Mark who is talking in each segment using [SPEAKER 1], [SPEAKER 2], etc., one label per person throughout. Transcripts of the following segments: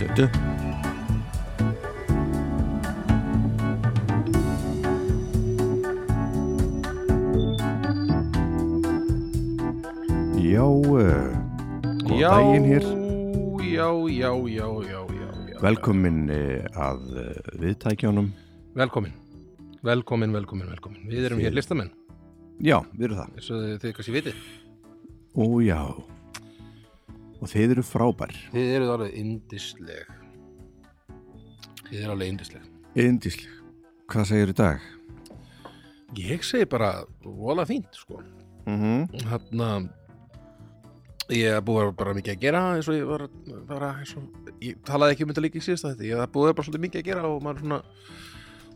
[SPEAKER 1] eh,
[SPEAKER 2] Bítu
[SPEAKER 1] Já, uh, góðan
[SPEAKER 2] Já,
[SPEAKER 1] daginn hér.
[SPEAKER 2] Já, já, já, já, já, já.
[SPEAKER 1] Velkomin eh, að eh, viðtækjunum.
[SPEAKER 2] Velkomin Velkomin, velkomin, velkomin Við erum
[SPEAKER 1] Þið-
[SPEAKER 2] hér listamenn,
[SPEAKER 1] Já, við erum það.
[SPEAKER 2] eins og þið, þið kannski vitið
[SPEAKER 1] Ó já, og þeir eru frábær.
[SPEAKER 2] Þið eruð alveg indisleg Þið eruð alveg indisleg
[SPEAKER 1] Indísleg. Hvað segir í dag?
[SPEAKER 2] Ég segi bara, vola fínt, sko
[SPEAKER 1] Mm -hmm.
[SPEAKER 2] Þarna Ég er búið bara mikið að gera eins og ég var bara eins og Ég talaði ekki um þetta líka í síðasta þetta Ég er búið bara svolítið mikið að gera og maður er svona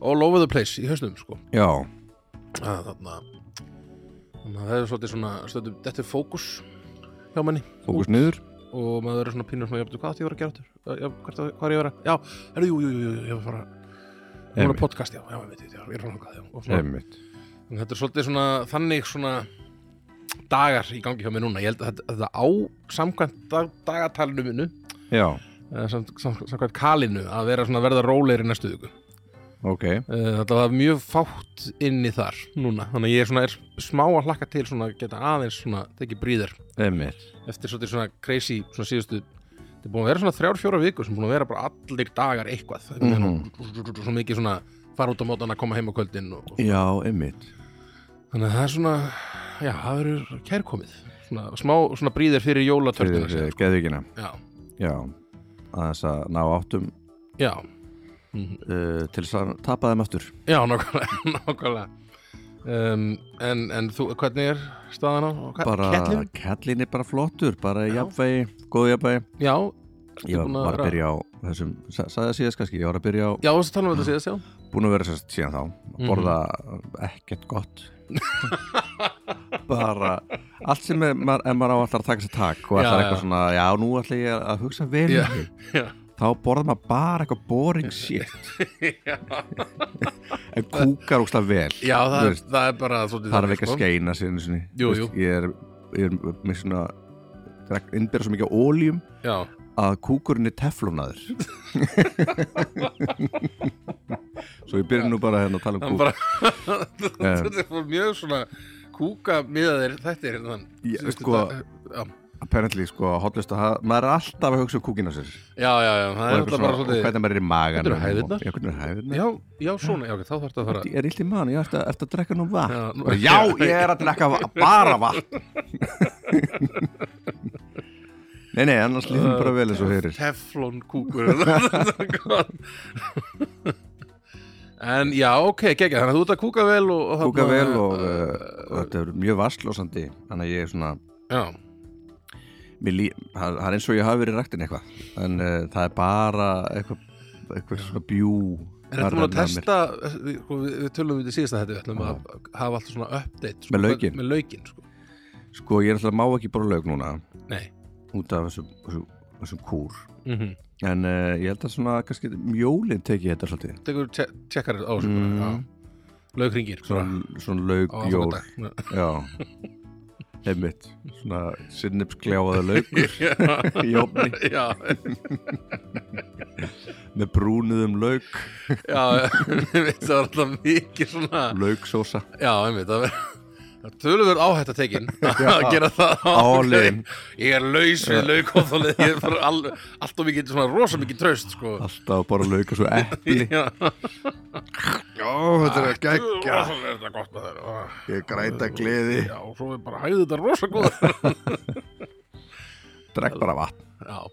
[SPEAKER 2] all over the place í höstum, sko
[SPEAKER 1] Já,
[SPEAKER 2] að þarna þannig að það er svolítið svona stöndum, þetta er fókus hjá manni
[SPEAKER 1] fókus niður.
[SPEAKER 2] og maður er svona pínur svona jafnir, hvað átti ég var að gera áttur? Hvað er ég að vera? Já, herru, jú, jú, jú, jú, ég var bara ég var að
[SPEAKER 1] Einmitt.
[SPEAKER 2] podcast, já, já, ég veit, já, ég er frá langað, já og svona,
[SPEAKER 1] Einmitt.
[SPEAKER 2] þannig að þetta er svolítið svona þannig svona dagar í gangi hjá mér núna, ég held að þetta, þetta á samkvæmt dag, dagatalinu minu
[SPEAKER 1] Já,
[SPEAKER 2] eh, sam, sam, samkvæmt kalinu að vera svona verða rólegri næstu viku
[SPEAKER 1] ok.
[SPEAKER 2] Eh, Þetta var mjög fátt inni þar núna, þannig að ég er svona er smá að hlakka til svona að geta aðeins svona tekið bríðar
[SPEAKER 1] Einmitt.
[SPEAKER 2] eftir svolítið svona crazy svona síðustu þetta er búin að vera svona þrjár fjóra vikur sem búin að vera bara allir dagar eitthvað mm
[SPEAKER 1] Mhm.
[SPEAKER 2] -hmm. svo mikið svona fara út á mótan að koma heim á kvöldin og,
[SPEAKER 1] Já, einmitt.
[SPEAKER 2] þannig að það er svona já, það eru kærkomið svona, smá svona bríðar fyrir
[SPEAKER 1] Fyrir
[SPEAKER 2] jólatörnina síðan, sko.
[SPEAKER 1] geðvíkina.
[SPEAKER 2] já,
[SPEAKER 1] Já, aðeins að ná áttum
[SPEAKER 2] já,
[SPEAKER 1] uh, til þess að tapa þeim aftur.
[SPEAKER 2] já, nákvæmlega nákvæmlega um, en, en þú, hvernig er staðan á á ke-
[SPEAKER 1] Bara,
[SPEAKER 2] kettlinum?
[SPEAKER 1] kettlinn er bara flottur, bara jafnvegi, góð jafnvegi.
[SPEAKER 2] já,
[SPEAKER 1] Ég var,
[SPEAKER 2] búin að
[SPEAKER 1] var að
[SPEAKER 2] vera-
[SPEAKER 1] byrja á þessum, sa- sagði það síðast kannski, ég var að byrja á,
[SPEAKER 2] Já, þú varst að tala um þetta síðast, já
[SPEAKER 1] búin að vera sérst síðan þá,
[SPEAKER 2] Mhm.
[SPEAKER 1] að borða ekkert gott. bara, allt sem er, maður, ef maður á alltaf að taka sér takk og
[SPEAKER 2] Já,
[SPEAKER 1] alltaf
[SPEAKER 2] já.
[SPEAKER 1] eitthvað svona, já, nú ætla ég að hugsa vel,
[SPEAKER 2] Já,
[SPEAKER 1] yeah.
[SPEAKER 2] já,
[SPEAKER 1] þá borða maður bara eitthvað boring shit. en kúkar úkslega vel.
[SPEAKER 2] já það,
[SPEAKER 1] Þú
[SPEAKER 2] er,
[SPEAKER 1] veist,
[SPEAKER 2] það er bara svolítið
[SPEAKER 1] það er
[SPEAKER 2] þannig,
[SPEAKER 1] ekki að
[SPEAKER 2] sko.
[SPEAKER 1] skeina sér, einu sinni.
[SPEAKER 2] Jú,
[SPEAKER 1] Þú veist,
[SPEAKER 2] jú.
[SPEAKER 1] Ég er, ég er með svona, innbyrða svo mikið á óljum
[SPEAKER 2] Já,
[SPEAKER 1] að kúkurinn er teflónaður Svo ég byrja nú bara hérna að tala um
[SPEAKER 2] hann
[SPEAKER 1] kúk
[SPEAKER 2] bara Þetta er fór mjög svona kúka miðaðir þættir hérna þann
[SPEAKER 1] Ég-
[SPEAKER 2] síðustu
[SPEAKER 1] sko-
[SPEAKER 2] dag- Já,
[SPEAKER 1] Apparently sko, hotlist að það maður er alltaf að hugsa um kúkina sér
[SPEAKER 2] já, já, já, það er
[SPEAKER 1] og, eitthvað
[SPEAKER 2] alltaf bara
[SPEAKER 1] og
[SPEAKER 2] svolítið
[SPEAKER 1] hvernig maður er í magan
[SPEAKER 2] Hvernig eru hæðirnar?
[SPEAKER 1] Já, hvernig er hæðirnar?
[SPEAKER 2] Já, já, svona, já, ok, þá þarf þetta að fara
[SPEAKER 1] Ég er illt í magan, ég ætti að drekka nú vatn
[SPEAKER 2] Já, nú-
[SPEAKER 1] Bara, Já, ég er að drekka va- bara vatn Nei, nei, annars líðum bara vel eins og heyrir
[SPEAKER 2] Teflon kúkur En já, ok, gegja, þannig að þú ert að kúka vel og, og
[SPEAKER 1] Kúka
[SPEAKER 2] þarna- eh,
[SPEAKER 1] vel og, uh, og þetta er mjög vastlósandi Þannig að ég er svona
[SPEAKER 2] Já,
[SPEAKER 1] Mér lí, það það er eins og ég hafi verið ræktin eitthvað en uh, það er bara eitthvað, eitthvað svona bjú
[SPEAKER 2] er þetta
[SPEAKER 1] að
[SPEAKER 2] múin að
[SPEAKER 1] renna af mér.
[SPEAKER 2] testa við, sko, við, við tölum við þetta síðast að þetta við ætlum að hafa alltaf svona update sko,
[SPEAKER 1] Með laukinn?
[SPEAKER 2] Með laukinn, sko
[SPEAKER 1] sko ég er alltaf má ekki bara lög núna
[SPEAKER 2] Nei
[SPEAKER 1] út af þessum, þessum, þessum kúr
[SPEAKER 2] mm
[SPEAKER 1] en uh, ég held að svona kannski mjólin teki þetta svolítið
[SPEAKER 2] Tekur tje tjekkar á þessu mm. bara já. Laukringir bara
[SPEAKER 1] Mhm. svona, svona
[SPEAKER 2] á
[SPEAKER 1] lög jól
[SPEAKER 2] aðfangadag.
[SPEAKER 1] já heimitt svona sinnipskljáaða lögur í opni
[SPEAKER 2] Já,
[SPEAKER 1] með brúnuðum lög
[SPEAKER 2] já, ég veit það var alltaf mikið svona
[SPEAKER 1] lögsósa
[SPEAKER 2] Já, einmitt, það verður Það tölum verður áhætt að tekin að gera það á
[SPEAKER 1] Áliðin.
[SPEAKER 2] Ég er laus við laukóþólið Ég er bara all, allt og mikið, svona rosa mikið tröst sko.
[SPEAKER 1] alltaf bara lög og svo epli
[SPEAKER 2] Já,
[SPEAKER 1] já þetta er geggja
[SPEAKER 2] rosalega er þetta gott ah. með þér
[SPEAKER 1] ég græta gleði
[SPEAKER 2] Já, og svo er bara hæðið þetta rosa góð
[SPEAKER 1] drekk bara vatn
[SPEAKER 2] Já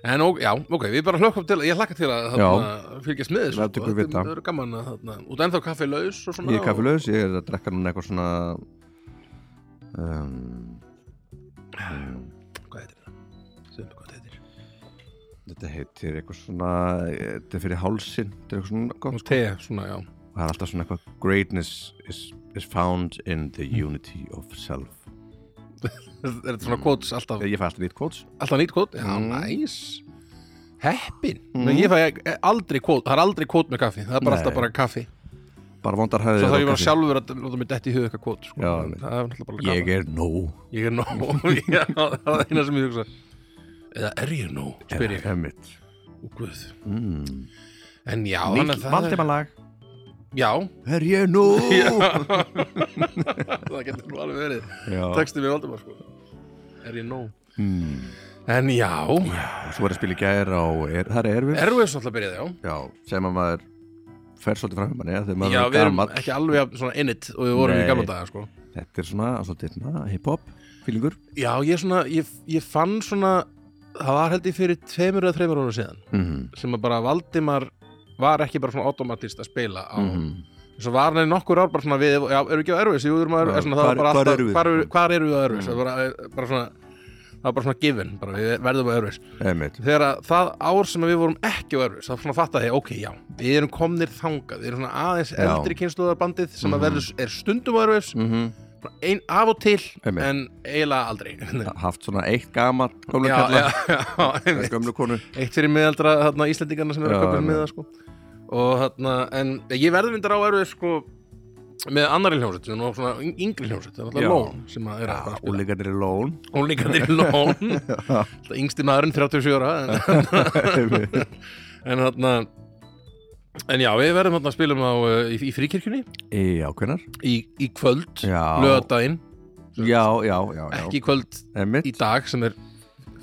[SPEAKER 2] En ok, já, ok, við bara hlökkum til ég hlakka til að þarna, fylgjast með þessu
[SPEAKER 1] Láttu ykkur vita.
[SPEAKER 2] Það eru gaman að þarna, út ennþá kaffi laus og svona
[SPEAKER 1] Ég er kaffilaus, ég er að drekka núna eitthvað svona um,
[SPEAKER 2] og, Hvað heitir það? Segðu mér hvað þetta heitir
[SPEAKER 1] Þetta heitir eitthvað svona Þetta er fyrir hálsin Þetta er eitthvað svona gott
[SPEAKER 2] Og te, svona, já
[SPEAKER 1] Og Það er alltaf svona eitthvað Greatness is, is found in the unity of self
[SPEAKER 2] Er þetta
[SPEAKER 1] Mm.
[SPEAKER 2] svona kóts alltaf,
[SPEAKER 1] Ég fæ alltaf nýtt quotes
[SPEAKER 2] alltaf nýtt kót? Já,
[SPEAKER 1] Mm.
[SPEAKER 2] næs Heppin mm. Ég fæ aldrei kót, það er aldrei kót með kaffi Það er bara
[SPEAKER 1] Nei.
[SPEAKER 2] alltaf bara kaffi
[SPEAKER 1] Bara vondar hæði
[SPEAKER 2] Svo þarf ég bara sjálfur að láta mig detti í huga eitthvað kót sko.
[SPEAKER 1] Já,
[SPEAKER 2] Það er náttúrulega bara
[SPEAKER 1] Ég
[SPEAKER 2] gaman
[SPEAKER 1] er nóg
[SPEAKER 2] Ég er nóg, já, það er eina sem ég hugsa Eða er ég nóg, spyr ég
[SPEAKER 1] Emmitt
[SPEAKER 2] og guð
[SPEAKER 1] mm.
[SPEAKER 2] en já, þannig að
[SPEAKER 1] Mikið Valdimalag
[SPEAKER 2] já,
[SPEAKER 1] Er ég nú
[SPEAKER 2] það getur nú alveg verið
[SPEAKER 1] Já.
[SPEAKER 2] texti við Valdimar sko er ég nóg
[SPEAKER 1] Mm.
[SPEAKER 2] en já,
[SPEAKER 1] Og Svo er að spila í gær á er, Það er erfið
[SPEAKER 2] erfiðs alltaf byrjað já
[SPEAKER 1] Já, sem að maður fer svolítið fram með manni ja, þegar maður
[SPEAKER 2] já,
[SPEAKER 1] er
[SPEAKER 2] við erum
[SPEAKER 1] gamall.
[SPEAKER 2] ekki alveg jafn svona innit og við vorum
[SPEAKER 1] Nei.
[SPEAKER 2] í gamla daga sko
[SPEAKER 1] Þetta er svona, svolítið, na, hip-hop fílingur
[SPEAKER 2] já, ég svona, ég, ég fann svona það var held ég fyrir tveimur eða þreimur ára síðan
[SPEAKER 1] mm.
[SPEAKER 2] sem að bara Valdimar var ekki bara svona automatist að spila á
[SPEAKER 1] mm.
[SPEAKER 2] svo var hann í nokkur ár bara svona við já, erum við ekki á erfis, jú, við erum á
[SPEAKER 1] Já,
[SPEAKER 2] erfis svona, það var
[SPEAKER 1] hvar-
[SPEAKER 2] bara
[SPEAKER 1] hvar
[SPEAKER 2] alltaf-
[SPEAKER 1] erum við?
[SPEAKER 2] hvar, hvar erum við á erfis það var bara, eh, bara svona það var bara svona given, bara við verðum á erfis
[SPEAKER 1] Einmitt,
[SPEAKER 2] þegar að það ár sem að við vorum ekki á erfis það svona fattaði, ok, já, við erum komnir þangað við erum svona aðeins
[SPEAKER 1] Já. Mhm.
[SPEAKER 2] eldri kynnslóðarbandið sem að verður, er stundum á erfis bara ein af og til,
[SPEAKER 1] Einmitt.
[SPEAKER 2] en eiginlega aldrei já,
[SPEAKER 1] haft svona eitt gamall Gömlu
[SPEAKER 2] já,
[SPEAKER 1] kalla,
[SPEAKER 2] já, einmitt.
[SPEAKER 1] gömlu konu
[SPEAKER 2] eitt fyrir miðaldra þarna, Íslendingarna sem eru að
[SPEAKER 1] Já,
[SPEAKER 2] köpa
[SPEAKER 1] já.
[SPEAKER 2] með það sko. og þarna, en ég verður myndar á erfið sko, með annari hljómsett sem er nú svona yng- yngri hljómsett það er
[SPEAKER 1] Já.
[SPEAKER 2] alltaf lón sem að er að fara að spila
[SPEAKER 1] Úlingarnir í lón
[SPEAKER 2] ólíkandir lón það yngsti maðurinn 37 ára en,
[SPEAKER 1] Einmitt.
[SPEAKER 2] en þarna en já, við verðum þarna að spilum á uh, í, í fríkirkjunni
[SPEAKER 1] Í ákveðnar
[SPEAKER 2] í, í kvöld,
[SPEAKER 1] Já.
[SPEAKER 2] lögadaginn
[SPEAKER 1] Já, já, já, já
[SPEAKER 2] ekki í kvöld
[SPEAKER 1] Emmitt
[SPEAKER 2] í dag sem er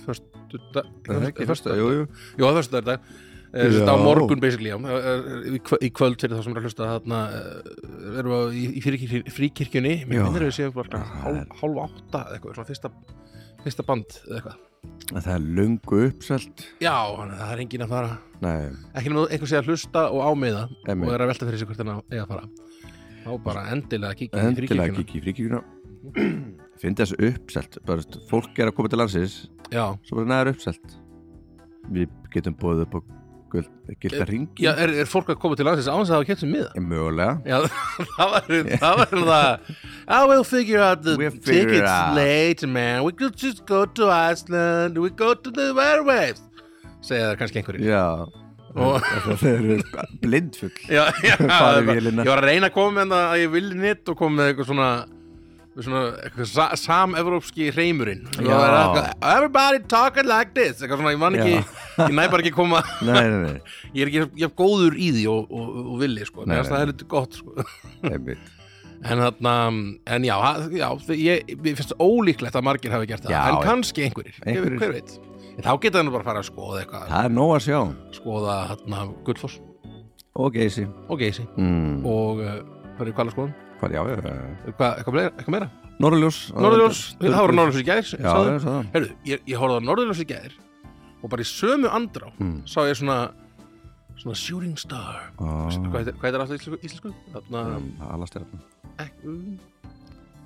[SPEAKER 2] förstu dag,
[SPEAKER 1] Jú, jú
[SPEAKER 2] Jó, það fyrstu dag Þetta á
[SPEAKER 1] Já.
[SPEAKER 2] morgun basically já. Eh, eh, í kvö- í kvöld fyrir þá sem er að hlusta þarna eh, erum við á- í, í fríkirkjunni, fríkirkjunni mér
[SPEAKER 1] Já.
[SPEAKER 2] minnir við séum bara
[SPEAKER 1] Já, það
[SPEAKER 2] hálf, hálf átta eða eitthvað, svona fyrsta, fyrsta band eða eitthvað
[SPEAKER 1] En Það er lungu uppselt
[SPEAKER 2] Já, þannig að það er engin að fara
[SPEAKER 1] Nei,
[SPEAKER 2] ekki nema þú einhver sé að hlusta og ámiða
[SPEAKER 1] Einmitt.
[SPEAKER 2] og er að velta fyrir sig hvert hann á- eigi að fara þá bara endilega kíkja í
[SPEAKER 1] endilega
[SPEAKER 2] fríkirkjunna
[SPEAKER 1] kikið í fríkikuna Fyndi þessu uppselt bara, veist, Fólk er að koma til landsins
[SPEAKER 2] Já,
[SPEAKER 1] Svo bara neðar uppselt Við getum bóðið upp á guld-
[SPEAKER 2] Eh.
[SPEAKER 1] gilda ringi
[SPEAKER 2] Já er, er fólk að koma til landsins án þess að hafa kett sem miða?
[SPEAKER 1] Mögulega
[SPEAKER 2] Já, það var það var það I will figure out the
[SPEAKER 1] We'll figure it
[SPEAKER 2] tickets
[SPEAKER 1] out.
[SPEAKER 2] later man We could just go to Iceland We go to the airwaves segja það kannski einhverjir
[SPEAKER 1] Já
[SPEAKER 2] Og-
[SPEAKER 1] Það eru blindfull
[SPEAKER 2] já, já,
[SPEAKER 1] Farið í
[SPEAKER 2] bara-
[SPEAKER 1] vélina.
[SPEAKER 2] Ég var að reyna að koma með það að ég vilji nýtt og koma með eitthvað svona með svona eitthvað sa, sam-evrópski hreimurinn Og það var eitthvað, Everybody talking like this eitthvað svona, ég man ekki,
[SPEAKER 1] Já.
[SPEAKER 2] ég næ bara ekki að koma
[SPEAKER 1] Nei, nei, nei
[SPEAKER 2] ég er ekki ég er góður í því og, og, og villi sko,
[SPEAKER 1] Nei,
[SPEAKER 2] Mér finnst
[SPEAKER 1] nei.
[SPEAKER 2] það er lítið gott sko
[SPEAKER 1] Einmitt
[SPEAKER 2] En þarna, en já, ha- já þau- ég, ég finnst ólíklegt að margir hafi gert það,
[SPEAKER 1] Já,
[SPEAKER 2] en
[SPEAKER 1] já.
[SPEAKER 2] kannski einhverjir,
[SPEAKER 1] Einhverjir.
[SPEAKER 2] hver veit. En þá geta hann bara að fara að skoða eitthvað,
[SPEAKER 1] Það er nóg að sjá
[SPEAKER 2] skoða hérna Gullfoss
[SPEAKER 1] Og geysi
[SPEAKER 2] og Geysi
[SPEAKER 1] mm.
[SPEAKER 2] og uh, hvað er hvað að skoða,
[SPEAKER 1] Hvað, já, já
[SPEAKER 2] hvað, Eh, eitthvað, meira, eitthvað meira?
[SPEAKER 1] Norðurljós
[SPEAKER 2] Norðurljós, það voru Norðurljós í gæðir,
[SPEAKER 1] Já,
[SPEAKER 2] sagði.
[SPEAKER 1] já, sagði
[SPEAKER 2] Herru, ég, ég horfði á Norðurljós í gæðir og bara í sömu andrá
[SPEAKER 1] Mm.
[SPEAKER 2] sá ég svona, svona Shooting Star,
[SPEAKER 1] hann
[SPEAKER 2] hvað heitir- hvað heitir alltaf íslensku? íslensku? Þarna,
[SPEAKER 1] um, Mm.
[SPEAKER 2] eh, um,
[SPEAKER 1] Alastjarn
[SPEAKER 2] ekki,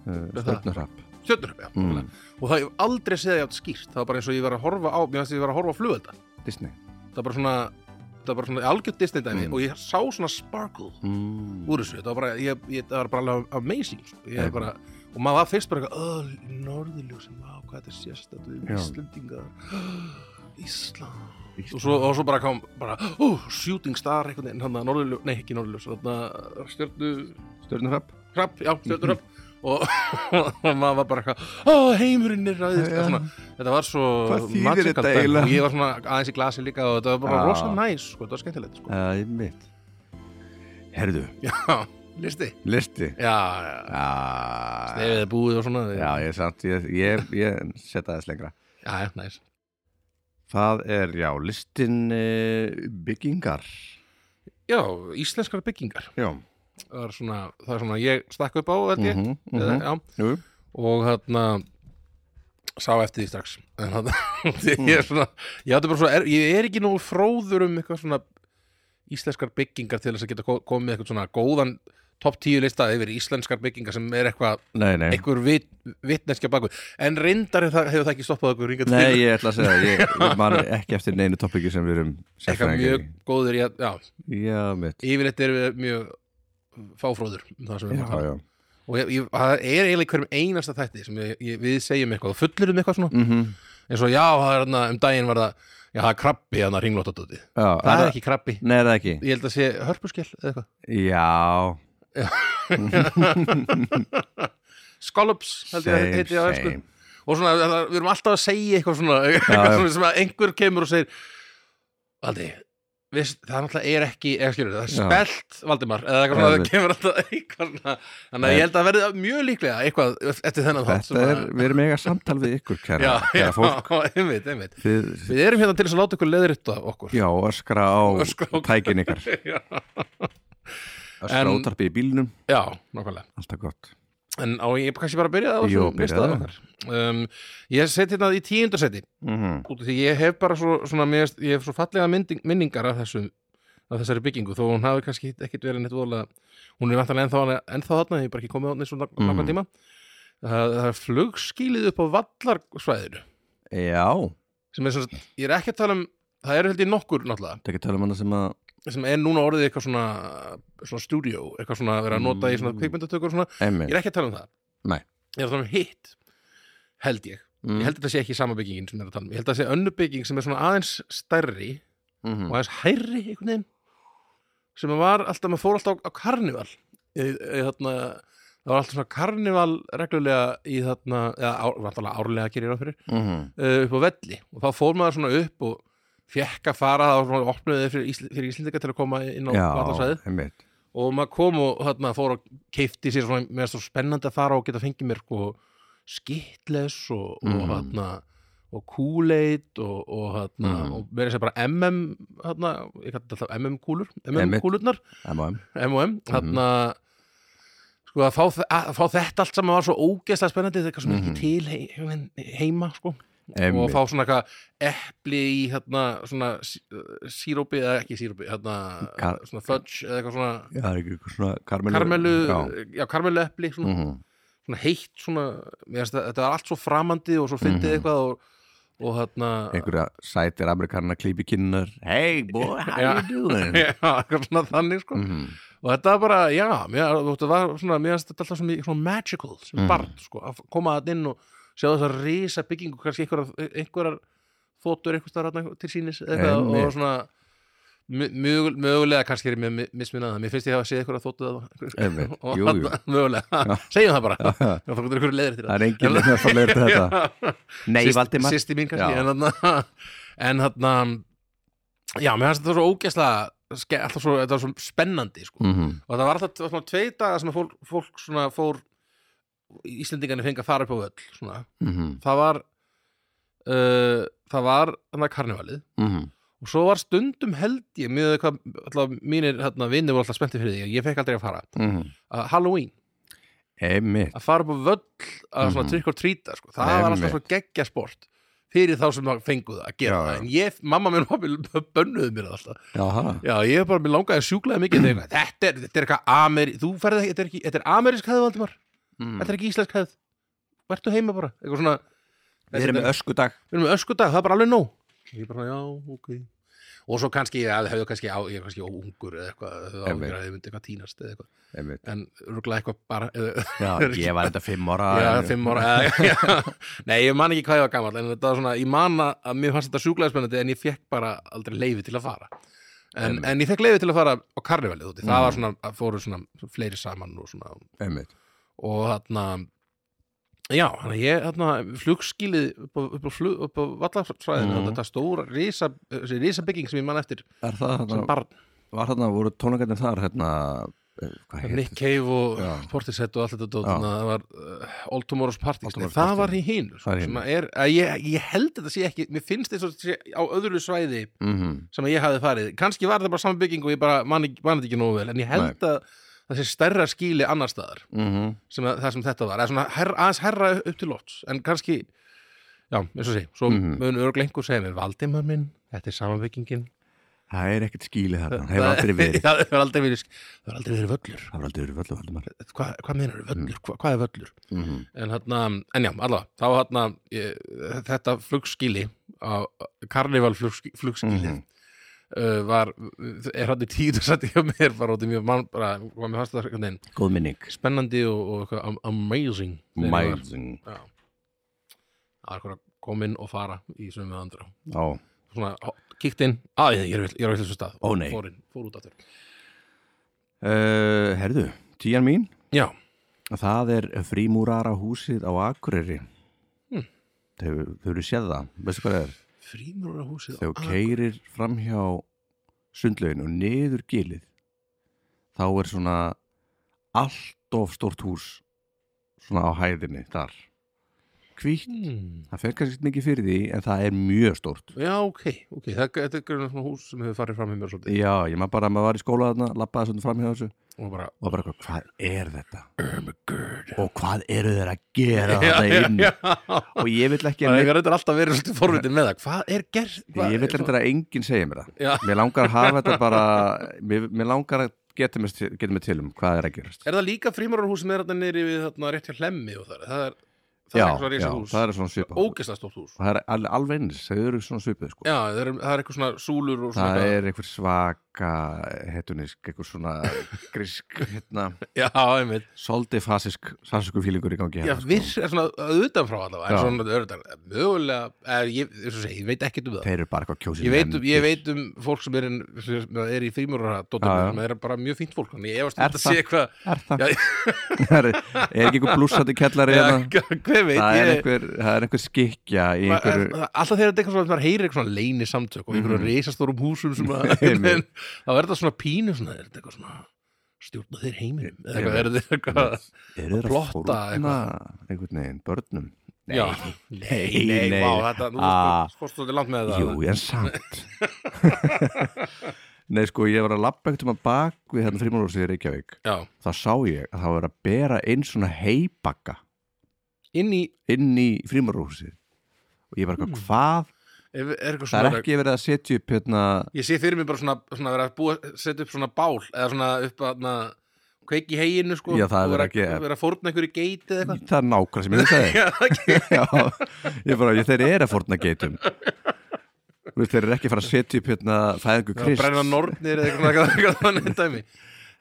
[SPEAKER 1] Eh,
[SPEAKER 2] það?
[SPEAKER 1] Stjörnurrapp
[SPEAKER 2] stjörnuröp, já,
[SPEAKER 1] Mm.
[SPEAKER 2] og það hef aldrei séð það jafn skýrt, það var bara eins og ég var að horfa á mér fannst ég var að horfa á flugölda,
[SPEAKER 1] Disney
[SPEAKER 2] það var bara svona það var bara svona algjörn Disney dæmi
[SPEAKER 1] Mm.
[SPEAKER 2] og ég sá svona sparkle
[SPEAKER 1] mm.
[SPEAKER 2] úr þessu, það var bara, ég, ég, það var bara alveg amazing, sko. ég
[SPEAKER 1] Einmitt.
[SPEAKER 2] bara og maður var fyrst bara eitthvað, öll, norðurljósin vá, hvað þetta er sérstætt við
[SPEAKER 1] Já.
[SPEAKER 2] Íslendingar Ísland og svo, og svo bara kom bara, ó, shooting star einhvern veginn, hann að norðurljós, nei ekki norðurljós þarna stjörnu
[SPEAKER 1] Stjörnurrapp
[SPEAKER 2] hrapp, já,
[SPEAKER 1] Mhm.
[SPEAKER 2] stjörnur hrapp og, og maður var bara eitthvað ó, heimurinn er ræðist
[SPEAKER 1] Já.
[SPEAKER 2] ja. svona, þetta var svo
[SPEAKER 1] Hvað þýðir
[SPEAKER 2] magical
[SPEAKER 1] þetta
[SPEAKER 2] dæmi
[SPEAKER 1] eiginlega?
[SPEAKER 2] og ég var svona aðeins í glasi líka og þetta var bara
[SPEAKER 1] Já.
[SPEAKER 2] rosa næs, sko, þetta var skemmtilegt sko.
[SPEAKER 1] Einmitt Herðu,
[SPEAKER 2] já, listi
[SPEAKER 1] listi
[SPEAKER 2] já, já,
[SPEAKER 1] Já,
[SPEAKER 2] stefið er búið og svona
[SPEAKER 1] já ég er samt Ég, ég, ég setja þess lengra
[SPEAKER 2] já, já, næs
[SPEAKER 1] Það er, já, listin uh, byggingar
[SPEAKER 2] já, íslenskar byggingar
[SPEAKER 1] Já
[SPEAKER 2] það er svona, það er svona ég stakk upp á, held ég
[SPEAKER 1] Mhm,
[SPEAKER 2] eða,
[SPEAKER 1] mhm.
[SPEAKER 2] já,
[SPEAKER 1] Jú,
[SPEAKER 2] og þarna sá eftir því strax en þarna ég
[SPEAKER 1] Mm.
[SPEAKER 2] er svona ég, átti bara svo, er, ég er ekki nú fróður um eitthvað svona íslenskar byggingar til þess að geta ko- komið með eitthvað svona góðan topp tíu lista yfir íslenskar byggingar sem er eitthvað
[SPEAKER 1] nei, nei
[SPEAKER 2] einhver vit, vitneskja baku en reyndar hefur það, hefur það ekki stoppað okkur ringa til
[SPEAKER 1] Nei, ég ætla að segja, það. ég, ég man ekki eftir neinu toppiki sem við erum
[SPEAKER 2] eitthvað
[SPEAKER 1] sérfræðingar
[SPEAKER 2] mjög góður í að- já,
[SPEAKER 1] í. Já, mitt
[SPEAKER 2] yfirleitt erum við mjög fáfróður um það sem
[SPEAKER 1] Já,
[SPEAKER 2] við erum að tala um.
[SPEAKER 1] já
[SPEAKER 2] og ég, ég, það er eiginlega í hverjum einasta þætti sem ég, ég, við segjum eitthvað og fullurum eitthvað svona
[SPEAKER 1] mm -hmm.
[SPEAKER 2] eins og já, það er hérna, um daginn var það já, það er krabbi hérna ringlóttadóti
[SPEAKER 1] já
[SPEAKER 2] það, það er ekki krabbi,
[SPEAKER 1] Nei, er það ekki
[SPEAKER 2] ég held að sé hörpuskell eða eitthvað,
[SPEAKER 1] Já,
[SPEAKER 2] scallops held ég að
[SPEAKER 1] same,
[SPEAKER 2] heiti á ösku
[SPEAKER 1] same
[SPEAKER 2] og svona, það, við erum alltaf að segja eitthvað svona, eitthvað
[SPEAKER 1] já.
[SPEAKER 2] svona sem að einhver kemur og segir Valdi, viðst, það náttúrulega er ekki eða skilur, það er
[SPEAKER 1] Já.
[SPEAKER 2] spelt Valdimar eða eitthvað svona,
[SPEAKER 1] Já,
[SPEAKER 2] það kemur alltaf eitthvað svona þannig
[SPEAKER 1] Nei.
[SPEAKER 2] að ég held að verði mjög líklega eitthvað eftir þennan þátt sem
[SPEAKER 1] Þetta
[SPEAKER 2] að-
[SPEAKER 1] er, við erum eiga samtal við ykkur, kæra,
[SPEAKER 2] já, já,
[SPEAKER 1] kæra fólk.
[SPEAKER 2] einmitt, einmitt
[SPEAKER 1] Þið,
[SPEAKER 2] Við erum hérna til þess að láta ykkur leðrita okkur
[SPEAKER 1] já, öskra á
[SPEAKER 2] Öskra á-
[SPEAKER 1] tækin ykkar.
[SPEAKER 2] Já,
[SPEAKER 1] Öskra
[SPEAKER 2] En-
[SPEAKER 1] útarpi í bílnum,
[SPEAKER 2] já nákvæmlega
[SPEAKER 1] alltaf gott.
[SPEAKER 2] En á ég kannski bara að byrja það á
[SPEAKER 1] Jú,
[SPEAKER 2] þessum
[SPEAKER 1] byrjaðu.
[SPEAKER 2] lista okkar. um, Ég seti hérna í tíundarseti
[SPEAKER 1] Mhm.
[SPEAKER 2] út af því ég hef bara svo, svona, mér, finnst- ég hef svo fallega mynding, minningar af, þessu, af þessari byggingu þó hún hafi kannski ekkit verið neitt voðalega hún er vantanlega ennþá, ennþá þarna ég hef bara ekki komið þarna í svona mm.
[SPEAKER 1] Mhm.
[SPEAKER 2] langan tíma það, það er flugskýlið upp á vallarsvæðinu
[SPEAKER 1] Já,
[SPEAKER 2] sem er svona, ég er ekki að tala um það eru held ég nokkur náttúrulega
[SPEAKER 1] þetta ekki tala um hana sem að,
[SPEAKER 2] sem er núna orðið eitthvað svona, svona stúdíó, eitthvað svona að vera að nota í svona
[SPEAKER 1] Mm.
[SPEAKER 2] kvikmyndatökur og svona, ég
[SPEAKER 1] emmi,
[SPEAKER 2] er ekki að tala um það
[SPEAKER 1] Nei. Mm.
[SPEAKER 2] ég er að tala um hitt held ég, ég held að þetta sé ekki sama byggingin sem ég er að tala um, ég held að þetta sé önnu bygging sem er svona aðeins stærri
[SPEAKER 1] Mm-hmm.
[SPEAKER 2] og aðeins hærri einhvern veginn sem var alltaf, maður fór alltaf á, á karnival í, í þarna það var alltaf svona karnival reglulega í hérna, þarna, eða ár, vantalega árlega gerir það fyrir,
[SPEAKER 1] Mm-hmm.
[SPEAKER 2] uh, upp á velli og þá fór maður svona upp og fekk að fara það var svona opnuðið fyrir, Ísl, fyrir Íslendinga til að koma inn á
[SPEAKER 1] Já,
[SPEAKER 2] vallarsæði
[SPEAKER 1] emmi,
[SPEAKER 2] og maður kom og þarna fór og keifti sér svona, mér er svo spennandi að fara og geta fengið mér sko skitles og, og
[SPEAKER 1] Mhm.
[SPEAKER 2] þarna og Kool-Aid og, og þarna
[SPEAKER 1] Mhm.
[SPEAKER 2] og verið sér bara MM þarna, ég kallt alltaf MM kúlur MM
[SPEAKER 1] Einmitt.
[SPEAKER 2] kúlurnar,
[SPEAKER 1] emmi,
[SPEAKER 2] M&M þarna sko að fá, þe- að fá þetta allt saman var svo ógeðslega spennandi þetta er eitthvað sem er
[SPEAKER 1] Mhm.
[SPEAKER 2] ekki til hei, hei- heima sko og
[SPEAKER 1] emmi,
[SPEAKER 2] að fá svona eitthvað epli í þarna svona sí- uh, sírópi eða ekki sírópi þarna
[SPEAKER 1] Kar-
[SPEAKER 2] svona fudge eða eitthvað svona
[SPEAKER 1] já, það er ekki eitthvað svona karmelu,
[SPEAKER 2] karmelu,
[SPEAKER 1] já,
[SPEAKER 2] já, karmelu epli svona,
[SPEAKER 1] mhm,
[SPEAKER 2] svona heitt svona, mér finnst að- þetta var allt svo framandi og svo fyndið
[SPEAKER 1] Mhm.
[SPEAKER 2] eitthvað og, og þarna
[SPEAKER 1] einhverja sætir amerikanar klípi kinnar, hey boy, how
[SPEAKER 2] Já.
[SPEAKER 1] you doing?
[SPEAKER 2] já, eitthvað svona þannig sko
[SPEAKER 1] Mhm.
[SPEAKER 2] og þetta var bara, já, mér, þetta var svona mér finnst þetta alltaf svona, mikið svona magical sem
[SPEAKER 1] Mhm.
[SPEAKER 2] barn, sko, að koma að inn og sjá þess að risa byggingu, kannski einhverjar, einhverjar þóttur einhvers staðar til sínis eða eitthvað
[SPEAKER 1] Einmitt.
[SPEAKER 2] og svona mjög- mjög- mögulega kannski er mér misminað það, mér finnst ég hafa séð einhverjar þóttu
[SPEAKER 1] Einmitt.
[SPEAKER 2] það og
[SPEAKER 1] Eh, Jú, jú.
[SPEAKER 2] þarna, mögulega, segjum það bara
[SPEAKER 1] Já, já.
[SPEAKER 2] þá komur einhverju leiðir til
[SPEAKER 1] Það er enginn að fara leir til þetta. Nei, Valdimar.
[SPEAKER 2] Sýsti mín kannski
[SPEAKER 1] Já.
[SPEAKER 2] En þarna En þarna Já, mér finnst þetta svo ógeðslega ske- Alltaf svo, þetta var svo spennandi sko.
[SPEAKER 1] Mhm.
[SPEAKER 2] Og það var alltaf það var svona tvei daga sem að fólk, fólk svona fór Íslendingarnir fengi að fara upp á völl svona.
[SPEAKER 1] Mhm.
[SPEAKER 2] Það var uh, Það var hann að karnivalið
[SPEAKER 1] Mhm.
[SPEAKER 2] Og svo var stundum held ég Mjög hvað, alltaf mínir hérna, vinnir voru alltaf spennti fyrir því Ég fekk aldrei að fara
[SPEAKER 1] Mhm.
[SPEAKER 2] uh, Halloween
[SPEAKER 1] Einmitt.
[SPEAKER 2] að fara upp á völl að svona
[SPEAKER 1] Mhm.
[SPEAKER 2] trikk og trýta sko. það var alltaf
[SPEAKER 1] Einmitt.
[SPEAKER 2] svo geggja sport fyrir þá sem það fengu það að gera
[SPEAKER 1] Já,
[SPEAKER 2] það
[SPEAKER 1] já.
[SPEAKER 2] en ég, mamma minn og pappi bönnuðu mér það alltaf
[SPEAKER 1] Jaha.
[SPEAKER 2] já, ég hef bara, mér langaði sjúklaði mikið þegar, þetta er, þetta er eitthvað ameri þú ferði, þetta er ekki, þetta er amerísk hefð Valdimar
[SPEAKER 1] Mm.
[SPEAKER 2] þetta er ekki íslensk hefð, vertu heima bara eitthvað svona,
[SPEAKER 1] Við erum með öskudag
[SPEAKER 2] við erum með öskudag, það er bara alveg nóg ég bara, já, ok og svo kannski, ja, hefðu kannski á, ég er kannski óungur eða eitthvað, hefðu
[SPEAKER 1] Einmitt.
[SPEAKER 2] áhyggjur að ég myndi eitthvað tínast eða eitthvað,
[SPEAKER 1] Einmitt.
[SPEAKER 2] en rúglega eitthvað bara, eða,
[SPEAKER 1] Já, ég var þetta fimm ára
[SPEAKER 2] Já, fimm ára eða, já. Nei, ég man ekki hvað ég var gammal en þetta var svona, ég man að- að mér fannst þetta sjúklaði spennandi en ég fekk bara aldrei leifi til að fara en,
[SPEAKER 1] Einmitt.
[SPEAKER 2] en ég fekk leifi til að fara á karnivalið úti, það
[SPEAKER 1] Mhm.
[SPEAKER 2] var svona, að fóru svona fleiri saman og svona
[SPEAKER 1] Einmitt.
[SPEAKER 2] og þarna já, þannig að ég, þarna, flugskýlið upp á, upp á, flug, upp á vallarsvæðinu
[SPEAKER 1] Mhm.
[SPEAKER 2] þetta stóra risa, þessi risabygging sem ég man eftir
[SPEAKER 1] Er það
[SPEAKER 2] sem
[SPEAKER 1] þarna,
[SPEAKER 2] barn,
[SPEAKER 1] var þarna, voru tónleikarnir þar hérna, eh, hvað heit
[SPEAKER 2] Nick Cave og
[SPEAKER 1] Já.
[SPEAKER 2] Portishead og allt þetta dót,
[SPEAKER 1] Já.
[SPEAKER 2] þannig að það var uh, Old Tomorrow's Party,
[SPEAKER 1] Old
[SPEAKER 2] Nei,
[SPEAKER 1] Tomorrow's Party.
[SPEAKER 2] það var í hínu
[SPEAKER 1] Það er í
[SPEAKER 2] sem
[SPEAKER 1] hinu.
[SPEAKER 2] að er, að ég, ég held þetta sé ekki mér finnst þess að sé á öðru svæði
[SPEAKER 1] Mhm.
[SPEAKER 2] sem að ég hafði farið, kannski var þetta bara saman bygging og ég bara mani þetta ekki nógu vel en ég held að það sé stærra skíli annar staðar
[SPEAKER 1] Mhm.
[SPEAKER 2] sem að, það sem þetta var, eða svona herra, aðeins herra upp til lofts, en kannski já, eins og sé, svo
[SPEAKER 1] Mhm.
[SPEAKER 2] mun örglengur segja mér, Valdimar minn, þetta er saman byggingin
[SPEAKER 1] Það er ekkert skýli þarna, hefur aldrei verið
[SPEAKER 2] það hefur aldrei verið, það hefur aldrei verið völlur
[SPEAKER 1] Það var aldrei verið völdu Valdimar
[SPEAKER 2] hvað, hvað meinar völlur, hvað, hvað er völlur
[SPEAKER 1] Mhm.
[SPEAKER 2] en hérna, en já, allavega þá var hérna eh, þetta flugskili á karnival flugskili, flugskili
[SPEAKER 1] Mhm.
[SPEAKER 2] var, er hann í tíu og satt hjá mér bara út í mjög mann bara, hvað mér fannst það einhvern veginn
[SPEAKER 1] Góð minning
[SPEAKER 2] spennandi og, og eitthvað am- amazing þegar ég var-
[SPEAKER 1] Mæðing
[SPEAKER 2] Já. það var eitthvað komin og fara í sömu við andra
[SPEAKER 1] Já,
[SPEAKER 2] svona, ho- kíkt inn, að ég er vill- ég er á þessu stað
[SPEAKER 1] Ó, nei.
[SPEAKER 2] fór, inn, fór út aftur
[SPEAKER 1] Eh, herðu, tíjan mín
[SPEAKER 2] já,
[SPEAKER 1] Það er frímúrara húsið á Akureyri
[SPEAKER 2] Hmm.
[SPEAKER 1] Þau, þau eru séð það, veistu hvað það er?
[SPEAKER 2] Frímurarhúsið á
[SPEAKER 1] þegar þú
[SPEAKER 2] Akureyri.
[SPEAKER 1] keirir fram hjá sundlaugin og niður gilið þá er svona allt of stórt hús svona á hæðinni þar hvítt,
[SPEAKER 2] Hmm.
[SPEAKER 1] það fer kannski ekkert mikið fyrir því en það er mjög stórt
[SPEAKER 2] Já, ok, ok, það þetta er grunna svona hús sem hefur farið fram í mér svolítið
[SPEAKER 1] já, ég maður bara að maður var í skóla þarna lappaði svona fram hjá þessu
[SPEAKER 2] og bara,
[SPEAKER 1] og bara, eitthvað, hvað er þetta?
[SPEAKER 2] oh my god
[SPEAKER 1] og hvað eru þeir að gera
[SPEAKER 2] Já,
[SPEAKER 1] þetta
[SPEAKER 2] já,
[SPEAKER 1] inn
[SPEAKER 2] já
[SPEAKER 1] og ég vil ekki
[SPEAKER 2] Það
[SPEAKER 1] að
[SPEAKER 2] er
[SPEAKER 1] neitt,
[SPEAKER 2] reyndar alltaf verið svolítið forvitin með það Hvað er gerð?
[SPEAKER 1] ég vil reyndar að enginn segja mér það
[SPEAKER 2] Já.
[SPEAKER 1] mér langar að hafa þetta bara mér, mér langar að geta mér, til- geta mér til um hvað er að gerast
[SPEAKER 2] Er það líka frímurarhús sem er þarna niðri við þarna rétt hjá hlemmi og þar? Það er, það
[SPEAKER 1] já,
[SPEAKER 2] er
[SPEAKER 1] já,
[SPEAKER 2] eitthvað reysa hús
[SPEAKER 1] það er svona svipað og
[SPEAKER 2] Ógeðslega stórt hús
[SPEAKER 1] það er al- alveg eins, þau eru svona svipað sko.
[SPEAKER 2] Já, það er, það er eitthvað svona súlur og svona
[SPEAKER 1] það
[SPEAKER 2] eitthvað-
[SPEAKER 1] er einhver svaka hetunísk, einhver svona grísk, hérna,
[SPEAKER 2] Já, einmitt
[SPEAKER 1] soldi fasisk sasku fílingur í gangi
[SPEAKER 2] Já,
[SPEAKER 1] hérna, sko.
[SPEAKER 2] viss er svona utanfrá
[SPEAKER 1] Já.
[SPEAKER 2] allavega En svona, örugglega, mögulega eh, Ég eins og segi, ég veit ekkert um það
[SPEAKER 1] þeir eru bara eitthvað kjósið
[SPEAKER 2] Ég veit, um, ég veit um fólk sem er, inn- sem er í frímurara
[SPEAKER 1] Já, já.
[SPEAKER 2] sem er bara mjög fínt fólk en ég efast um
[SPEAKER 1] Er
[SPEAKER 2] þetta
[SPEAKER 1] það?
[SPEAKER 2] sé eitthvað
[SPEAKER 1] er það,
[SPEAKER 2] Já.
[SPEAKER 1] er, er ekki einhver blúsandi kellari
[SPEAKER 2] Já,
[SPEAKER 1] hérna?
[SPEAKER 2] hver veit
[SPEAKER 1] það,
[SPEAKER 2] ég,
[SPEAKER 1] er einhver, það er einhver skikja í
[SPEAKER 2] Ma-
[SPEAKER 1] einhverju Mhm.
[SPEAKER 2] er- alltaf þegar þetta er eitthvað svona maður heyrir eitthvað svona leyni samtök og einhverju reisastórum húsum sem að
[SPEAKER 1] Einmitt.
[SPEAKER 2] en þá er þetta svona pínu svona, er þetta eitthvað svona stjórna þeir heiminum eða eitthvað, er þetta eitthvað
[SPEAKER 1] eru þeir að
[SPEAKER 2] plotta
[SPEAKER 1] fórna einhvern veginn börnum nei,
[SPEAKER 2] Já, nei, nei,
[SPEAKER 1] nei.
[SPEAKER 2] vá, þetta, nú
[SPEAKER 1] Ah.
[SPEAKER 2] fórstu- fórstu þetta langt með það
[SPEAKER 1] jú, en samt nei, sko, ég var að labba ekkert um að bak við hérna frímálhúsið í Reykjavík
[SPEAKER 2] Já,
[SPEAKER 1] þá sá ég að það var að bera inn svona heibakka
[SPEAKER 2] inn í,
[SPEAKER 1] inn í frímálhúsið og ég bara, eitthvað, hvað?
[SPEAKER 2] ef- er
[SPEAKER 1] það
[SPEAKER 2] eitthvað svona
[SPEAKER 1] er ekki verið að setja upp hérna
[SPEAKER 2] Ég sé fyrir mér bara svona, svona vera að búa, setja upp svona bál eða svona upp að na, kveiki í heginu sko
[SPEAKER 1] Já, það er
[SPEAKER 2] og
[SPEAKER 1] verið
[SPEAKER 2] vera,
[SPEAKER 1] að gera.
[SPEAKER 2] vera að fórna einhverju geiti eða eitthvað
[SPEAKER 1] það er nákvæm sem ég hugsaði
[SPEAKER 2] Já, ekki
[SPEAKER 1] Já, ég bara, ég, þeir eru að forna geitum Þú veist, þeir eru ekki að fara að setja upp hérna fæðingu
[SPEAKER 2] Já,
[SPEAKER 1] krist
[SPEAKER 2] brenna nornir eða eitthvað, eitthvað, eitthvað þannig dæmi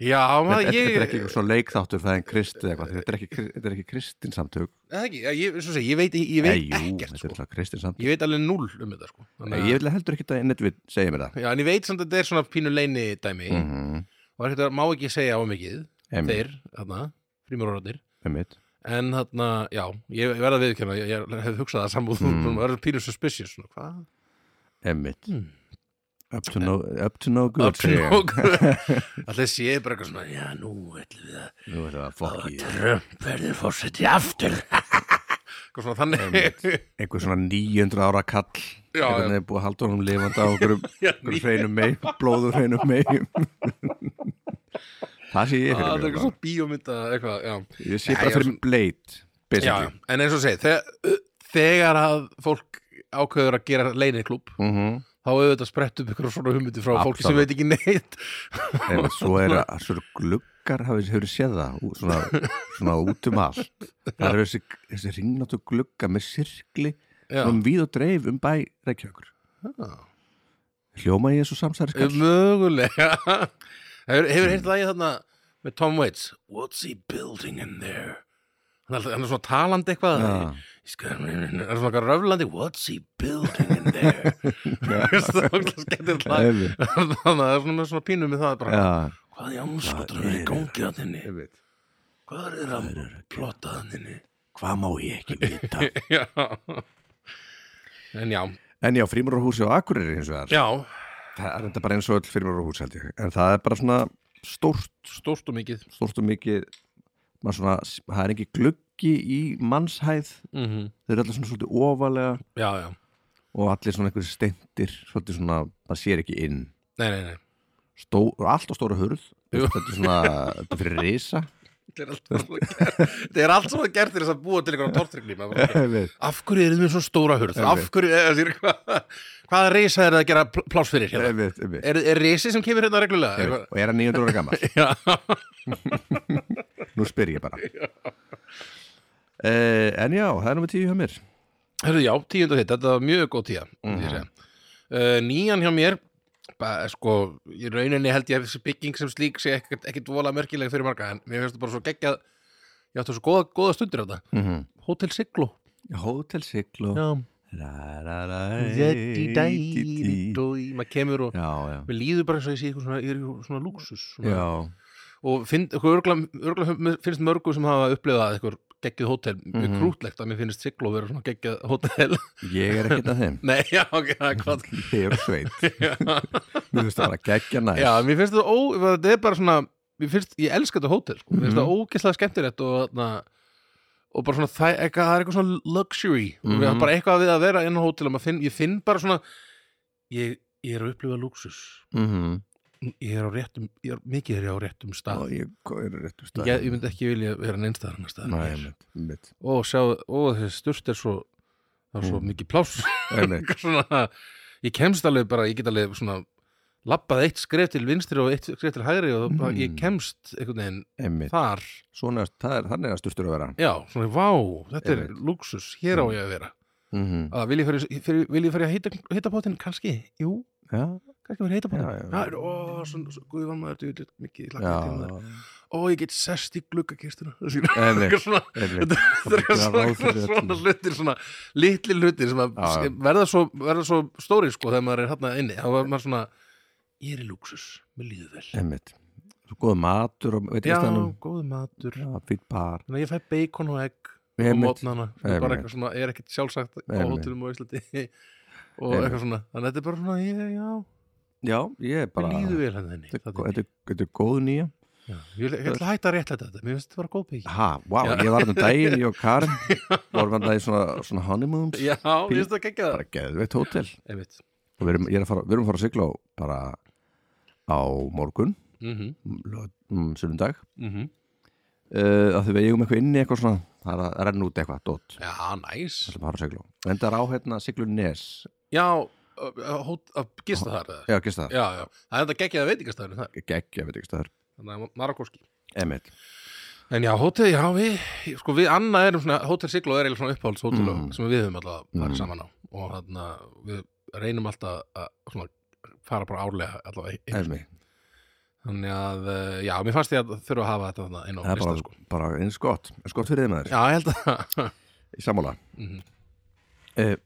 [SPEAKER 2] Já, maður, ég
[SPEAKER 1] Þetta er ekki svo leikþáttur fæðing krist eða eitthvað Þetta er ekki, þetta er ekki kristin samtök
[SPEAKER 2] Eða ekki, já, ég, svo segi, ég veit, ég veit ekkert
[SPEAKER 1] Þetta er
[SPEAKER 2] sko.
[SPEAKER 1] alltaf kristin samtök
[SPEAKER 2] Ég veitt alveg null um þetta sko. Þannig,
[SPEAKER 1] Ég vil heldur ekki að neitt við segja mér það
[SPEAKER 2] Já, en ég veit samt að þetta er svona pínu leini dæmi
[SPEAKER 1] Mhm,
[SPEAKER 2] og er ekkert að má ekki segja á mikið
[SPEAKER 1] Einmitt.
[SPEAKER 2] þeir, þarna, frímur orðir
[SPEAKER 1] einmitt. en
[SPEAKER 2] en þarna, já, ég verða að viðkjöna ég, ég hef hugsað það sambúð mm.
[SPEAKER 1] Mhm.
[SPEAKER 2] og verður pínu suspicious svona, hvað?
[SPEAKER 1] Emmitt
[SPEAKER 2] Hmm.
[SPEAKER 1] Up to no, up to no good
[SPEAKER 2] Up to
[SPEAKER 1] segja ég.
[SPEAKER 2] no good. Alltaf sé ég bara eitthvað svona já, nú ætlum við að
[SPEAKER 1] Nú er það flokki
[SPEAKER 2] Trump verður fórseti aftur eitthvað svona þannig
[SPEAKER 1] Einhver svona 900 ára kall
[SPEAKER 2] Já,
[SPEAKER 1] Einhvern veginn búið að halda honum lifandi á einhverjum
[SPEAKER 2] Já,
[SPEAKER 1] einhverjum hreinum meim, blóður hreinum meim Það sé ég
[SPEAKER 2] það Ah,
[SPEAKER 1] fyrir
[SPEAKER 2] er eitthvað
[SPEAKER 1] mér bara.
[SPEAKER 2] svona bíómynda eitthvað, já
[SPEAKER 1] Ég sé
[SPEAKER 2] Nei,
[SPEAKER 1] bara
[SPEAKER 2] já,
[SPEAKER 1] fyrir mér bleit
[SPEAKER 2] Já,
[SPEAKER 1] basically
[SPEAKER 2] en eins og segi, þegar, þegar að fólk ákveður að gera leiniklub
[SPEAKER 1] Mhm.
[SPEAKER 2] þá auðvitað sprett upp ykkur svona hugmyndi frá fólki sem
[SPEAKER 1] Absolutt.
[SPEAKER 2] veit ekki neitt
[SPEAKER 1] En svo er að svo eru gluggar hafið hefur séð það ú- svona, svona út um allt Það eru þessi, þessi ringnáttu glugga með sirkli
[SPEAKER 2] Já,
[SPEAKER 1] um víð og dreif um bæ reykjökur Hljóma ég svo samsæri skall
[SPEAKER 2] mögulega Hefur, hefur heyrt það ég þarna með Tom Waits What's he building in there? Hann er, alltaf- hann er svona talandi eitthvað
[SPEAKER 1] Já.
[SPEAKER 2] He's got- Hann er svona eitthvað röflandi What's he building in there? Það er ógeðslega skemmtilegt lag.
[SPEAKER 1] Einmitt.
[SPEAKER 2] Þannig að það er svona með svona pínu með það bara,
[SPEAKER 1] Já,
[SPEAKER 2] Hvað í anskotunum er í gangi að þinni?
[SPEAKER 1] einmitt
[SPEAKER 2] Hvað er það að plotta þannig?
[SPEAKER 1] Hvað má ég ekki vita?
[SPEAKER 2] Já. En já,
[SPEAKER 1] En já, frímurarhúsi á Akureyri hins vegar
[SPEAKER 2] já,
[SPEAKER 1] Það er þetta bara eins og öll frímurarhús held ég En það er bara svona stórt
[SPEAKER 2] stórt og mikið.
[SPEAKER 1] stórt og mikið maður svona, það er ekki gluggi í mannshæð
[SPEAKER 2] Mhm.
[SPEAKER 1] þeir eru allir svona svolítið ofalega
[SPEAKER 2] Já, já,
[SPEAKER 1] og allir svona einhverjir steindir svolítið svona, maður sér ekki inn
[SPEAKER 2] nei, nei, nei.
[SPEAKER 1] Stó, allt á stóra hurð þetta er svona, þetta er fyrir risa
[SPEAKER 2] Þetta er allt svona gert. Þetta er allt svona gert til þess að búa til einhverja tortrygni. maður bara,
[SPEAKER 1] Einmitt.
[SPEAKER 2] Af hverju erum við svona stóra hurð? Af hverju, eða, þér, hva, hvaða reysa er það að gera pl- pláss fyrir hérna?
[SPEAKER 1] Einmitt, einmitt.
[SPEAKER 2] Er, er reysi sem kemur hérna reglulega?
[SPEAKER 1] Einmitt. og er hann 900 ára gammal
[SPEAKER 2] Já,
[SPEAKER 1] nú spyr ég bara uh, en já, það er nummer tíu hjá mér
[SPEAKER 2] Hörðu, já, tíund og þitt, þetta var mjög góð tíða mm
[SPEAKER 1] Mhm.
[SPEAKER 2] -hmm. uh, Nýjan hjá mér ba, sko, í rauninni held ég að þessi bygging sem slík sé ekkert, ekkert vola merkileg fyrir marga, en mér finnst það bara svo geggjað ég átti svo góða, góða stundir á þetta
[SPEAKER 1] mm -hmm.
[SPEAKER 2] Hotel Siglo
[SPEAKER 1] Hotel Siglo
[SPEAKER 2] Mhm. Já,
[SPEAKER 1] Ra, ra, ra, dí, dí.
[SPEAKER 2] Zeddy Dæri Dói, maður kemur og
[SPEAKER 1] já, já
[SPEAKER 2] Mér líður bara eins og ég sé eitthvað svona, ég er í svona lúksus svona. sko,
[SPEAKER 1] já,
[SPEAKER 2] og finn, örgla, örgla, finnst mörgu sem hafa upplifað eitthvað geggið hótel, mjög
[SPEAKER 1] Mhm.
[SPEAKER 2] krútlegt að mér finnist Sigló vera svona geggið hótel
[SPEAKER 1] Ég er ekkert að þeim
[SPEAKER 2] Nei, já, ok, það er hvað
[SPEAKER 1] Ég er sveit,
[SPEAKER 2] já.
[SPEAKER 1] mér finnst það bara geggja næst
[SPEAKER 2] já, mér finnst þetta ó, þetta er bara svona mér finnst, ég elska þetta hótel, sko, mér finnst
[SPEAKER 1] Mhm.
[SPEAKER 2] það ógeðslega skemmtilegt og, na, og bara svona það, eitthvað, það er eitthvað svona luxury mm
[SPEAKER 1] Mhm.
[SPEAKER 2] bara eitthvað við að vera inn á hótel og maður finn, ég finn bara svona ég, ég er að upplifa luxus
[SPEAKER 1] Mhm.
[SPEAKER 2] ég er á réttum, ég er, mikið er ég á réttum
[SPEAKER 1] Og
[SPEAKER 2] stað
[SPEAKER 1] ég hvað er réttu
[SPEAKER 2] ég,
[SPEAKER 1] stað
[SPEAKER 2] ég myndi ekki vilja vera neins staðar annars staðar en
[SPEAKER 1] Nei,
[SPEAKER 2] hér.
[SPEAKER 1] einmitt, einmitt,
[SPEAKER 2] og sjá, og þessi sturt er svo það er svo
[SPEAKER 1] Mm.
[SPEAKER 2] mikið pláss
[SPEAKER 1] einmitt
[SPEAKER 2] Eitthvað svona, ég kemst alveg bara, ég get alveg svona labbað eitt skref til vinstri og eitt skref til hægri og mm.
[SPEAKER 1] Mm.
[SPEAKER 2] ég kemst einhvern veginn
[SPEAKER 1] Einmitt,
[SPEAKER 2] þar
[SPEAKER 1] svona, það er, þannig að sturtur að vera
[SPEAKER 2] já, svona, vá, þetta er
[SPEAKER 1] Einmitt.
[SPEAKER 2] luxus hér á
[SPEAKER 1] Mm.
[SPEAKER 2] ég að vera
[SPEAKER 1] mm
[SPEAKER 2] að, vil, ég fyrir, fyrir, vil ég fyrir að heita, heita potinn, kannski, jú,
[SPEAKER 1] Já,
[SPEAKER 2] kannski fyrir heita
[SPEAKER 1] Já, já,
[SPEAKER 2] potinn
[SPEAKER 1] já.
[SPEAKER 2] já, ó, svona, svona, guð var maður, þetta er mikið
[SPEAKER 1] já,
[SPEAKER 2] lakkaði til það, ó, ég get sest í gluggakistuna
[SPEAKER 1] Einmitt.
[SPEAKER 2] eitthvað svona
[SPEAKER 1] einmitt
[SPEAKER 2] það er
[SPEAKER 1] Gera
[SPEAKER 2] svona,
[SPEAKER 1] ráð fyrir
[SPEAKER 2] svona, svona
[SPEAKER 1] öllu.
[SPEAKER 2] hlutir svona litli hlutir sem að
[SPEAKER 1] Já, já.
[SPEAKER 2] verða svo, verða svo stóri sko þegar maður er hérna inni þá var maður svona, ég er í lúksus mér líður vel,
[SPEAKER 1] Einmitt, svo góð matur og veit
[SPEAKER 2] já,
[SPEAKER 1] ekki stannum
[SPEAKER 2] góðu matur
[SPEAKER 1] Já, fýtt par
[SPEAKER 2] þannig að ég fæ bacon og egg á
[SPEAKER 1] Einmitt,
[SPEAKER 2] mótnana, það er bara
[SPEAKER 1] Einmitt.
[SPEAKER 2] eitthvað svona er ekkert sjálfsagt á
[SPEAKER 1] Einmitt.
[SPEAKER 2] hótelum og Íslandi og
[SPEAKER 1] Einmitt.
[SPEAKER 2] eitthvað svona þannig að þetta er bara svona, ég, já,
[SPEAKER 1] já, ég er bara
[SPEAKER 2] mér líður vel hérna hann þenni
[SPEAKER 1] Þetta er gó- þetta er- þetta er góð nýja
[SPEAKER 2] ég vil- ég ætla að hætta að réttlega þetta mér finnst þetta bara góð pík
[SPEAKER 1] Ha, vá,
[SPEAKER 2] Já.
[SPEAKER 1] ég var þannig daginn, ég og Karin vorum þannig í svona, svona honeymoons
[SPEAKER 2] já, mér finnst þetta geggjað.
[SPEAKER 1] bara geðveitt hótel
[SPEAKER 2] Einmitt.
[SPEAKER 1] og við erum, ég er að fara, við erum að fara að sigla á bara á morgun
[SPEAKER 2] Mhm,
[SPEAKER 1] lög- mm, sunnudag
[SPEAKER 2] mhm.
[SPEAKER 1] uh, að því við eigum eitthvað inni eitthvað svona það er að renna út eitthvað, dót
[SPEAKER 2] já, næs
[SPEAKER 1] sem fara að sigla á en það er á hérna siglunes
[SPEAKER 2] já, ö- ö, hót- að gista þar eða
[SPEAKER 1] já, gist það,
[SPEAKER 2] já, já, það er þetta geggjað að veitingastæðinu þar
[SPEAKER 1] geggja, veit ekki stöður
[SPEAKER 2] þannig að Marakóski
[SPEAKER 1] Emil,
[SPEAKER 2] en já, hótel, já, við, sko við annað erum svona, hótel Sigló er eiginlega svona uppáhalds hótel
[SPEAKER 1] Mm.
[SPEAKER 2] sem við höfum alltaf farið
[SPEAKER 1] Mm.
[SPEAKER 2] saman á og þannig að við reynum alltaf að svona fara bara árlega allavega ein-
[SPEAKER 1] Emil,
[SPEAKER 2] þannig að, eh, já, mér fannst ég að þurfa að hafa þetta þarna inn á
[SPEAKER 1] það er
[SPEAKER 2] lista,
[SPEAKER 1] bara,
[SPEAKER 2] sko
[SPEAKER 1] bara eins gott eins gott fyrir þið maður,
[SPEAKER 2] já, ég held að
[SPEAKER 1] í sammála
[SPEAKER 2] Mhm.
[SPEAKER 1] uh,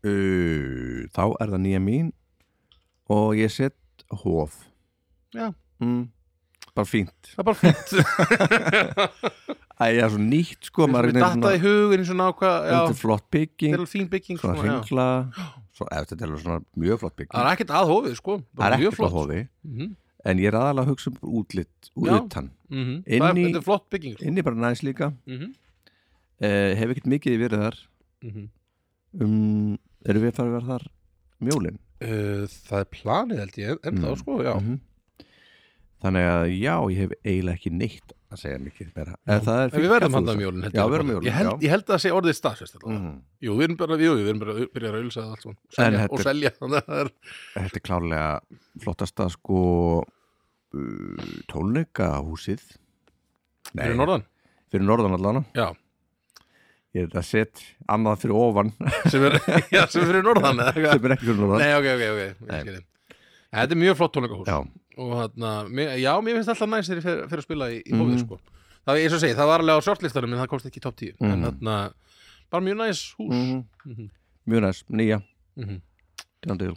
[SPEAKER 1] uh, þá er það nýja mín og ég sett hóf
[SPEAKER 2] Já.
[SPEAKER 1] mm, bara fínt
[SPEAKER 2] það er bara fínt
[SPEAKER 1] Æ, ég er svo nýtt sko maður er
[SPEAKER 2] við
[SPEAKER 1] einhvern
[SPEAKER 2] datta í
[SPEAKER 1] veginn
[SPEAKER 2] hugin svona ákvað,
[SPEAKER 1] svona- þetta er
[SPEAKER 2] já,
[SPEAKER 1] flott
[SPEAKER 2] þetta er
[SPEAKER 1] bygging
[SPEAKER 2] alveg fín bygging
[SPEAKER 1] svona
[SPEAKER 2] svona, já.
[SPEAKER 1] hringla svo, eða, þetta er alveg svona mjög flott bygging
[SPEAKER 2] það er ekkert að hófið, sko
[SPEAKER 1] það er
[SPEAKER 2] mjög
[SPEAKER 1] ekkert
[SPEAKER 2] flott.
[SPEAKER 1] á hófi
[SPEAKER 2] Mhm,
[SPEAKER 1] en ég er aðalega að hugsa um útlitt
[SPEAKER 2] Já.
[SPEAKER 1] útlittan
[SPEAKER 2] mhm.
[SPEAKER 1] Inn
[SPEAKER 2] Það er-
[SPEAKER 1] í-
[SPEAKER 2] þetta er flott bygging sko.
[SPEAKER 1] inni bara næs líka
[SPEAKER 2] Mhm,
[SPEAKER 1] uh, hef ekkert mikið verið þar
[SPEAKER 2] mhm.
[SPEAKER 1] um, eru við farið að vera þar mjólin
[SPEAKER 2] Uh, það er planið held ég, ennþá
[SPEAKER 1] Mm.
[SPEAKER 2] sko, já
[SPEAKER 1] Mhm. þannig að já, ég hef eiginlega ekki neitt að segja mikið meira en það er
[SPEAKER 2] En við verðum hann um jólun, held
[SPEAKER 1] Já,
[SPEAKER 2] ég.
[SPEAKER 1] við verðum um jólin,
[SPEAKER 2] Ég held,
[SPEAKER 1] já.
[SPEAKER 2] ég held að það sé orðið staðfest mm.
[SPEAKER 1] mm,
[SPEAKER 2] Jú, við erum bara, jú, við erum bara að byrja að raulsa allt svona, selja,
[SPEAKER 1] þetta
[SPEAKER 2] og
[SPEAKER 1] er-
[SPEAKER 2] selja þannig að það er,
[SPEAKER 1] þetta er klárlega flottasta sko uh, tónleikahúsið Nei,
[SPEAKER 2] fyrir norðan
[SPEAKER 1] fyrir norðan allana
[SPEAKER 2] Já,
[SPEAKER 1] ég er þetta sett annað fyrir ofan
[SPEAKER 2] sem er, já, sem er fyrir norðan eða eitthvað.
[SPEAKER 1] sem er ekki fyrir norðan
[SPEAKER 2] Nei, ok, ok, ok,
[SPEAKER 1] Nei.
[SPEAKER 2] ég skil þig. En Þetta er mjög flott tónleikahús
[SPEAKER 1] já,
[SPEAKER 2] og þarna, mér- já, mér finnst alltaf næst þegar ég fer, fer að spila í, í
[SPEAKER 1] Mhm.
[SPEAKER 2] hófið sko Það, eins og segi, það var alveg á shortlistanum en það komst ekki í top 10 en
[SPEAKER 1] Mhm.
[SPEAKER 2] þarna, bara mjög næs hús mm
[SPEAKER 1] Mhm. mjög næst, nýja
[SPEAKER 2] -hmm.
[SPEAKER 1] tjándil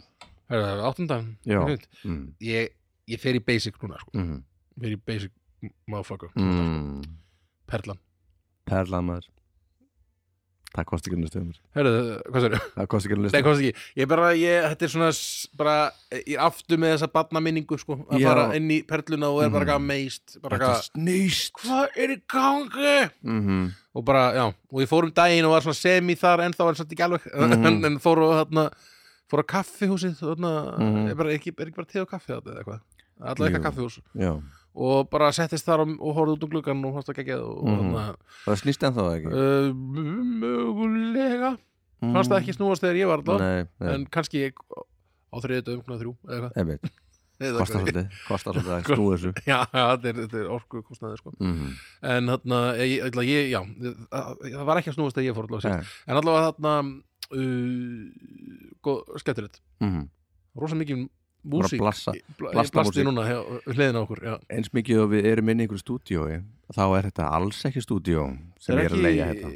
[SPEAKER 2] Það er áttundan
[SPEAKER 1] Mhm. Já.
[SPEAKER 2] Fínt.
[SPEAKER 1] mm.
[SPEAKER 2] ég, ég fer í basic núna sko.
[SPEAKER 1] mm.
[SPEAKER 2] fer í basic motherfucker
[SPEAKER 1] mm.
[SPEAKER 2] perlan
[SPEAKER 1] perlamar það kosti ekki næstu umur
[SPEAKER 2] Herðu, hvað sér,
[SPEAKER 1] það kosti ekki
[SPEAKER 2] nei,
[SPEAKER 1] næstu
[SPEAKER 2] hvað sér ekki ég bara, ég, þetta er svona s- bara, ég er aftur með þessa barnaminningu sko, að
[SPEAKER 1] Já.
[SPEAKER 2] fara inn í perluna og er bara
[SPEAKER 1] Mm.
[SPEAKER 2] eitthvað meist bara
[SPEAKER 1] þetta
[SPEAKER 2] eitthvað,
[SPEAKER 1] snýst
[SPEAKER 2] hvað er í gangi
[SPEAKER 1] mhm
[SPEAKER 2] og bara, já, og ég fór um daginn og var svona semi þar ennþá en samt ekki alveg
[SPEAKER 1] Mhm.
[SPEAKER 2] en, en fór og þarna, fór á kaffihúsið þarna,
[SPEAKER 1] Mhm.
[SPEAKER 2] er, bara, ekki, er ekki bara te og kaffi þarna eða eitthvað,
[SPEAKER 1] Jú.
[SPEAKER 2] allavega eitthvað kaffihús
[SPEAKER 1] já,
[SPEAKER 2] og bara settist þar og, og horfði út um gluggan og hósta geggjað og, og
[SPEAKER 1] Mhm.
[SPEAKER 2] þarna
[SPEAKER 1] það snýst ennþá ekki
[SPEAKER 2] Uh, mögulega fannst það ekki snúast þegar ég var alltaf
[SPEAKER 1] Mm. Nei, nei,
[SPEAKER 2] en kannski ég á þriðið dögum klukkan þrjú eða eitthvað.
[SPEAKER 1] einmitt,
[SPEAKER 2] Eða Sko.
[SPEAKER 1] kostar
[SPEAKER 2] eitthvað
[SPEAKER 1] svolítið kostar svolítið að snúa þessu
[SPEAKER 2] já, já, þetta er, þetta er orku kostnaði sko.
[SPEAKER 1] mhm,
[SPEAKER 2] en þarna, eh, ég, ég, ætla- ég, já ég- það það var ekki að snúast þegar ég fór allavega
[SPEAKER 1] nei,
[SPEAKER 2] sérst en allavega þarna uh, skemmtilegt
[SPEAKER 1] mhm
[SPEAKER 2] rosa mikið
[SPEAKER 1] bara
[SPEAKER 2] músík
[SPEAKER 1] blassa
[SPEAKER 2] Ég bla- ég
[SPEAKER 1] blasta
[SPEAKER 2] blasti
[SPEAKER 1] músík.
[SPEAKER 2] núna hjá, hliðin á okkur já.
[SPEAKER 1] eins mikið og við erum inn í einhverju stúdíói þá er þetta alls ekki stúdíó sem
[SPEAKER 2] Það
[SPEAKER 1] ég er að hérna. leia þetta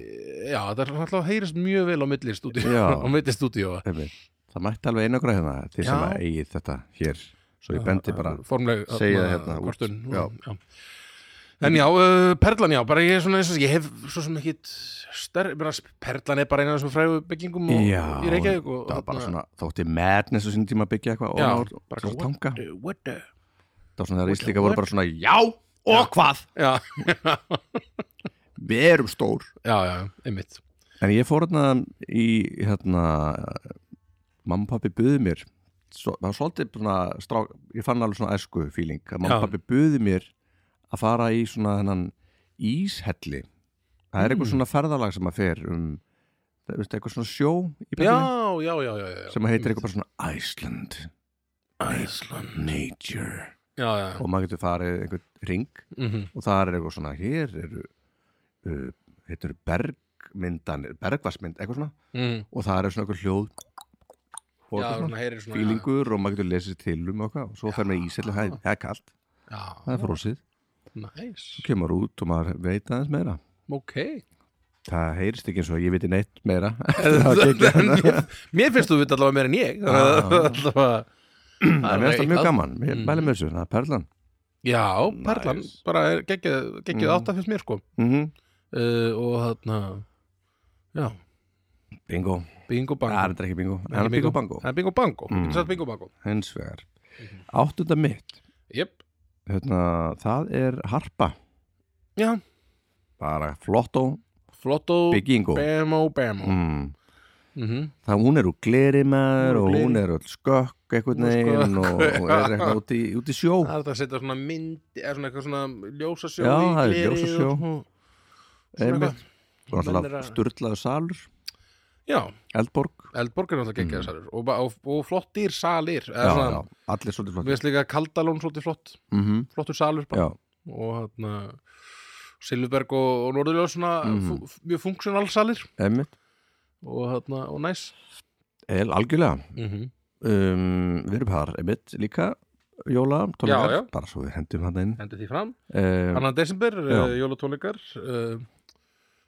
[SPEAKER 2] já, það er alltaf heyrist mjög vel á milli stúdíu
[SPEAKER 1] Já.
[SPEAKER 2] á milli stúdíu
[SPEAKER 1] Einmitt. það mætti alveg einagra hérna til sem
[SPEAKER 2] Já.
[SPEAKER 1] að eigið þetta hér svo ég bendi bara
[SPEAKER 2] formleg
[SPEAKER 1] Segja það hérna út.
[SPEAKER 2] kvartun
[SPEAKER 1] Já.
[SPEAKER 2] já. En já, uh, Perlan já, bara ég, er svona, eins og- ég hef svo sem ekkit stærri, bara Perlan er bara eina af þessum frægu byggingum og,
[SPEAKER 1] Já,
[SPEAKER 2] í Reykjavík og hérna-
[SPEAKER 1] það var bara svona, þótti madness á sinni tíma að byggja eitthvað
[SPEAKER 2] Já,
[SPEAKER 1] og
[SPEAKER 2] bara
[SPEAKER 1] bara
[SPEAKER 2] svona,
[SPEAKER 1] tanga
[SPEAKER 2] Eh, What the?
[SPEAKER 1] það var svona þegar
[SPEAKER 2] what-
[SPEAKER 1] Íslika
[SPEAKER 2] what-
[SPEAKER 1] voru bara svona já og hvað,
[SPEAKER 2] Já,
[SPEAKER 1] við erum stór
[SPEAKER 2] já, já, einmitt.
[SPEAKER 1] en ég fór hérna í hérna mamma og pappi buðu mér svo, það var svolítið svona strák, ég fann alveg svona æsku feeling að mamma og
[SPEAKER 2] Já.
[SPEAKER 1] pappi buðu mér að fara í svona hennan íshelli það er eitthvað
[SPEAKER 2] Mm.
[SPEAKER 1] svona ferðalag sem að fer um það, veistu, eitthvað svona sjó í
[SPEAKER 2] Já,
[SPEAKER 1] Berlín
[SPEAKER 2] já, já, já, já.
[SPEAKER 1] sem að heitir eitthvað bara svona Iceland
[SPEAKER 2] Æsland.
[SPEAKER 1] Nature
[SPEAKER 2] Já, já, já.
[SPEAKER 1] og maður getur farið einhvern ring
[SPEAKER 2] Mm
[SPEAKER 1] og það er eitthvað svona, hér eru uh, heitir bergmyndanir bergvarsmynd, eitthvað svona
[SPEAKER 2] mm.
[SPEAKER 1] og það er svona eitthvað hljóð og
[SPEAKER 2] Já,
[SPEAKER 1] eitthvað
[SPEAKER 2] svona
[SPEAKER 1] svona
[SPEAKER 2] heyrir svona.
[SPEAKER 1] fílingur og maður getur lesið til um og eitthvað og svo fer maður í ísæll og hæð, það er kalt
[SPEAKER 2] Já,
[SPEAKER 1] það er frósið,
[SPEAKER 2] næs.
[SPEAKER 1] svo kemur maður út og maður veit aðeins meira
[SPEAKER 2] Ok.
[SPEAKER 1] það heyrist ekki eins og ég veit neitt meira
[SPEAKER 2] Mér finnst þú vita allavega meira en ég. Allavega.
[SPEAKER 1] það er mjög
[SPEAKER 2] eitthvað.
[SPEAKER 1] gaman, mér
[SPEAKER 2] Mm.
[SPEAKER 1] mælum þessu, það er perlan
[SPEAKER 2] Já, Perlan,
[SPEAKER 1] Nice.
[SPEAKER 2] bara er geggið, geggið
[SPEAKER 1] Mm.
[SPEAKER 2] átta fyrst mér sko.
[SPEAKER 1] Mhm,
[SPEAKER 2] uh, og þarna já,
[SPEAKER 1] bingo,
[SPEAKER 2] bingo
[SPEAKER 1] það er
[SPEAKER 2] bango
[SPEAKER 1] þetta ekki bingo það er bingo bango,
[SPEAKER 2] það er bingo bango,
[SPEAKER 1] Mm.
[SPEAKER 2] mm. það er bingo bango
[SPEAKER 1] hins vegar Mhm. áttunda mitt,
[SPEAKER 2] jöp,
[SPEAKER 1] hérna, það er harpa
[SPEAKER 2] já,
[SPEAKER 1] bara flottó
[SPEAKER 2] flotto
[SPEAKER 1] byggingu
[SPEAKER 2] bemo, bemo mm.
[SPEAKER 1] mm.
[SPEAKER 2] Mm
[SPEAKER 1] það hún er úr gleri maður
[SPEAKER 2] Hún
[SPEAKER 1] og
[SPEAKER 2] er úr
[SPEAKER 1] hún er öll skökk einhvern
[SPEAKER 2] Hún er
[SPEAKER 1] veginn og,
[SPEAKER 2] skökk,
[SPEAKER 1] og er
[SPEAKER 2] já.
[SPEAKER 1] eitthvað út í, út í sjó
[SPEAKER 2] það er þetta að setja svona mynd eða svona eitthvað svona ljósasjó
[SPEAKER 1] Já,
[SPEAKER 2] í
[SPEAKER 1] það er
[SPEAKER 2] gleri og
[SPEAKER 1] ljósasjó.
[SPEAKER 2] svona- svona
[SPEAKER 1] einmitt
[SPEAKER 2] eitthvað.
[SPEAKER 1] og
[SPEAKER 2] Menn er
[SPEAKER 1] alltaf
[SPEAKER 2] að-
[SPEAKER 1] sturlaður salur
[SPEAKER 2] já,
[SPEAKER 1] eldborg
[SPEAKER 2] eldborg er náttúrulega geggjaðar salur og, ba- og, og flottir salir
[SPEAKER 1] Mm. já,
[SPEAKER 2] eða
[SPEAKER 1] já,
[SPEAKER 2] svona,
[SPEAKER 1] allir svolítið
[SPEAKER 2] við
[SPEAKER 1] flott
[SPEAKER 2] veist líka kaldalón svolítið flott,
[SPEAKER 1] mm -hmm.
[SPEAKER 2] flottur salur bara
[SPEAKER 1] já,
[SPEAKER 2] og þarna Silfurberg og, og Norðurljós svona
[SPEAKER 1] Mhm.
[SPEAKER 2] mm. mjög funksjonalsalir
[SPEAKER 1] einmitt
[SPEAKER 2] og, þarna, og næs
[SPEAKER 1] el, algjörlega
[SPEAKER 2] mm -hmm.
[SPEAKER 1] um, við erum par, einmitt líka jóla,
[SPEAKER 2] Já, já.
[SPEAKER 1] tónleikar, bara svo við hendum hann inn
[SPEAKER 2] Hendi því fram
[SPEAKER 1] um,
[SPEAKER 2] annan desember,
[SPEAKER 1] Já.
[SPEAKER 2] uh, jólatónleikar uh,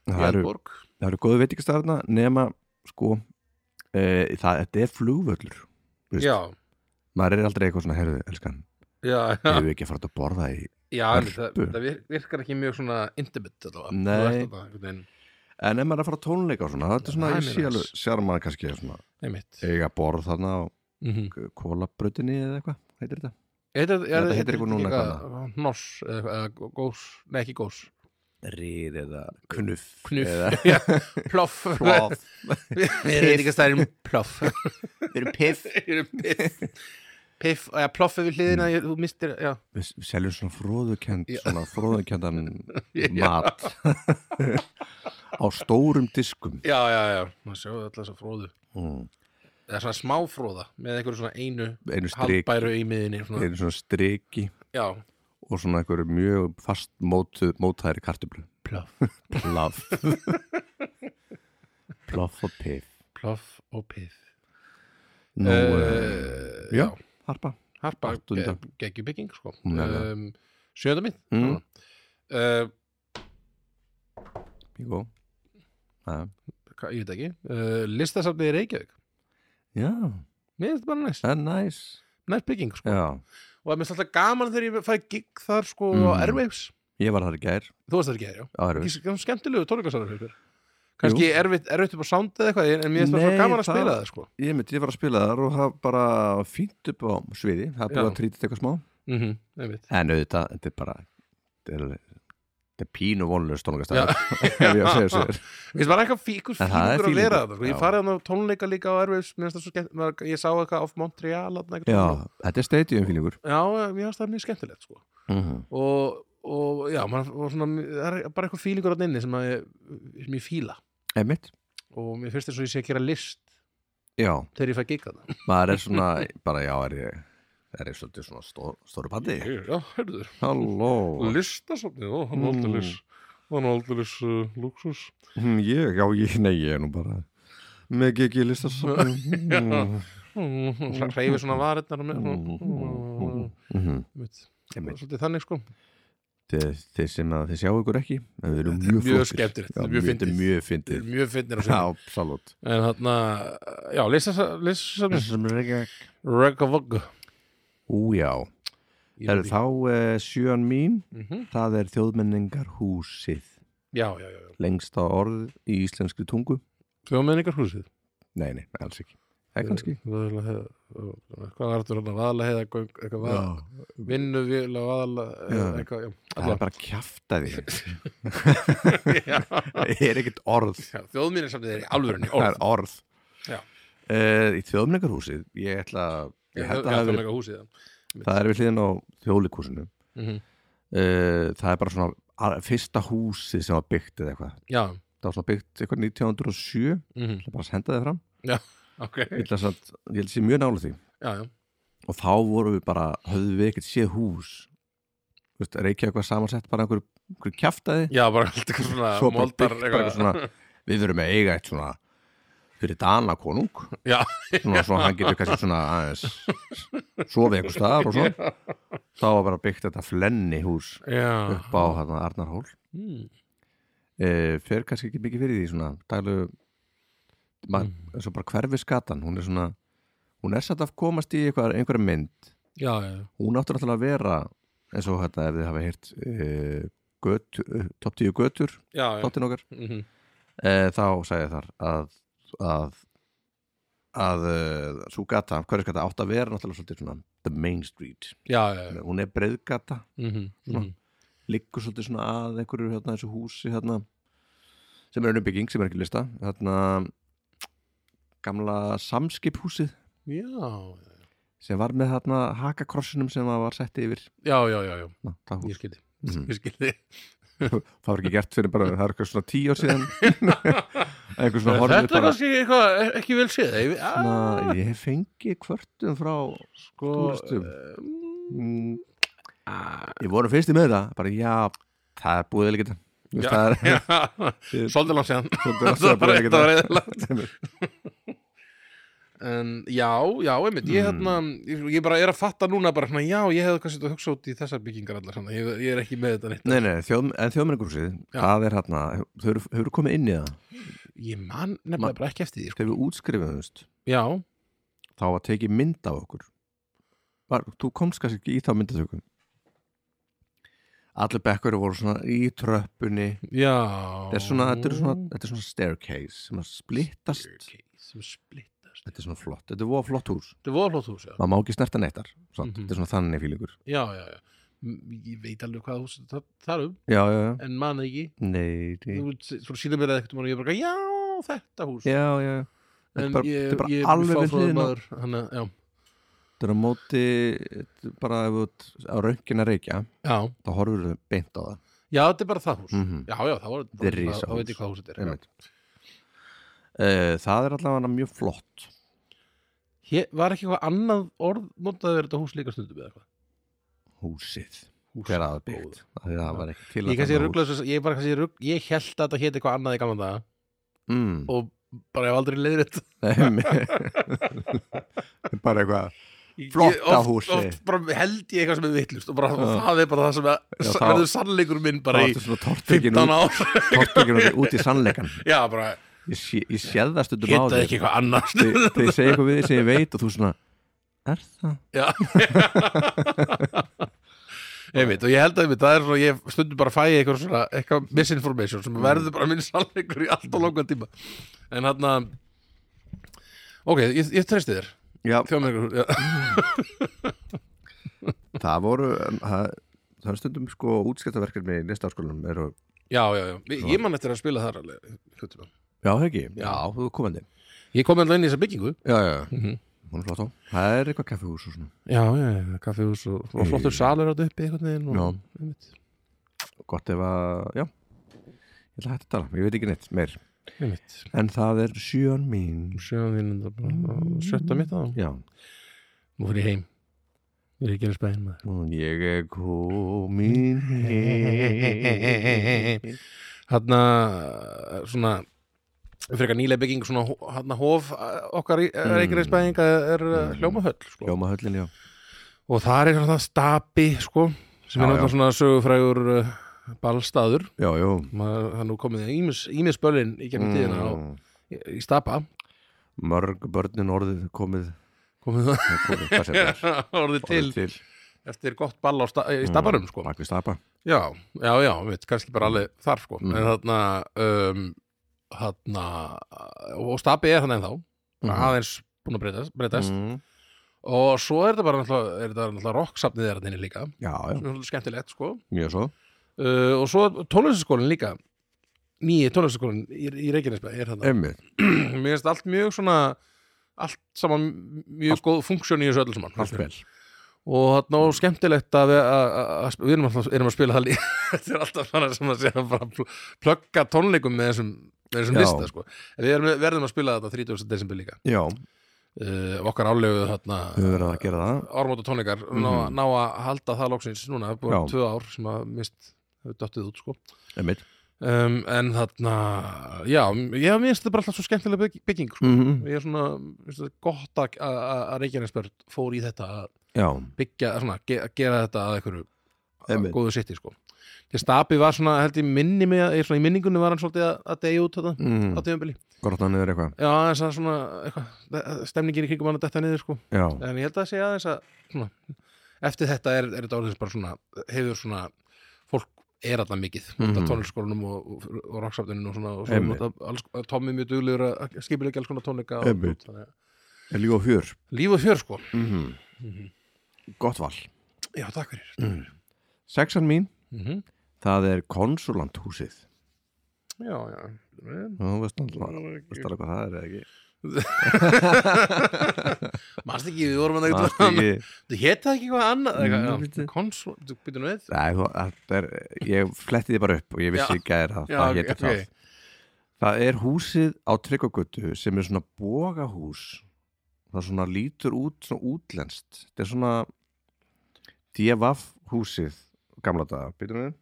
[SPEAKER 2] í
[SPEAKER 1] það eru
[SPEAKER 2] Eldborg
[SPEAKER 1] það eru góðu veitingastæðarna nema sko uh, það, þetta er flugvöllur þú veist.
[SPEAKER 2] já,
[SPEAKER 1] maður er aldrei eitthvað svona, herðu, elskan
[SPEAKER 2] já, já,
[SPEAKER 1] hefur við ekki að fara að borða í
[SPEAKER 2] já en
[SPEAKER 1] Hörpu.
[SPEAKER 2] það, það vir- virkar ekki mjög svona intimate allavega.
[SPEAKER 1] Nei.
[SPEAKER 2] Þú ert þarna einhvern veginn,
[SPEAKER 1] En ef maður er að fara að tónleika og svona, þetta er svona,
[SPEAKER 2] Það er
[SPEAKER 1] ég sé
[SPEAKER 2] nice.
[SPEAKER 1] alveg, sér maður kannski að svona,
[SPEAKER 2] einmitt
[SPEAKER 1] eiga borð þarna á
[SPEAKER 2] mm -hmm.
[SPEAKER 1] kólabrautinni eða eitthvað, heitir þetta?
[SPEAKER 2] heitir,
[SPEAKER 1] Þetta heitir eitthvað núna
[SPEAKER 2] Noss, eh, eða eða gós, nei ekki gós
[SPEAKER 1] Ríð eða knuff.
[SPEAKER 2] Knuff.
[SPEAKER 1] Eða
[SPEAKER 2] Já, ploff
[SPEAKER 1] ploff.
[SPEAKER 2] Við erum líka stærðin ploff
[SPEAKER 1] Við erum piff.
[SPEAKER 2] Piff Piff, já, ploff yfir hliðina,
[SPEAKER 1] Mm.
[SPEAKER 2] ég- þú mistir Já,
[SPEAKER 1] Við við seljum svona fróðukend,
[SPEAKER 2] Já.
[SPEAKER 1] svona fróðukendan
[SPEAKER 2] Já.
[SPEAKER 1] mat á stórum diskum.
[SPEAKER 2] já, já, já. Ná, sjáðu alltaf þessa fróðu
[SPEAKER 1] Mm.
[SPEAKER 2] Það er svona smáfróða með einhverju svona einu
[SPEAKER 1] Einu strik,
[SPEAKER 2] haldbæru í miðinni svona.
[SPEAKER 1] einu svona striki
[SPEAKER 2] Já,
[SPEAKER 1] og svona einhverju mjög fast mótu, mótæri kartublu.
[SPEAKER 2] ploff
[SPEAKER 1] Plaff. Plaff og piff.
[SPEAKER 2] Ploff og pið
[SPEAKER 1] Nú, uh,
[SPEAKER 2] uh,
[SPEAKER 1] já, harpa.
[SPEAKER 2] Harpa
[SPEAKER 1] áttunda.
[SPEAKER 2] geggjubygging sko.
[SPEAKER 1] Hún er það.
[SPEAKER 2] um, Sjönda minn
[SPEAKER 1] Mm.
[SPEAKER 2] uh,
[SPEAKER 1] Bingo Já,
[SPEAKER 2] hva, Ég veit ekki uh, Listasafnið í Reykjavík
[SPEAKER 1] já
[SPEAKER 2] Mér finnst þetta bara næst,
[SPEAKER 1] það er næs
[SPEAKER 2] næst bygging sko.
[SPEAKER 1] Já,
[SPEAKER 2] Og það minnst alltaf gaman þegar ég fæ gig þar sko
[SPEAKER 1] Mm.
[SPEAKER 2] á Airwaves
[SPEAKER 1] ég var þar í gær
[SPEAKER 2] Þú varst það ekki þér, já
[SPEAKER 1] á Erfis.
[SPEAKER 2] Ekki s- Skemmtilegu tónleikasarar fyrir Kanski erfitt, erfitt upp á sound eða eitthvað En mér finnst það
[SPEAKER 1] Nei,
[SPEAKER 2] svo gaman að
[SPEAKER 1] það-
[SPEAKER 2] spila það sko
[SPEAKER 1] Ég myndi, ég var að spila þar og það bara fínt upp á sviði Það er búið
[SPEAKER 2] Já.
[SPEAKER 1] að trýta eitthvað smá
[SPEAKER 2] mm -hmm,
[SPEAKER 1] En auðvitað, þetta er bara Þetta er, þetta er pínu vonlega stónungastæð
[SPEAKER 2] Já.
[SPEAKER 1] Ef ég á að segja þessu
[SPEAKER 2] Mér finnst bara eitthvað fí- einhver
[SPEAKER 1] En það er
[SPEAKER 2] fílingur að vera
[SPEAKER 1] fílingur,
[SPEAKER 2] það sko. Ég
[SPEAKER 1] já.
[SPEAKER 2] farið hann á tónleika líka á Airwaves Mér finnst það svo skemmt maður- Ég sá eitthvað á Montreal þarna einhvern
[SPEAKER 1] Já,
[SPEAKER 2] tímann.
[SPEAKER 1] þetta er stadium fílingur
[SPEAKER 2] Já, mér finnst það mjög skemmtilegt sko.
[SPEAKER 1] mm -hmm.
[SPEAKER 2] og, og já, maður, og svona, það er bara eitthvað fílingur að inni sem, að, ég- sem ég fíla
[SPEAKER 1] Emmitt
[SPEAKER 2] og mér finnst þess að ég sé að gera list
[SPEAKER 1] Já,
[SPEAKER 2] þegar ég fæ gigga það
[SPEAKER 1] maður er svona bara, já, er ég Er ég svolítið svona stór, stóru bandi
[SPEAKER 2] Já, heyrðu,
[SPEAKER 1] Halló
[SPEAKER 2] listasafnið og
[SPEAKER 1] hann var aldeilis-
[SPEAKER 2] hann var aldeilis uh, luxus
[SPEAKER 1] Mm, Ég, já, ég, nei, ég er nú bara með GG listasafnum
[SPEAKER 2] Hreyfi Mm. svona varirnar og
[SPEAKER 1] Mm.
[SPEAKER 2] með
[SPEAKER 1] Mhm.
[SPEAKER 2] Einmitt.
[SPEAKER 1] Einmitt.
[SPEAKER 2] Svolítið þannig sko
[SPEAKER 1] Þið þið sem að þið sjáu ykkur ekki en Þið eru mjög
[SPEAKER 2] mjög
[SPEAKER 1] flottir. Já,
[SPEAKER 2] skemmtilegt, þetta er mjög
[SPEAKER 1] Þetta er
[SPEAKER 2] fyndið.
[SPEAKER 1] mjög
[SPEAKER 2] Þeir
[SPEAKER 1] fyndið
[SPEAKER 2] eru mjög finnir á
[SPEAKER 1] Já,
[SPEAKER 2] sig
[SPEAKER 1] absolutt
[SPEAKER 2] En þarna, já, listasafnið
[SPEAKER 1] Ú, já
[SPEAKER 2] Rekavog
[SPEAKER 1] Ú, já
[SPEAKER 2] Ég
[SPEAKER 1] Herru,
[SPEAKER 2] veit
[SPEAKER 1] þá eh, sjön mín,
[SPEAKER 2] ekki. Mhm.
[SPEAKER 1] það er þjóðmenningar húsið.
[SPEAKER 2] Já, já, já, já.
[SPEAKER 1] Lengsta orð í íslenskri tungu?
[SPEAKER 2] Þjóðmenningar húsið.
[SPEAKER 1] Nei, nei, alls ekki.
[SPEAKER 2] Eh,
[SPEAKER 1] Það er kannski.
[SPEAKER 2] Hvað er þetta aðalega heiða eitthvað vaða,
[SPEAKER 1] Já.
[SPEAKER 2] vinnu vil á aðalega
[SPEAKER 1] Já.
[SPEAKER 2] eh, eitthvað, já,
[SPEAKER 1] Það er
[SPEAKER 2] allavega.
[SPEAKER 1] bara að kjafta því.
[SPEAKER 2] Já.
[SPEAKER 1] það er ekkert orð.
[SPEAKER 2] Já, Þjóðminjarsafnið er í alvörunni
[SPEAKER 1] Það
[SPEAKER 2] orð.
[SPEAKER 1] er orð.
[SPEAKER 2] Já.
[SPEAKER 1] Eh, í þjóðmenningarhúsið, ég ætla að, ég held að það hafi verið-
[SPEAKER 2] Þjóðmenningar húsið, já.
[SPEAKER 1] það er við hliðin á þjóðlikúsinu.
[SPEAKER 2] Mhm.
[SPEAKER 1] Uh, það er bara svona að- fyrsta húsið sem var byggt eða eitthvað.
[SPEAKER 2] Já,
[SPEAKER 1] Það var svona byggt eitthvað 1907, ég
[SPEAKER 2] mhm,
[SPEAKER 1] ætla bara að senda það fram.
[SPEAKER 2] ok,
[SPEAKER 1] Ég ætla samt, ég held að sé mjög nála því.
[SPEAKER 2] já, já.
[SPEAKER 1] og þá vorum við bara, höfðum við ekkert séð hús Þú veist, reykja eitthvað samansett bara einhver, einhver kjaftaði
[SPEAKER 2] Já, bara allt eitthvað svona
[SPEAKER 1] svo bara byggt
[SPEAKER 2] moldar
[SPEAKER 1] bara eitthvað svona við verum að eiga eitt svona fyrir Dana konung
[SPEAKER 2] Já,
[SPEAKER 1] svona, svona hann getur kannski svona aðeins sofið einhver staðar og svona þá var bara byggt þetta flenni hús
[SPEAKER 2] já.
[SPEAKER 1] upp á hérna Arnarhól
[SPEAKER 2] Mm,
[SPEAKER 1] e, fer kannski ekki mikið fyrir því svona dælu maður, eins og bara hverfiskatan hún er svona, hún er satt að komast í eitthvað, einhverja mynd
[SPEAKER 2] Já, já, já.
[SPEAKER 1] hún áttur alltaf að vera eins og þetta ef þið hafa heyrt uh, götu, uh, top 10 götur
[SPEAKER 2] Já, já.
[SPEAKER 1] þáttinn okkar,
[SPEAKER 2] mhm.
[SPEAKER 1] uh, þá sagði þar að að að uh, svo gata, hverju gata átt að vera náttúrulega svolítið svona the main street
[SPEAKER 2] Já, já, já.
[SPEAKER 1] hún er breiðgata,
[SPEAKER 2] Mhm,
[SPEAKER 1] Svona.
[SPEAKER 2] mhm.
[SPEAKER 1] liggur svolítið svona að einhverju hérna þessu húsi hérna sem er önnum bygging, sem er ekki lista hérna gamla samskiphúsið
[SPEAKER 2] Já,
[SPEAKER 1] sem var með hérna hakakrossinum sem var sett yfir
[SPEAKER 2] já, já, já, já.
[SPEAKER 1] Ná, það hús
[SPEAKER 2] Ég skildi,
[SPEAKER 1] Mhm.
[SPEAKER 2] ég skildi.
[SPEAKER 1] það var ekki gert fyrir bara, það er eitthvað svona tíu ár síðan eitthvað svona
[SPEAKER 2] Þetta
[SPEAKER 1] horfið
[SPEAKER 2] er
[SPEAKER 1] bara
[SPEAKER 2] kannski eitthvað ekki vel séð. Ég,
[SPEAKER 1] svona, ég hef fengið kvörtum frá
[SPEAKER 2] sko,
[SPEAKER 1] túristum.
[SPEAKER 2] eh,
[SPEAKER 1] mm, ég voru fyrst í með það bara já, það er búið að leikita
[SPEAKER 2] Já,
[SPEAKER 1] það er
[SPEAKER 2] já, svolítið langt séðan
[SPEAKER 1] svolítið að
[SPEAKER 2] það
[SPEAKER 1] segja
[SPEAKER 2] var
[SPEAKER 1] búið að
[SPEAKER 2] þetta
[SPEAKER 1] leikita
[SPEAKER 2] var reyðilegt en já, já, einmitt ég,
[SPEAKER 1] Mm.
[SPEAKER 2] hérna, ég, ég bara er að fatta núna bara, svona, já, ég hefði kannski þetta hugsað út í þessar byggingar allar, svona. ég, ég er ekki með þetta neitt
[SPEAKER 1] Nei, nei, þjóð, en þjóðmenningrúsið,
[SPEAKER 2] Já.
[SPEAKER 1] það er hérna, þau eru, þau eru komið inn í það,
[SPEAKER 2] ég man nefnilega bara ekki eftir því sko.
[SPEAKER 1] þegar við útskrifuðumst,
[SPEAKER 2] já,
[SPEAKER 1] þá var tekið mynd af okkur. Var, þú komst kannski ekki í þá myndatökum. Allir bekkur voru svona í tröppunni,
[SPEAKER 2] já
[SPEAKER 1] þetta er svona, þetta er svona, þetta er svona staircase sem að splittast
[SPEAKER 2] Ok, sem splittast
[SPEAKER 1] þetta er svona flott, þetta er voða flott hús
[SPEAKER 2] þetta er voðalótt hús, já.
[SPEAKER 1] maður má ekki snerta neittar mm
[SPEAKER 2] Mhm.
[SPEAKER 1] þetta er svona þannig fílingur
[SPEAKER 2] já, já, já M- ég veit alveg hvað hús það, það er um
[SPEAKER 1] já, já, já,
[SPEAKER 2] en man það ekki
[SPEAKER 1] nei nei.
[SPEAKER 2] þú svona síðan mér eða eitthvað og ég bara, já, þetta hús
[SPEAKER 1] já, já, já. þetta er
[SPEAKER 2] En
[SPEAKER 1] bara,
[SPEAKER 2] ég-
[SPEAKER 1] þetta er bara
[SPEAKER 2] ég er
[SPEAKER 1] alveg við
[SPEAKER 2] fáfróður
[SPEAKER 1] hliðin á-
[SPEAKER 2] maður, hann að- já,
[SPEAKER 1] þetta er á móti þetta er bara ef þú ert á röngin að reykja
[SPEAKER 2] já,
[SPEAKER 1] þá horfur þau beint á það
[SPEAKER 2] já, þetta er bara það hús
[SPEAKER 1] mm
[SPEAKER 2] já, já, það var
[SPEAKER 1] Þetta er
[SPEAKER 2] það-
[SPEAKER 1] risahús.
[SPEAKER 2] þá veit ég hvað hús þetta er já.
[SPEAKER 1] uh, það er allavega mjög flott
[SPEAKER 2] Hér, var ekki eitthvað annað orð notaði verið þetta hús líka stundum eða eitthvað
[SPEAKER 1] húsið,
[SPEAKER 2] Hús.
[SPEAKER 1] hver að byggt Af því það var ekki til
[SPEAKER 2] ég kannski
[SPEAKER 1] þarna hús-
[SPEAKER 2] rugglaði ég bara kannski rugg, ég held að þetta hétt eitthvað annað í gamla daga
[SPEAKER 1] mm.
[SPEAKER 2] og bara hef aldrei leiðir þetta
[SPEAKER 1] bara eitthvað
[SPEAKER 2] Ég-
[SPEAKER 1] Flotta
[SPEAKER 2] ég- oft-
[SPEAKER 1] húsi.
[SPEAKER 2] oft bara held ég eitthvað sem er vittlust og bara
[SPEAKER 1] Já.
[SPEAKER 2] það er bara það sem er,
[SPEAKER 1] Já, þá-
[SPEAKER 2] verður sannleikur minn bara í
[SPEAKER 1] Það var svona tortryggin
[SPEAKER 2] 15
[SPEAKER 1] út,
[SPEAKER 2] ár
[SPEAKER 1] tortryggin út, út í sannleikan
[SPEAKER 2] já, bara
[SPEAKER 1] Ég, sé, ég séð það stundum á
[SPEAKER 2] héttaði
[SPEAKER 1] þér
[SPEAKER 2] ekki eitthvað annað
[SPEAKER 1] Þeg- Þegar ég segi eitthvað við því sem ég veit og þú svona Er það?
[SPEAKER 2] Já Einmitt, og ég held að einmitt, það er svona, ég stundum bara að fæ eitthvað svona, eitthvað misinformation sem verður bara minn sannleikur í allt og langan tíma en hann að ok, ég, ég treysti þér
[SPEAKER 1] Já,
[SPEAKER 2] þjóðmengur, já,
[SPEAKER 1] það voru um, Það það er stundum sko útskiptaverkefni í listaháskólanum eru
[SPEAKER 2] já, já, já. Ég, ég man eftir að spila þar alveg hlutum.
[SPEAKER 1] Já, heggi, já, þú er komandi
[SPEAKER 2] ég kom alltaf inn í þessa byggingu
[SPEAKER 1] Já, já,
[SPEAKER 2] Mhm.
[SPEAKER 1] hún er flott á Það er eitthvað kaffihús og svona
[SPEAKER 2] já, já, já, kaffihús og, og flottur salur átt uppi einhvern veginn og, einmitt,
[SPEAKER 1] Gott ef að, já Ég ætla að hætta að tala, ég veit ekki neitt meir
[SPEAKER 2] einmitt
[SPEAKER 1] En það er sjön mín
[SPEAKER 2] sjöðan þín enda bara að sjötta mitt á
[SPEAKER 1] Já,
[SPEAKER 2] nú fyrir ég heim, ég er ekki að hérna. spæðin maður
[SPEAKER 1] og ég er komin heim
[SPEAKER 2] hérna svona frekar nýlega bygging svona hérna hof eh, okkar í
[SPEAKER 1] Mm.
[SPEAKER 2] Reykjanesbæðinga er mm.
[SPEAKER 1] Mm.
[SPEAKER 2] hljómahöll sko.
[SPEAKER 1] Ljómahöllin, já
[SPEAKER 2] og það er svona stapi sko, sem
[SPEAKER 1] Já,
[SPEAKER 2] er
[SPEAKER 1] já.
[SPEAKER 2] náttúrulega svona sögufrægur uh, ballstaður
[SPEAKER 1] Já, já
[SPEAKER 2] Maður, það er nú komið ímis, ímis bölin í gegnum tíðina á,
[SPEAKER 1] Mm.
[SPEAKER 2] í, í stapa
[SPEAKER 1] mörg börnin orðið komið
[SPEAKER 2] komið
[SPEAKER 1] komið- hvað sem er,
[SPEAKER 2] það orðið til
[SPEAKER 1] orðið til Mm.
[SPEAKER 2] eftir gott ball á sta í stabarum sko.
[SPEAKER 1] Bak við stapa
[SPEAKER 2] Já, já, já, við kannski bara alveg þar sko,
[SPEAKER 1] Mm.
[SPEAKER 2] en þarna um, þarna og stabi er hann ennþá
[SPEAKER 1] Mhm.
[SPEAKER 2] aðeins búin að breytast, breytast.
[SPEAKER 1] mm.
[SPEAKER 2] og svo er þetta bara náttúrulega, er þetta náttúrulega rocksafnið er hann inni líka,
[SPEAKER 1] Já, já,
[SPEAKER 2] sem er svolítið skemmtilegt sko
[SPEAKER 1] mjög svo
[SPEAKER 2] uh, og svo tónlistaskólinn líka nýji tónlistaskólinn í, í Reykjanesbæ er þarna,
[SPEAKER 1] Einmitt,
[SPEAKER 2] mér finnst allt mjög svona allt saman mjög góð funksjón í þessu öllu saman
[SPEAKER 1] allt vel
[SPEAKER 2] og þarna og skemmtilegt að við, að- að- að- við erum, alltaf, erum að spila það lí- þetta er alltaf bara sem að segja bara pl- plugga tónleikum með þessum, með þessum
[SPEAKER 1] Já.
[SPEAKER 2] lista sko. En við erum, verðum að spila þetta 30. desember líka
[SPEAKER 1] Já,
[SPEAKER 2] uh, okkar álegu þarna
[SPEAKER 1] við verðum að gera það
[SPEAKER 2] ármóta tónleikar ná,
[SPEAKER 1] Mhm.
[SPEAKER 2] ná að halda það loksins núna, það er búin
[SPEAKER 1] Já.
[SPEAKER 2] tvö ár sem að mist hefur dottið út sko
[SPEAKER 1] Einmitt
[SPEAKER 2] um, en þarna já, ég minnst þetta bara alltaf svo skemmtilega bygg- bygging sko.
[SPEAKER 1] -hmm.
[SPEAKER 2] ég er svona minnst þetta gott að, að, að Reykjanesbjörn fór í þetta að
[SPEAKER 1] Já,
[SPEAKER 2] byggja, svona, ge, að gera þetta að einhverju
[SPEAKER 1] Einmitt.
[SPEAKER 2] góðu sitti sko. því að Stabi var svona, held ég minni mig, að- svona, í minningunni var hann svolítið að, að degja út þetta á
[SPEAKER 1] mm.
[SPEAKER 2] tíðanbili
[SPEAKER 1] grótta niður eitthvað
[SPEAKER 2] já, aðeins að svona, eitthvað, stemningin í kringum hann að detta niður sko.
[SPEAKER 1] Já,
[SPEAKER 2] en ég held að segja aðeins að svona, eftir þetta er, er þetta orðins bara svona hefur svona, fólk er alltaf mikið mm
[SPEAKER 1] Mhm.
[SPEAKER 2] -hmm. tónlistskólanum og, og, og rocksaftuninu og svona, og svo
[SPEAKER 1] Einmitt.
[SPEAKER 2] nota alls, Tommy mjög duglegur að skipilegja alls konar tónleika og,
[SPEAKER 1] Einmitt.
[SPEAKER 2] þannig að-
[SPEAKER 1] er líf og fjör
[SPEAKER 2] líf og fjör sko
[SPEAKER 1] mm Gott val
[SPEAKER 2] já, takk fyrir
[SPEAKER 1] Sexan mín,
[SPEAKER 2] mm
[SPEAKER 1] það er konsulanthúsið
[SPEAKER 2] já, já Vel,
[SPEAKER 1] Þú veist
[SPEAKER 2] það
[SPEAKER 1] alveg
[SPEAKER 2] var ekki-
[SPEAKER 1] veist alveg hvað það er eða ekki
[SPEAKER 2] Manst ekki, við vorum að
[SPEAKER 1] Það
[SPEAKER 2] eitthvað
[SPEAKER 1] er
[SPEAKER 2] annað.
[SPEAKER 1] ekki-
[SPEAKER 2] Þú hétta ekki eitthvað annað
[SPEAKER 1] Mm,
[SPEAKER 2] eitthvað,
[SPEAKER 1] bíddu.
[SPEAKER 2] já, Konsul, þú býtur nú við
[SPEAKER 1] Nei, þú- þetta er, ég fletti því bara upp og ég vissi
[SPEAKER 2] Já.
[SPEAKER 1] ekki að það,
[SPEAKER 2] Já,
[SPEAKER 1] það
[SPEAKER 2] ok,
[SPEAKER 1] héti
[SPEAKER 2] ok.
[SPEAKER 1] það Það er húsið á Tryggogötu sem er svona bógahús það er svona lítur út svona útlenskt þetta er svona DFF húsið gamla daga, býtum við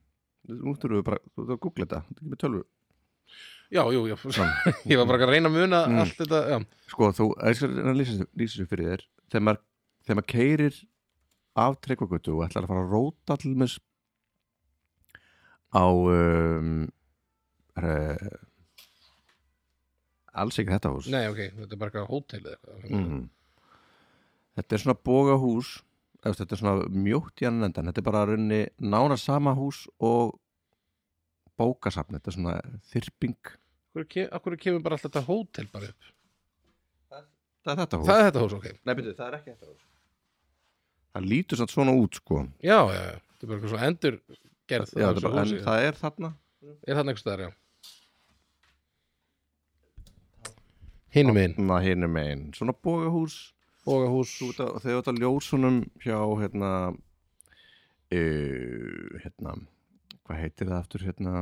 [SPEAKER 1] Nú þurfum við bara, þú þurfum að googla þetta Þetta er ekki með tölvu
[SPEAKER 2] Já, jú, já, ég var bara að reyna að muna
[SPEAKER 1] Mm.
[SPEAKER 2] allt þetta já.
[SPEAKER 1] Sko, þú, ég skal reyna að lýsa þessu- lýsa þessu fyrir þér þegar maður, þegar maður keirir af trekkvökutu og ætlar að fara að róta til mér á um, re, alls ekki þetta hús
[SPEAKER 2] Nei, ok, þetta er bara eitthvað hótel eða eitthvað
[SPEAKER 1] Mhm. Þetta er svona boga hús þetta er svona mjótt í annan endan þetta er bara raunni nána sama hús og bókasafn þetta er svona þyrping
[SPEAKER 2] Akkur, ke akkur kemur bara alltaf þetta hótel bara upp
[SPEAKER 1] Það er þetta hús
[SPEAKER 2] Það er þetta hús, ok
[SPEAKER 1] Nei, byrju, það er ekki þetta hús Það lítur samt svona út sko
[SPEAKER 2] Já, já, já, þetta er bara eitthvað svo endur gerð
[SPEAKER 1] Já, það er bara, en það er þarna
[SPEAKER 2] Er það einhvers staðar, já Hinum minn,
[SPEAKER 1] Na, hinu megin, svona bógahús
[SPEAKER 2] boga hús
[SPEAKER 1] Þú veit að- þau þetta ljósunum hjá hérna uh, hérna hvað heitir það aftur hérna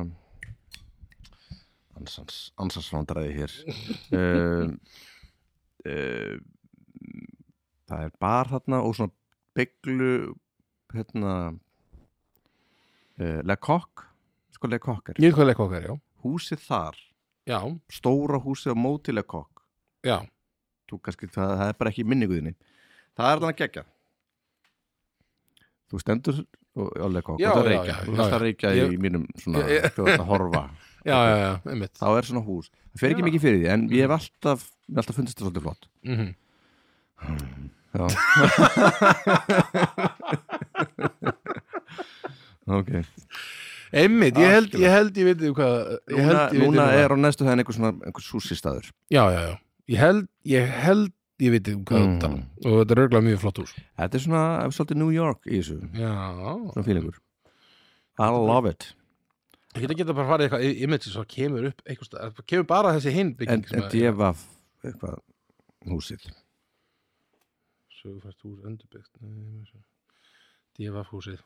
[SPEAKER 1] ansans ansansvandræði hér uh, uh, það er bar þarna og svona bygglu hérna uh, lekokk sko lekokk er
[SPEAKER 2] Nýrkvæðleik okkar, já
[SPEAKER 1] húsið þar,
[SPEAKER 2] Já,
[SPEAKER 1] stóra húsið á móti lekokk
[SPEAKER 2] já,
[SPEAKER 1] þú kannski, það, það er bara ekki í minninguðinni það er þannig að gegja þú stendur og alveg kokk,
[SPEAKER 2] Já,
[SPEAKER 1] það
[SPEAKER 2] já,
[SPEAKER 1] reykja
[SPEAKER 2] já,
[SPEAKER 1] þú
[SPEAKER 2] já,
[SPEAKER 1] þarst að
[SPEAKER 2] já.
[SPEAKER 1] reykja í
[SPEAKER 2] Ég-
[SPEAKER 1] mínum svona,
[SPEAKER 2] Ég-
[SPEAKER 1] þú þarst að horfa
[SPEAKER 2] já, já, já, einmitt
[SPEAKER 1] þá er svona hús, það fer ekki
[SPEAKER 2] Já.
[SPEAKER 1] mikið fyrir því en ég hef alltaf, mér hef alltaf fundist það svolítið flott
[SPEAKER 2] mm
[SPEAKER 1] já ok,
[SPEAKER 2] Einmitt, ég held,
[SPEAKER 1] Algjörlega.
[SPEAKER 2] ég held, ég veit hvað
[SPEAKER 1] núna,
[SPEAKER 2] ég held, ég veit
[SPEAKER 1] núna
[SPEAKER 2] hvað-
[SPEAKER 1] er á næstu hæðin einhver svona, einhver súsistaður
[SPEAKER 2] Já, já, já. Ég held, ég held, ég veit um hvað
[SPEAKER 1] Mm.
[SPEAKER 2] mm. tala um. og þetta er örgulega mjög flott hús.
[SPEAKER 1] þetta er svona, svolítið New York í þessu
[SPEAKER 2] Já.
[SPEAKER 1] svona fílingur I love it
[SPEAKER 2] Ég geta geta bara farið eitthvað í- image svo kemur upp eitthvað, stað- það kemur bara þessi hinn
[SPEAKER 1] en,
[SPEAKER 2] bygging
[SPEAKER 1] en ég var eitthvað húsið
[SPEAKER 2] Sögufært hús endurbyggt. Devaf húsið.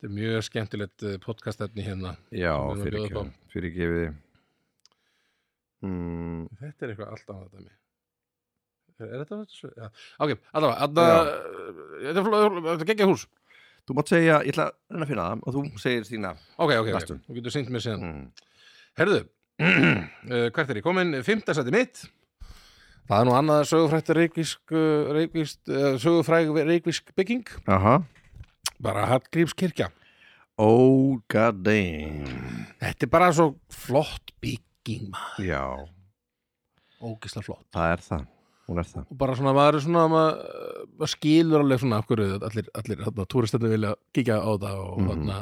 [SPEAKER 2] Þetta er mjög skemmtilegt eh, podcastefni hérna.
[SPEAKER 1] já,
[SPEAKER 2] Sem við erum að bjóða upp á.
[SPEAKER 1] fyrirgefið fyrirgefiði mm,
[SPEAKER 2] Þetta er eitthvað allt annað dæmi. Er, er þetta þetta? svo- Já. Ok, allavega, allavega, þetta er fló- þetta er geggja hús.
[SPEAKER 1] þú mátt segja, ég ætla að reyna að finna það og þú segir þína
[SPEAKER 2] Ok, ok, ok.
[SPEAKER 1] Næstum.
[SPEAKER 2] Þú getur synt mér síðan.
[SPEAKER 1] mm.
[SPEAKER 2] Herðu, uh, hvert er ég komin? Fymta sæti mitt Það er nú annað sögufrætt reikvísk, uh, reikvísk uh, sögufræg reikvísk bygging
[SPEAKER 1] aha,
[SPEAKER 2] bara Hallgrímskirkja
[SPEAKER 1] oh god damn
[SPEAKER 2] Þetta er bara svo flott bygging maður
[SPEAKER 1] já,
[SPEAKER 2] Ógislega flott
[SPEAKER 1] það er það hún er það
[SPEAKER 2] og bara svona, maður er svona maður, maður skilur alveg svona af hverju allir, allir þarna, túristendur vilja kíkja á það og
[SPEAKER 1] Mhm.
[SPEAKER 2] þarna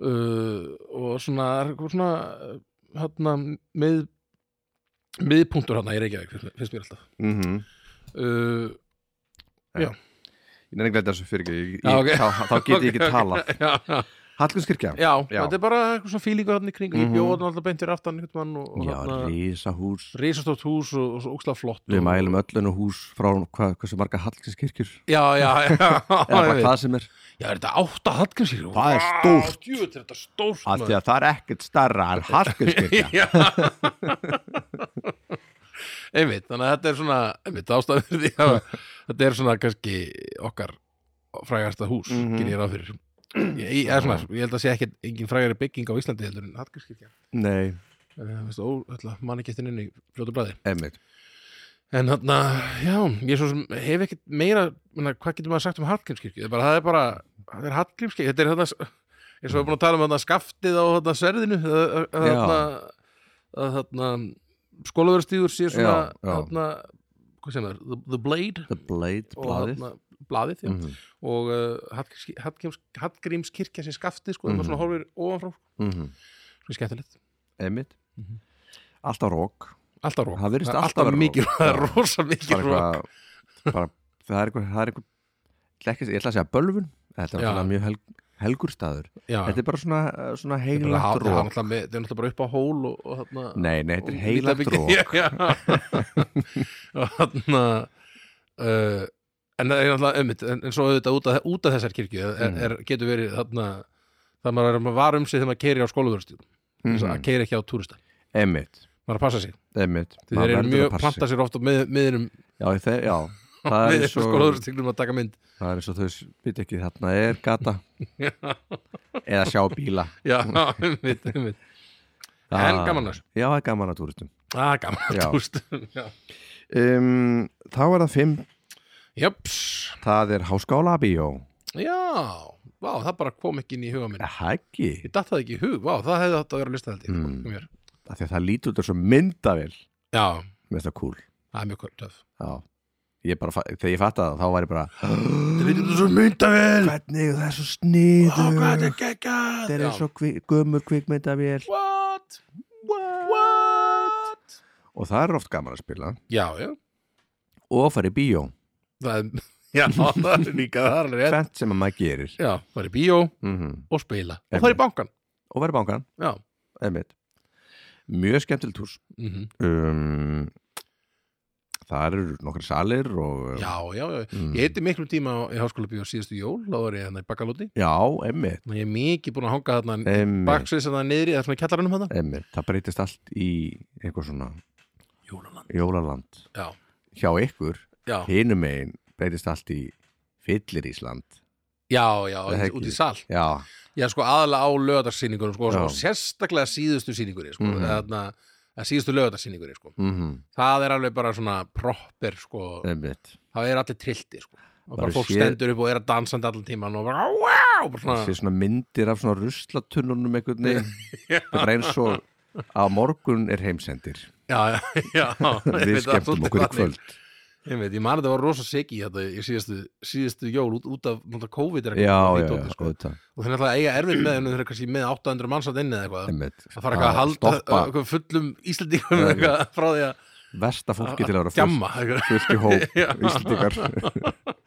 [SPEAKER 2] uh, og svona, er svona þarna, mið miðpunktur hann í Reykjavík finnst mér- finnst mér alltaf
[SPEAKER 1] mm -hmm.
[SPEAKER 2] uh,
[SPEAKER 1] Ég nefnir glæði þessu fyrir ekki, ég,
[SPEAKER 2] Já, ok.
[SPEAKER 1] þá, þá get ég ekki
[SPEAKER 2] ok,
[SPEAKER 1] talað
[SPEAKER 2] ok, já, já,
[SPEAKER 1] Hallgrímskirkja,
[SPEAKER 2] já,
[SPEAKER 1] Já.
[SPEAKER 2] þetta er bara eitthvað svona fílingu hann í kring, mm
[SPEAKER 1] Mhm.
[SPEAKER 2] -hmm. bjóðan alltaf beint fyrir aftan einhvern mann og, og
[SPEAKER 1] já,
[SPEAKER 2] þarna
[SPEAKER 1] risahús
[SPEAKER 2] risastótt hús og, og svo ókslega flott
[SPEAKER 1] Við
[SPEAKER 2] og-
[SPEAKER 1] mælum öllinu hús frá hva, hversu marga Hallgrímskirkjur
[SPEAKER 2] já, já, já,
[SPEAKER 1] eða bara
[SPEAKER 2] já,
[SPEAKER 1] hvað sem er
[SPEAKER 2] já, er þetta átta hallgrímsir
[SPEAKER 1] Það er stórt.
[SPEAKER 2] djúið, þetta er stórt
[SPEAKER 1] af
[SPEAKER 2] maður.
[SPEAKER 1] því að það er ekkert starra en Hallgrímskirkja
[SPEAKER 2] Já. einmitt, þannig að þetta er svona einmitt ástæður því að þetta er svona kannski okkar frægasta hús, mm
[SPEAKER 1] Mhm.
[SPEAKER 2] gerir ég ráð fyrir ég, ég, er svona, ég held að sé ekki engin frægari bygging á Íslandi heldur en Hallgrímskirkja
[SPEAKER 1] Nei,
[SPEAKER 2] Eh, mann ekki eftir inn í fljótu bræði
[SPEAKER 1] emmitt
[SPEAKER 2] en þarna, já, ég svo sem hef ekkert meira, menna, hvað getur maður sagt um Hallgrímskirkju, það er bara, það er bara það er Hallgrímskirkju, þetta er þarna eins og við erum búin að tala um þarna skaftið á þarna sverðinu að að- að
[SPEAKER 1] Já.
[SPEAKER 2] þarna, að þarna skólaverðstígur sé svona
[SPEAKER 1] Já, já.
[SPEAKER 2] þarna, hvað sem er, the, the blade
[SPEAKER 1] The Blade,
[SPEAKER 2] og
[SPEAKER 1] blaðið
[SPEAKER 2] þarna, blaðið já.
[SPEAKER 1] mm -hmm.
[SPEAKER 2] og uh, Hallgríms- Hallgríms- Hallgrímskirkja sé skaftið, sko, mm
[SPEAKER 1] Mhm.
[SPEAKER 2] -hmm. svona horfir ofanfrá, svona skemmtilegt
[SPEAKER 1] Emmitt
[SPEAKER 2] Mhm.
[SPEAKER 1] Alltaf rók
[SPEAKER 2] alltaf rók,
[SPEAKER 1] Það virðist alltaf
[SPEAKER 2] alltaf
[SPEAKER 1] vera
[SPEAKER 2] mikið
[SPEAKER 1] rok.
[SPEAKER 2] það er rosa
[SPEAKER 1] Það
[SPEAKER 2] mikið
[SPEAKER 1] er
[SPEAKER 2] rók
[SPEAKER 1] eitthvað bara- Það er eitthvað, það er eitthvað ég ætla ekki- Ég ætla að segja bölvun Þetta er
[SPEAKER 2] Já.
[SPEAKER 1] svona mjög helg, helgur staður
[SPEAKER 2] já,
[SPEAKER 1] Þetta er bara svona, eh, svona
[SPEAKER 2] Þetta er
[SPEAKER 1] heilagt
[SPEAKER 2] bara há- það
[SPEAKER 1] rók
[SPEAKER 2] er náttúrulega með- þetta er náttúrulega bara upp á hól og, og þarna
[SPEAKER 1] Nei, nei, þetta er
[SPEAKER 2] og
[SPEAKER 1] heilagt
[SPEAKER 2] lítið-
[SPEAKER 1] rók
[SPEAKER 2] Já, já. og þarna uh, en það er náttúrulega ummitt en, en svo auðvitað út af, út af þessar kirkju er,
[SPEAKER 1] Mhm.
[SPEAKER 2] er, getur verið þarna það maður er að var um sig þegar maður keiri á skólaverðstjúr mm -hmm. að
[SPEAKER 1] Mhm.
[SPEAKER 2] keiri ekki á túrista
[SPEAKER 1] Emmitt,
[SPEAKER 2] maður er að passa sig,
[SPEAKER 1] emmitt
[SPEAKER 2] því
[SPEAKER 1] Maður
[SPEAKER 2] þeir eru
[SPEAKER 1] verður að
[SPEAKER 2] mjög
[SPEAKER 1] passa sig.
[SPEAKER 2] planta sér ofta með, miðinum
[SPEAKER 1] Já, þeir, já Það er
[SPEAKER 2] með
[SPEAKER 1] svo,
[SPEAKER 2] skólaverðstjúrum að taka mynd
[SPEAKER 1] það er eins og þau veit ekki þarna er gata
[SPEAKER 2] Já.
[SPEAKER 1] eða sjá bíla
[SPEAKER 2] já,
[SPEAKER 1] Mm.
[SPEAKER 2] ummitt, ummitt en
[SPEAKER 1] Það-
[SPEAKER 2] gaman þessu,
[SPEAKER 1] Já, það er gaman að túristum
[SPEAKER 2] að Ah, gaman að
[SPEAKER 1] Já.
[SPEAKER 2] túristum já,
[SPEAKER 1] um, Þá er það fimm
[SPEAKER 2] jöps
[SPEAKER 1] Það er Háskóla bíó
[SPEAKER 2] Já, vá, það bara kom ekki inn í huga minn
[SPEAKER 1] Hækki
[SPEAKER 2] Ég datt það ekki í hug, vá, það hefði átt að vera að lista held ég
[SPEAKER 1] Mm.
[SPEAKER 2] mm. mér.
[SPEAKER 1] Því að það lítur út þessu myndavel
[SPEAKER 2] Já,
[SPEAKER 1] Mér finnst það cool
[SPEAKER 2] það er mjög töf
[SPEAKER 1] Já Ég bara, fa- þegar ég fatt að þá var ég bara
[SPEAKER 2] Það lítur þú svo myndavél
[SPEAKER 1] Hvernig það er svo sniður
[SPEAKER 2] er geggjað
[SPEAKER 1] Þetta er eins og kvi, gömur kvikmyndavél
[SPEAKER 2] What? What?
[SPEAKER 1] Og það er oft gaman að spila
[SPEAKER 2] Já, já
[SPEAKER 1] Og að fara í bíó
[SPEAKER 2] Það er, já, það er líka það er alveg rétt
[SPEAKER 1] Fent sem að maður gerir
[SPEAKER 2] Já, fara í bíó
[SPEAKER 1] mm
[SPEAKER 2] og spila
[SPEAKER 1] Einmitt.
[SPEAKER 2] Og fara í bankan
[SPEAKER 1] Og verið bankan
[SPEAKER 2] Já,
[SPEAKER 1] einmitt. Mjög skemmtileg tús
[SPEAKER 2] mm
[SPEAKER 1] um, Það eru nokkri salir og,
[SPEAKER 2] já, já, já
[SPEAKER 1] Mm.
[SPEAKER 2] Ég heiti miklum tíma á- í háskóla bíó síðustu jól Þá var ég hérna í bakalóti
[SPEAKER 1] já, einmitt,
[SPEAKER 2] Ég er mikið búin að hanga þarna
[SPEAKER 1] einmitt,
[SPEAKER 2] Baksveis þarna niðri, það er svona í kjallaranum þarna
[SPEAKER 1] einmitt Það breytist allt í eitthvað svona
[SPEAKER 2] Jólaland
[SPEAKER 1] jólaland
[SPEAKER 2] Já,
[SPEAKER 1] Hjá ykkur,
[SPEAKER 2] já,
[SPEAKER 1] hinum megin breytist allt í fyllir Ísland
[SPEAKER 2] já, já,
[SPEAKER 1] Það er
[SPEAKER 2] út
[SPEAKER 1] ekki.
[SPEAKER 2] í sal
[SPEAKER 1] Já,
[SPEAKER 2] Já, sko, aðalega á lögadarsýningunum sko,
[SPEAKER 1] Já.
[SPEAKER 2] og sérstaklega síðustu sýningunni sko,
[SPEAKER 1] Mhm.
[SPEAKER 2] mm. eða, eða síðustu lögadarsýningunni sko.
[SPEAKER 1] mm
[SPEAKER 2] það er alveg bara svona proper, sko,
[SPEAKER 1] einmitt
[SPEAKER 2] það er allir trillti sko. og bara
[SPEAKER 1] Maður
[SPEAKER 2] fólk
[SPEAKER 1] sér-
[SPEAKER 2] stendur upp og er að dansandi allan tíman og bara, wow, bara
[SPEAKER 1] Það sé
[SPEAKER 2] svona
[SPEAKER 1] svona myndir af svona ruslatunnunum einhvern veginn Þetta er eins og að morgun er heimsendir
[SPEAKER 2] Já, já, já ég
[SPEAKER 1] Við
[SPEAKER 2] veit það,
[SPEAKER 1] skemmtum
[SPEAKER 2] svolítið
[SPEAKER 1] okkur í
[SPEAKER 2] þannig.
[SPEAKER 1] kvöld
[SPEAKER 2] Ég veit, ég man að það var rosa segi í þetta í síðustu, síðustu jól út, út af náttúrulega COVID er
[SPEAKER 1] Já, já,
[SPEAKER 2] nýtt
[SPEAKER 1] já,
[SPEAKER 2] óti, sko.
[SPEAKER 1] auðvitað
[SPEAKER 2] og þeir náttúrulega eiga erfið með en þeir eru kannski með 800 mannsat inni eða eitthvað
[SPEAKER 1] Einmitt.
[SPEAKER 2] það fara eitthvað að halda
[SPEAKER 1] stoppa
[SPEAKER 2] eitthvað fullum Íslendingum
[SPEAKER 1] Já, já.
[SPEAKER 2] eitthvað frá því að
[SPEAKER 1] versta fólki til að vera fullt,
[SPEAKER 2] djamma eitthvað.
[SPEAKER 1] fullt í hóp Íslandingar
[SPEAKER 2] Já.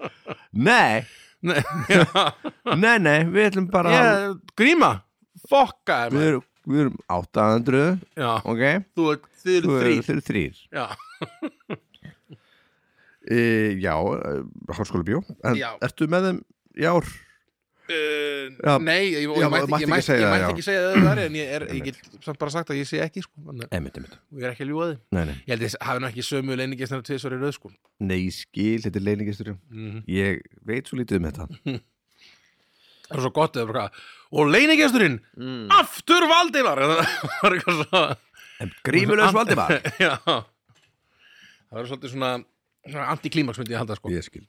[SPEAKER 1] Nei,
[SPEAKER 2] Nei, já.
[SPEAKER 1] nei, nei, við ætlum bara yeah.
[SPEAKER 2] Ég- gríma, fokka
[SPEAKER 1] við,
[SPEAKER 2] maður.
[SPEAKER 1] erum, við erum 800
[SPEAKER 2] já,
[SPEAKER 1] ok,
[SPEAKER 2] þú er, þið eru
[SPEAKER 1] þú
[SPEAKER 2] þrýr
[SPEAKER 1] eru þrýr
[SPEAKER 2] já,
[SPEAKER 1] e, Já, eh, háskóla bjó en
[SPEAKER 2] Já.
[SPEAKER 1] ertu með þeim í ár?
[SPEAKER 2] uh,
[SPEAKER 1] Já.
[SPEAKER 2] nei, ég, og
[SPEAKER 1] Já,
[SPEAKER 2] ég mætti
[SPEAKER 1] mætti
[SPEAKER 2] ekki,
[SPEAKER 1] ekki
[SPEAKER 2] mætti,
[SPEAKER 1] segja
[SPEAKER 2] ég
[SPEAKER 1] það,
[SPEAKER 2] mætti
[SPEAKER 1] já.
[SPEAKER 2] ekki segja það þar en ég, er, ég get samt bara sagt að ég sé ekki sko, þannig að
[SPEAKER 1] Einmitt, einmitt
[SPEAKER 2] ég er ekki að ljúga því
[SPEAKER 1] Nei, nei,
[SPEAKER 2] ég held að ég hafi nú ekki sömu leiningi snar tvisvar í röð sko
[SPEAKER 1] nei, ég skil, þetta er leiningistur
[SPEAKER 2] Mhm.
[SPEAKER 1] Ég veit svo lítið um þetta
[SPEAKER 2] það er svo gott eða bara hvað og leiningesturinn, Mm. aftur Valdimar það var eitthvað svo
[SPEAKER 1] En grímulegs Valdimar
[SPEAKER 2] já það var svolítið svona antiklímaks myndi ég halda sko
[SPEAKER 1] Ég skil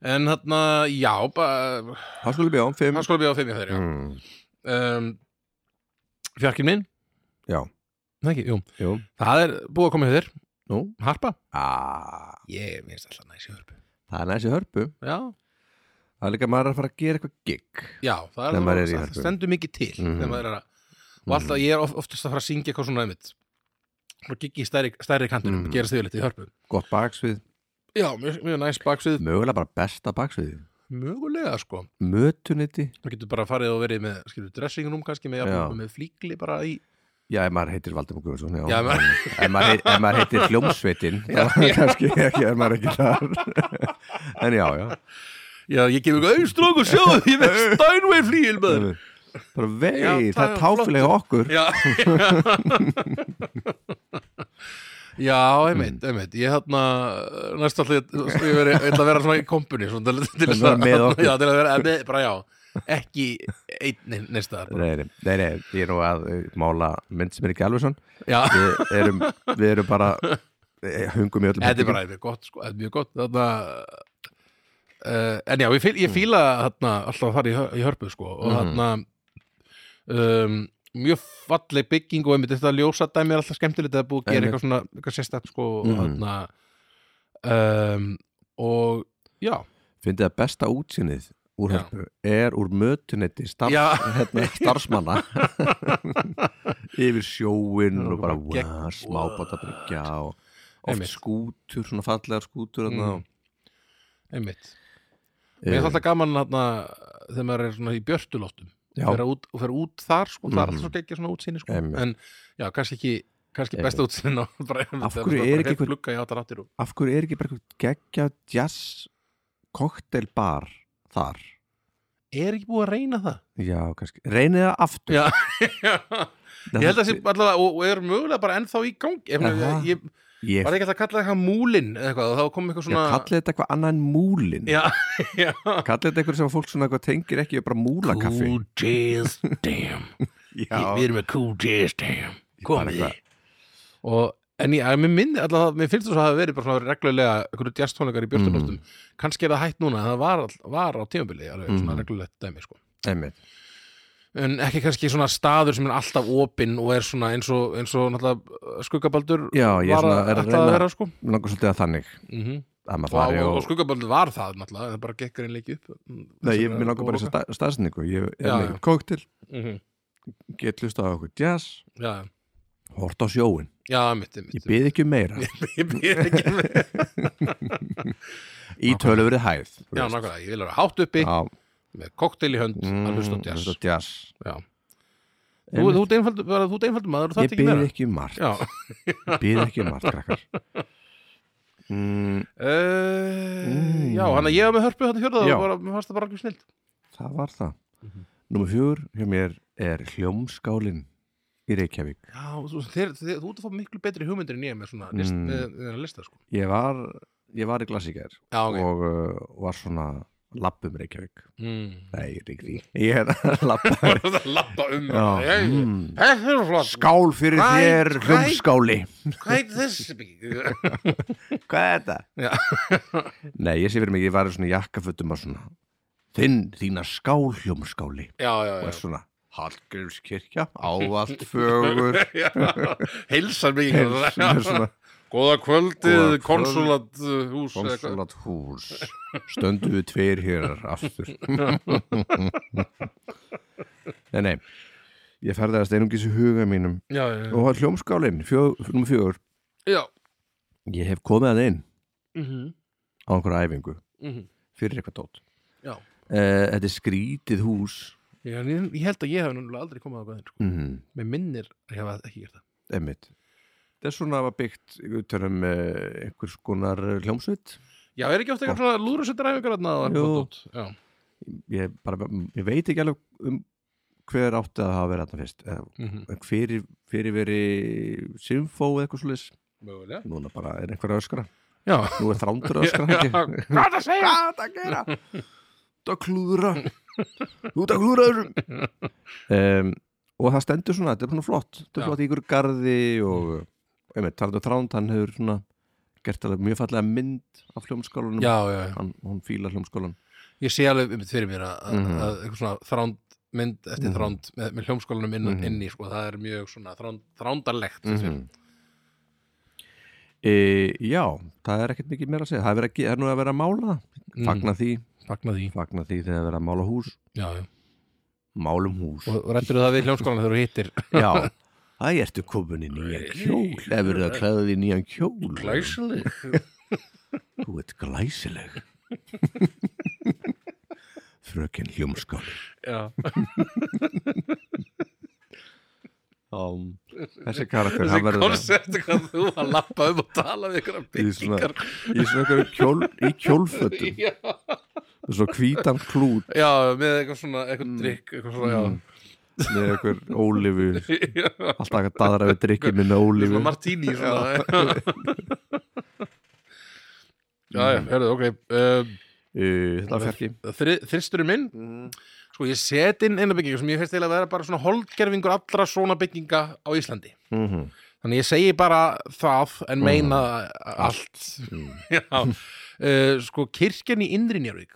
[SPEAKER 2] en þarna, já, bara
[SPEAKER 1] Háskóla bjó, 5
[SPEAKER 2] Háskóla bíó fimm hjá þeir, já.
[SPEAKER 1] mm.
[SPEAKER 2] Um, fjarkinn minn,
[SPEAKER 1] Já,
[SPEAKER 2] Nei, ekki, jú.
[SPEAKER 1] jú
[SPEAKER 2] Það er búið að koma hjá þér Nú, harpa?
[SPEAKER 1] Ah,
[SPEAKER 2] Ég minnst alltaf næs í hörpu.
[SPEAKER 1] það er næst í hörpu
[SPEAKER 2] Já,
[SPEAKER 1] Það er líka maður er að fara að gera eitthvað gig
[SPEAKER 2] já, það er,
[SPEAKER 1] Þegar maður er í
[SPEAKER 2] það
[SPEAKER 1] hörpu.
[SPEAKER 2] stendur mikið til
[SPEAKER 1] Mhm.
[SPEAKER 2] þegar maður er að, og alltaf ég er of, oftast að fara að syngja eitthvað svona einmitt. Og giggi í stærri, stærri kantinum,
[SPEAKER 1] Mhm.
[SPEAKER 2] mm. gerast yfirleitt í hörpu.
[SPEAKER 1] Gott baksvið,
[SPEAKER 2] Já, mjög, mjög næs baksvið,
[SPEAKER 1] mögulega bara besta baksvið
[SPEAKER 2] mögulega sko.
[SPEAKER 1] Mötuniti
[SPEAKER 2] Maður getur bara farið og verið með, skilur, dressing room kannski, með,
[SPEAKER 1] Já.
[SPEAKER 2] jafnvel með flíkli bara í,
[SPEAKER 1] Já, ef maður heitir Valdimur Guðvarsson já.
[SPEAKER 2] Já, ef maður-
[SPEAKER 1] ef, maður heit, ef maður heitir Hljómsveitin þá
[SPEAKER 2] Já, já.
[SPEAKER 1] kannski ekki, er maður ekki þar En já, já
[SPEAKER 2] já, ég gef ykkur auðstrók og sjáðu, ég er með Steinway flíil, maður.
[SPEAKER 1] Bara vei,
[SPEAKER 2] Já,
[SPEAKER 1] það
[SPEAKER 2] það er
[SPEAKER 1] er táfilega okkur
[SPEAKER 2] Já, já, einmitt, einmitt Ég þarna, næst alltaf ég, ég veri- ég ætla að vera svona í kompunni svona, til, til,
[SPEAKER 1] Til að vera með okkur.
[SPEAKER 2] Já, til að vera með, bara já ekki einn neistar
[SPEAKER 1] Nei, nei, nei, nei, ég er nú að eh, mála mynd sem er ekki alveg svon
[SPEAKER 2] Já,
[SPEAKER 1] Við erum, við erum bara eh, hungum í öllum
[SPEAKER 2] þetta er
[SPEAKER 1] herbergjum.
[SPEAKER 2] bara mjög gott, sko, þetta er mjög gott þarna uh, En já, ég, fíl, ég fíla þarna alltaf að fara í, hör- í hörpu, sko og þarna um, mjög falleg bygging og einmitt þetta ljósa dæmi er alltaf skemmtilegt að búið að gera
[SPEAKER 1] Einmitt.
[SPEAKER 2] eitthvað svona, eitthvað sérstætt, sko og
[SPEAKER 1] Mhm.
[SPEAKER 2] þarna um, og já,
[SPEAKER 1] Fyndið að besta útsýnið úr
[SPEAKER 2] Já.
[SPEAKER 1] hörpu er úr mötunetti starf,
[SPEAKER 2] Já.
[SPEAKER 1] hérna, starfsmanna yfir sjóin og bara
[SPEAKER 2] Bara gegn-
[SPEAKER 1] wow, smábátabryggja og oft
[SPEAKER 2] Einmitt.
[SPEAKER 1] skútur, svona fallegar skútur mm. Eh,
[SPEAKER 2] Mm. einmitt Mér finnst alltaf gaman þarna þegar maður er svona í björtulóttum
[SPEAKER 1] Já.
[SPEAKER 2] og fer út, og fer út þar sko, það er alltaf
[SPEAKER 1] Mhm.
[SPEAKER 2] svo gekkja svona útsýni sko.
[SPEAKER 1] Einmitt.
[SPEAKER 2] en já, kannski ekki kannski
[SPEAKER 1] Einmitt.
[SPEAKER 2] besta útsýnin á bara,
[SPEAKER 1] Af hverju er ekki einhver-
[SPEAKER 2] glugga í áttar áttir og
[SPEAKER 1] af hverju er ekki bara eitthvað geggjað jazz koktelbar þar
[SPEAKER 2] er ekki búið að reyna það
[SPEAKER 1] já, kannski, reynið það aftur
[SPEAKER 2] Já, ég held að það sé allavega og, og er mögulega bara ennþá í gang ef,
[SPEAKER 1] Aha.
[SPEAKER 2] ég,
[SPEAKER 1] ég,
[SPEAKER 2] var ekki alltaf að kalla eitthvað múlin eða eitthvað og þá kom eitthvað
[SPEAKER 1] ég
[SPEAKER 2] svona
[SPEAKER 1] kallið þetta eitthvað annað en múlin
[SPEAKER 2] já, já,
[SPEAKER 1] kallið þetta eitthvað sem fólk svona eitthvað tengir ekki bara múlakaffi
[SPEAKER 2] Cool Jazz Damn Við erum með Cool Jazz Damn Komið
[SPEAKER 1] eitthvað.
[SPEAKER 2] og, En ég, að mér minni alltaf, mér finnst þess að það hafi verið bara svona reglulega einhverju jazztónleikar
[SPEAKER 1] Mm.
[SPEAKER 2] í björtunóttum kannski er það hægt núna, en það var, all- var á tímabili alveg svona
[SPEAKER 1] Mhm.
[SPEAKER 2] reglulegt dæmi sko.
[SPEAKER 1] Einmitt.
[SPEAKER 2] en ekki kannski svona staður sem er alltaf opinn og er svona eins og, eins og náttúrulega skuggabaldur
[SPEAKER 1] Já, ég er
[SPEAKER 2] var
[SPEAKER 1] svona- er að
[SPEAKER 2] að, ætlaði
[SPEAKER 1] reyna-
[SPEAKER 2] að vera sko.
[SPEAKER 1] Mér langar svolítið að þannig
[SPEAKER 2] mm
[SPEAKER 1] að maður
[SPEAKER 2] og,
[SPEAKER 1] fari
[SPEAKER 2] og,
[SPEAKER 1] og,
[SPEAKER 2] og skuggabaldur var það náttúrulega, það bara gekk reynleiki upp
[SPEAKER 1] Nei, ég, mér langar bara í stað, staðsendingu Ég er
[SPEAKER 2] Já,
[SPEAKER 1] með
[SPEAKER 2] já.
[SPEAKER 1] kóktil,
[SPEAKER 2] mm -hmm.
[SPEAKER 1] get hlustað á okkur jazz
[SPEAKER 2] Já,
[SPEAKER 1] Hort á sjóin,
[SPEAKER 2] já, mitt, mitt
[SPEAKER 1] ég bið ekki um meira
[SPEAKER 2] Ég býð ekki með
[SPEAKER 1] Í töluverið hæð þú
[SPEAKER 2] Já,
[SPEAKER 1] veist.
[SPEAKER 2] nákvæmlega, ég vil vera hátt uppi
[SPEAKER 1] Já,
[SPEAKER 2] með kokteil í hönd
[SPEAKER 1] mm,
[SPEAKER 2] að hlusta á jazz
[SPEAKER 1] hlusta á jazz
[SPEAKER 2] Já. Þú
[SPEAKER 1] Einmitt.
[SPEAKER 2] þú ert einfaldur- bara þú ert einfaldur maður og það
[SPEAKER 1] Ég
[SPEAKER 2] er ekki
[SPEAKER 1] bið
[SPEAKER 2] meira
[SPEAKER 1] ekki um margt
[SPEAKER 2] Já,
[SPEAKER 1] Ég bið ekki um margt, krakkar mm,
[SPEAKER 2] uh,
[SPEAKER 1] Mm.
[SPEAKER 2] já hann að ég var með hörpu þetta hjörða
[SPEAKER 1] Já.
[SPEAKER 2] og bara, mér fannst það bara alveg snilt
[SPEAKER 1] Það var það
[SPEAKER 2] Mhm.
[SPEAKER 1] Númer fjögur hjá mér er hljómskálin í Reykjavík
[SPEAKER 2] Já, þú, þeir, þeir, þú ert að fá miklu betri hugmyndir en ég með svona list,
[SPEAKER 1] Mm.
[SPEAKER 2] með, með að lista sko
[SPEAKER 1] Ég var, ég var í klassíkær
[SPEAKER 2] Já, ok
[SPEAKER 1] og uh, var svona labbum Reykjavík
[SPEAKER 2] mm.
[SPEAKER 1] Nei, ég er ekki því Ég er að labba
[SPEAKER 2] Það lappa um
[SPEAKER 1] Já,
[SPEAKER 2] Jæja.
[SPEAKER 1] mm.
[SPEAKER 2] Þetta er flott
[SPEAKER 1] Skál fyrir
[SPEAKER 2] Right,
[SPEAKER 1] þér,
[SPEAKER 2] right.
[SPEAKER 1] hljómskáli
[SPEAKER 2] Hvað heitir þessi bygging?
[SPEAKER 1] Hvað er þetta?
[SPEAKER 2] Já.
[SPEAKER 1] Nei, ég sé fyrir mig, ég var í svona jakkafötum að svona Þinn, þína skál, hljómskáli
[SPEAKER 2] Já, já,
[SPEAKER 1] Og
[SPEAKER 2] já,
[SPEAKER 1] er svona Hallgrímskirkja, ávallt fögur
[SPEAKER 2] já. Heilsar bygging
[SPEAKER 1] Heilsum er svona
[SPEAKER 2] Góða kvöldið,
[SPEAKER 1] Góða kvöld.
[SPEAKER 2] konsulat uh, hús eða hvað?
[SPEAKER 1] Konsulat hús Stöndu við tveir hérar aftur Nei, nei Ég ferðast einungis í huga mínum
[SPEAKER 2] Já, já, já.
[SPEAKER 1] Og var hljómskálin, fjó, nummer fjögur
[SPEAKER 2] já.
[SPEAKER 1] Ég hef komið að inn
[SPEAKER 2] Mm
[SPEAKER 1] á einhverja æfingu
[SPEAKER 2] -hmm.
[SPEAKER 1] fyrir eitthvað tótt
[SPEAKER 2] Já.
[SPEAKER 1] Eh, Þetta er skrítið hús
[SPEAKER 2] Ég, ég, ég held að ég hef náttúrulega aldrei komið á gæðin sko.
[SPEAKER 1] mm,
[SPEAKER 2] Mér minnir að ég hef ekki gert það
[SPEAKER 1] Emmitt Þetta er svona að var byggt tölum, eh, einhvers konar hljómsveit
[SPEAKER 2] Já, er ekki ofta eitthvað svona lúrusettar æfingar þarna og
[SPEAKER 1] Jú.
[SPEAKER 2] eitthvað dót? Já,
[SPEAKER 1] ég, bara, ég veit ekki alveg um hver átti að hafa verið þarna fyrst Eh,
[SPEAKER 2] Mhm.
[SPEAKER 1] fyrir, fyrir verið symfó eða eitthvað svolítið
[SPEAKER 2] mögulega
[SPEAKER 1] núna bara er einhver að öskra
[SPEAKER 2] Já,
[SPEAKER 1] nú er þrándur að öskra
[SPEAKER 2] Já,
[SPEAKER 1] ekki?
[SPEAKER 2] hvað það segja?
[SPEAKER 1] hvað það gera þú að klúðra þú að klúðra þessu um, og það stendur svona, þetta er svona flott þetta
[SPEAKER 2] Já.
[SPEAKER 1] er flott í ykkur garði og einmitt, talandu þránd, hann hefur svona gert alveg mjög fallega mynd af hljómskólanum
[SPEAKER 2] Já, já, já.
[SPEAKER 1] hann, hún fílar hljómskólan
[SPEAKER 2] ég sé alveg um fyrir mér að, mm
[SPEAKER 1] Mhm.
[SPEAKER 2] að eitthvað svona þránd mynd eftir
[SPEAKER 1] Mhm.
[SPEAKER 2] þránd með, með hljómskólanum inn,
[SPEAKER 1] Mhm.
[SPEAKER 2] Mhm. inni sko, það er mjög svona þránd, þrándarlegt
[SPEAKER 1] mm
[SPEAKER 2] mm -hmm.
[SPEAKER 1] e, já, það er ekkert mikið meira að segja það er, verið að, ge- það er nú að vera að mála það
[SPEAKER 2] Mm.
[SPEAKER 1] fagna því,
[SPEAKER 2] Fagna því
[SPEAKER 1] fagna því þegar að vera að mála hús
[SPEAKER 2] já, já.
[SPEAKER 1] málum hús
[SPEAKER 2] Og rættur það við hljómskólan þegar þú hittir
[SPEAKER 1] já, það ertu komin í nýjan kjól ef verður að klæða því nýjan kjól
[SPEAKER 2] Glæsileg
[SPEAKER 1] þú ert glæsileg frökin hljómskál
[SPEAKER 2] Já,
[SPEAKER 1] um, þessi karakter
[SPEAKER 2] þessi
[SPEAKER 1] hann verður að-
[SPEAKER 2] konsept hvað þú að lappa um og tala við ykkur að
[SPEAKER 1] Í svona-
[SPEAKER 2] byggingar
[SPEAKER 1] í svona einhverju kjól, í kjólfötum
[SPEAKER 2] Já,
[SPEAKER 1] með svona hvítan klút
[SPEAKER 2] já, með eitthvað svona, eitthvað drikk, eitthvað svona, já
[SPEAKER 1] með einhver ólifu
[SPEAKER 2] Já,
[SPEAKER 1] alltaf að daðra við drikki minna ólifu
[SPEAKER 2] svona martini svona Já, já, herðu, ok um,
[SPEAKER 1] Uh, þetta fjarki
[SPEAKER 2] þri- Þristurinn minn Sko, ég set inn eina byggingu sem ég finnst til að vera bara svona holdgerfingur allra svona bygginga á Íslandi
[SPEAKER 1] Mhm.
[SPEAKER 2] Þannig ég segi bara það en meina allt
[SPEAKER 1] Mhm.
[SPEAKER 2] Já uh, Sko, kirkjan í Indri Njárvík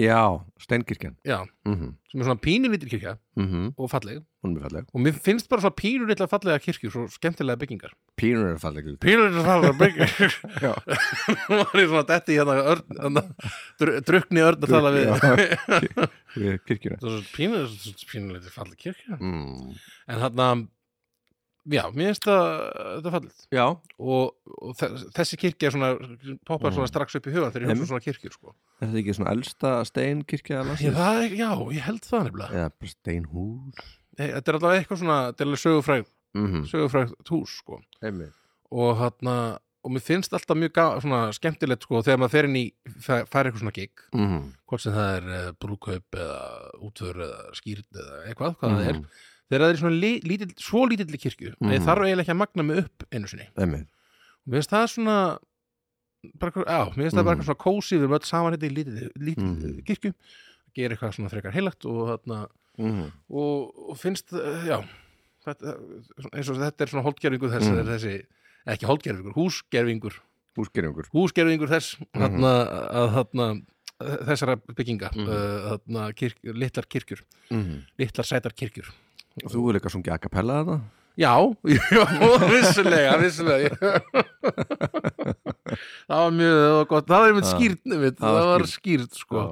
[SPEAKER 1] Já, steinkirkjan
[SPEAKER 2] Já,
[SPEAKER 1] mm -hmm.
[SPEAKER 2] sem er svona pínulítur kirkja
[SPEAKER 1] Mm -hmm.
[SPEAKER 2] og falleg
[SPEAKER 1] Hún er mjög falleg
[SPEAKER 2] og mér finnst bara svona pínulítla fallega kirkju svo skemmtilega byggingar
[SPEAKER 1] Pínur er falleg
[SPEAKER 2] Pínulítla fallega byggingar
[SPEAKER 1] Já.
[SPEAKER 2] Nú var ég svona detti í hérna örn, hérna, dr- drukni örn að tala við
[SPEAKER 1] við kirkjuna
[SPEAKER 2] Pínulítla pínulítla fallega kirkja
[SPEAKER 1] mm.
[SPEAKER 2] hérna. En þarna Já, mér finnst það, þetta fallið
[SPEAKER 1] Já,
[SPEAKER 2] og, og þe- þessi kirkja er svona poppar svona strax upp í hugan þegar ég hugsa um svona kirkjur sko.
[SPEAKER 1] er þetta ekki svona elsta steinkirkja
[SPEAKER 2] ég,
[SPEAKER 1] landsins?
[SPEAKER 2] það, er- Já, ég held það nefnilega
[SPEAKER 1] Eða bara steinhús
[SPEAKER 2] Nei, Þetta er allavega eitthvað svona, þetta er alveg sögufrægt,
[SPEAKER 1] mm -hmm.
[SPEAKER 2] sögufrægt hús sko.
[SPEAKER 1] Einmitt
[SPEAKER 2] og hérna og mér finnst alltaf mjög gaf, svona skemmtilegt sko þegar maður fer inn í, fær fær eitthvað svona gig
[SPEAKER 1] mm -hmm.
[SPEAKER 2] hvort sem það er uh, brúkaup eða útvör eða skýrn eða eitthvað, hvað
[SPEAKER 1] Mhm. Mm.
[SPEAKER 2] það er þegar það er í svona li, lítill, svo lítill kirkju mm. ég
[SPEAKER 1] Mhm.
[SPEAKER 2] þarf eiginlega ekki að magna mig upp einu sinni
[SPEAKER 1] Einmitt
[SPEAKER 2] mér finnst það svona bara, eitthvað- já, mér finnst það bara
[SPEAKER 1] Mhm.
[SPEAKER 2] eitthvað svona kósi við erum öll saman hérna í lítill, lítill
[SPEAKER 1] Mhm.
[SPEAKER 2] kirkju gera eitthvað svona frekar heilagt og, þarna,
[SPEAKER 1] mm -hmm.
[SPEAKER 2] og, og finnst eh, já, þetta, eins og þetta er svona holdgerfingur þess,
[SPEAKER 1] Mhm.
[SPEAKER 2] þessi, ekki holdgerfingur, húsgerfingur
[SPEAKER 1] Húsgerjungur
[SPEAKER 2] húsgerfingur þess
[SPEAKER 1] Mhm.
[SPEAKER 2] þarna, að, þarna, þessara bygginga mm
[SPEAKER 1] Mhm.
[SPEAKER 2] þarna, kirk, litlar kirkjur,
[SPEAKER 1] mm -hmm.
[SPEAKER 2] litlar sætar kirkjur
[SPEAKER 1] Þú er líka sungið a cappella þarna
[SPEAKER 2] Já, já, vissulega, vissulega Það var mjög það var gott, það var einmitt
[SPEAKER 1] Já,
[SPEAKER 2] skýrt einmitt,
[SPEAKER 1] það var
[SPEAKER 2] það var skýrt sko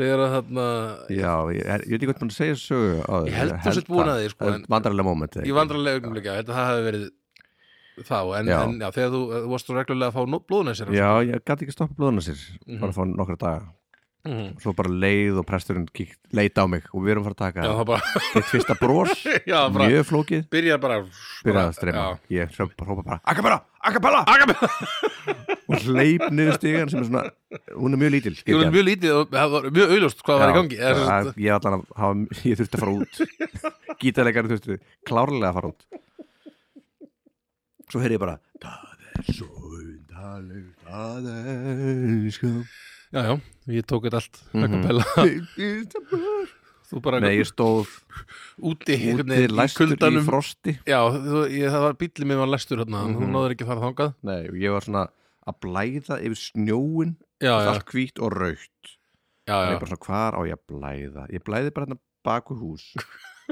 [SPEAKER 2] þegar að þarna,
[SPEAKER 1] Já, ég, er, ég veit ekki hvað búin að segja sögu á því
[SPEAKER 2] Ég held þú sért búin að því, sko, en-
[SPEAKER 1] Vandrarlega moment
[SPEAKER 2] ég vandrarlega augnumleika þetta hafi verið þá en,
[SPEAKER 1] Já.
[SPEAKER 2] en já, þegar þú, þú varst þú reglulega að fá nó- blóðnæsir
[SPEAKER 1] Já, ég gæti ekki stoppa blóðuna sér bara að fá nokkra daga
[SPEAKER 2] Mhm.
[SPEAKER 1] svo bara leið og presturinn kíkt, leita á mig og við erum fara að taka
[SPEAKER 2] já,
[SPEAKER 1] já,
[SPEAKER 2] það bara,
[SPEAKER 1] eitt fyrsta brós,
[SPEAKER 2] já, bara
[SPEAKER 1] mjög flókið
[SPEAKER 2] byrjar bara
[SPEAKER 1] byrjaði að streyma,
[SPEAKER 2] já.
[SPEAKER 1] ég sem bara hópa bara Acapella, Acapella, Acapella og hleyp niður stígan sem er svona hún er mjög lítil
[SPEAKER 2] Ég var
[SPEAKER 1] kirkjan.
[SPEAKER 2] mjög lítið og það var mjög auðljóst hvað var í
[SPEAKER 1] Já,
[SPEAKER 2] gangi eða, sem
[SPEAKER 1] það- ég, allan, að hafa, ég þurfti að fara út gítarleikari þurfti klárlega að fara út svo heyri ég bara það er svo undarleg það er sko
[SPEAKER 2] sagt- Já, já, ég tók þetta allt mm -hmm. Þú bara
[SPEAKER 1] Nei, ég stóð
[SPEAKER 2] úti einhvern
[SPEAKER 1] úti
[SPEAKER 2] veginn
[SPEAKER 1] læstur í
[SPEAKER 2] kuldanum.
[SPEAKER 1] frosti
[SPEAKER 2] Já, þú, ég, það var bíllinn minn var læstur hérna mm
[SPEAKER 1] Mhm.
[SPEAKER 2] -hmm. Þú náður ekki að fara þangað
[SPEAKER 1] Nei, og ég var svona að blæða yfir snjóin
[SPEAKER 2] Já, já,
[SPEAKER 1] allt hvítt og raukt
[SPEAKER 2] já,
[SPEAKER 1] og
[SPEAKER 2] já,
[SPEAKER 1] ég bara svona, hvar á ég að blæða? Ég blæði bara hérna baku hús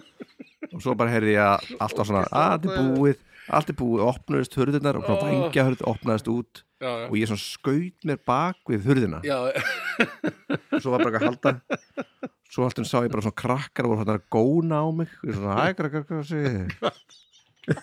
[SPEAKER 1] og svo bara heyrði ég að allt var svona, að þetta er búið allt er búið, opnaðist hurðinar og kom
[SPEAKER 2] Ó.
[SPEAKER 1] vengja hurð, opnaðist út
[SPEAKER 2] já, já.
[SPEAKER 1] og ég svona skaut mér bak við hurðina
[SPEAKER 2] Já,
[SPEAKER 1] og svo var bara eitthvað að halda svo allt um sá ég bara svona krakkar voru hann að góna á mig og ég svona, hæ krakkar, hvað segir þið?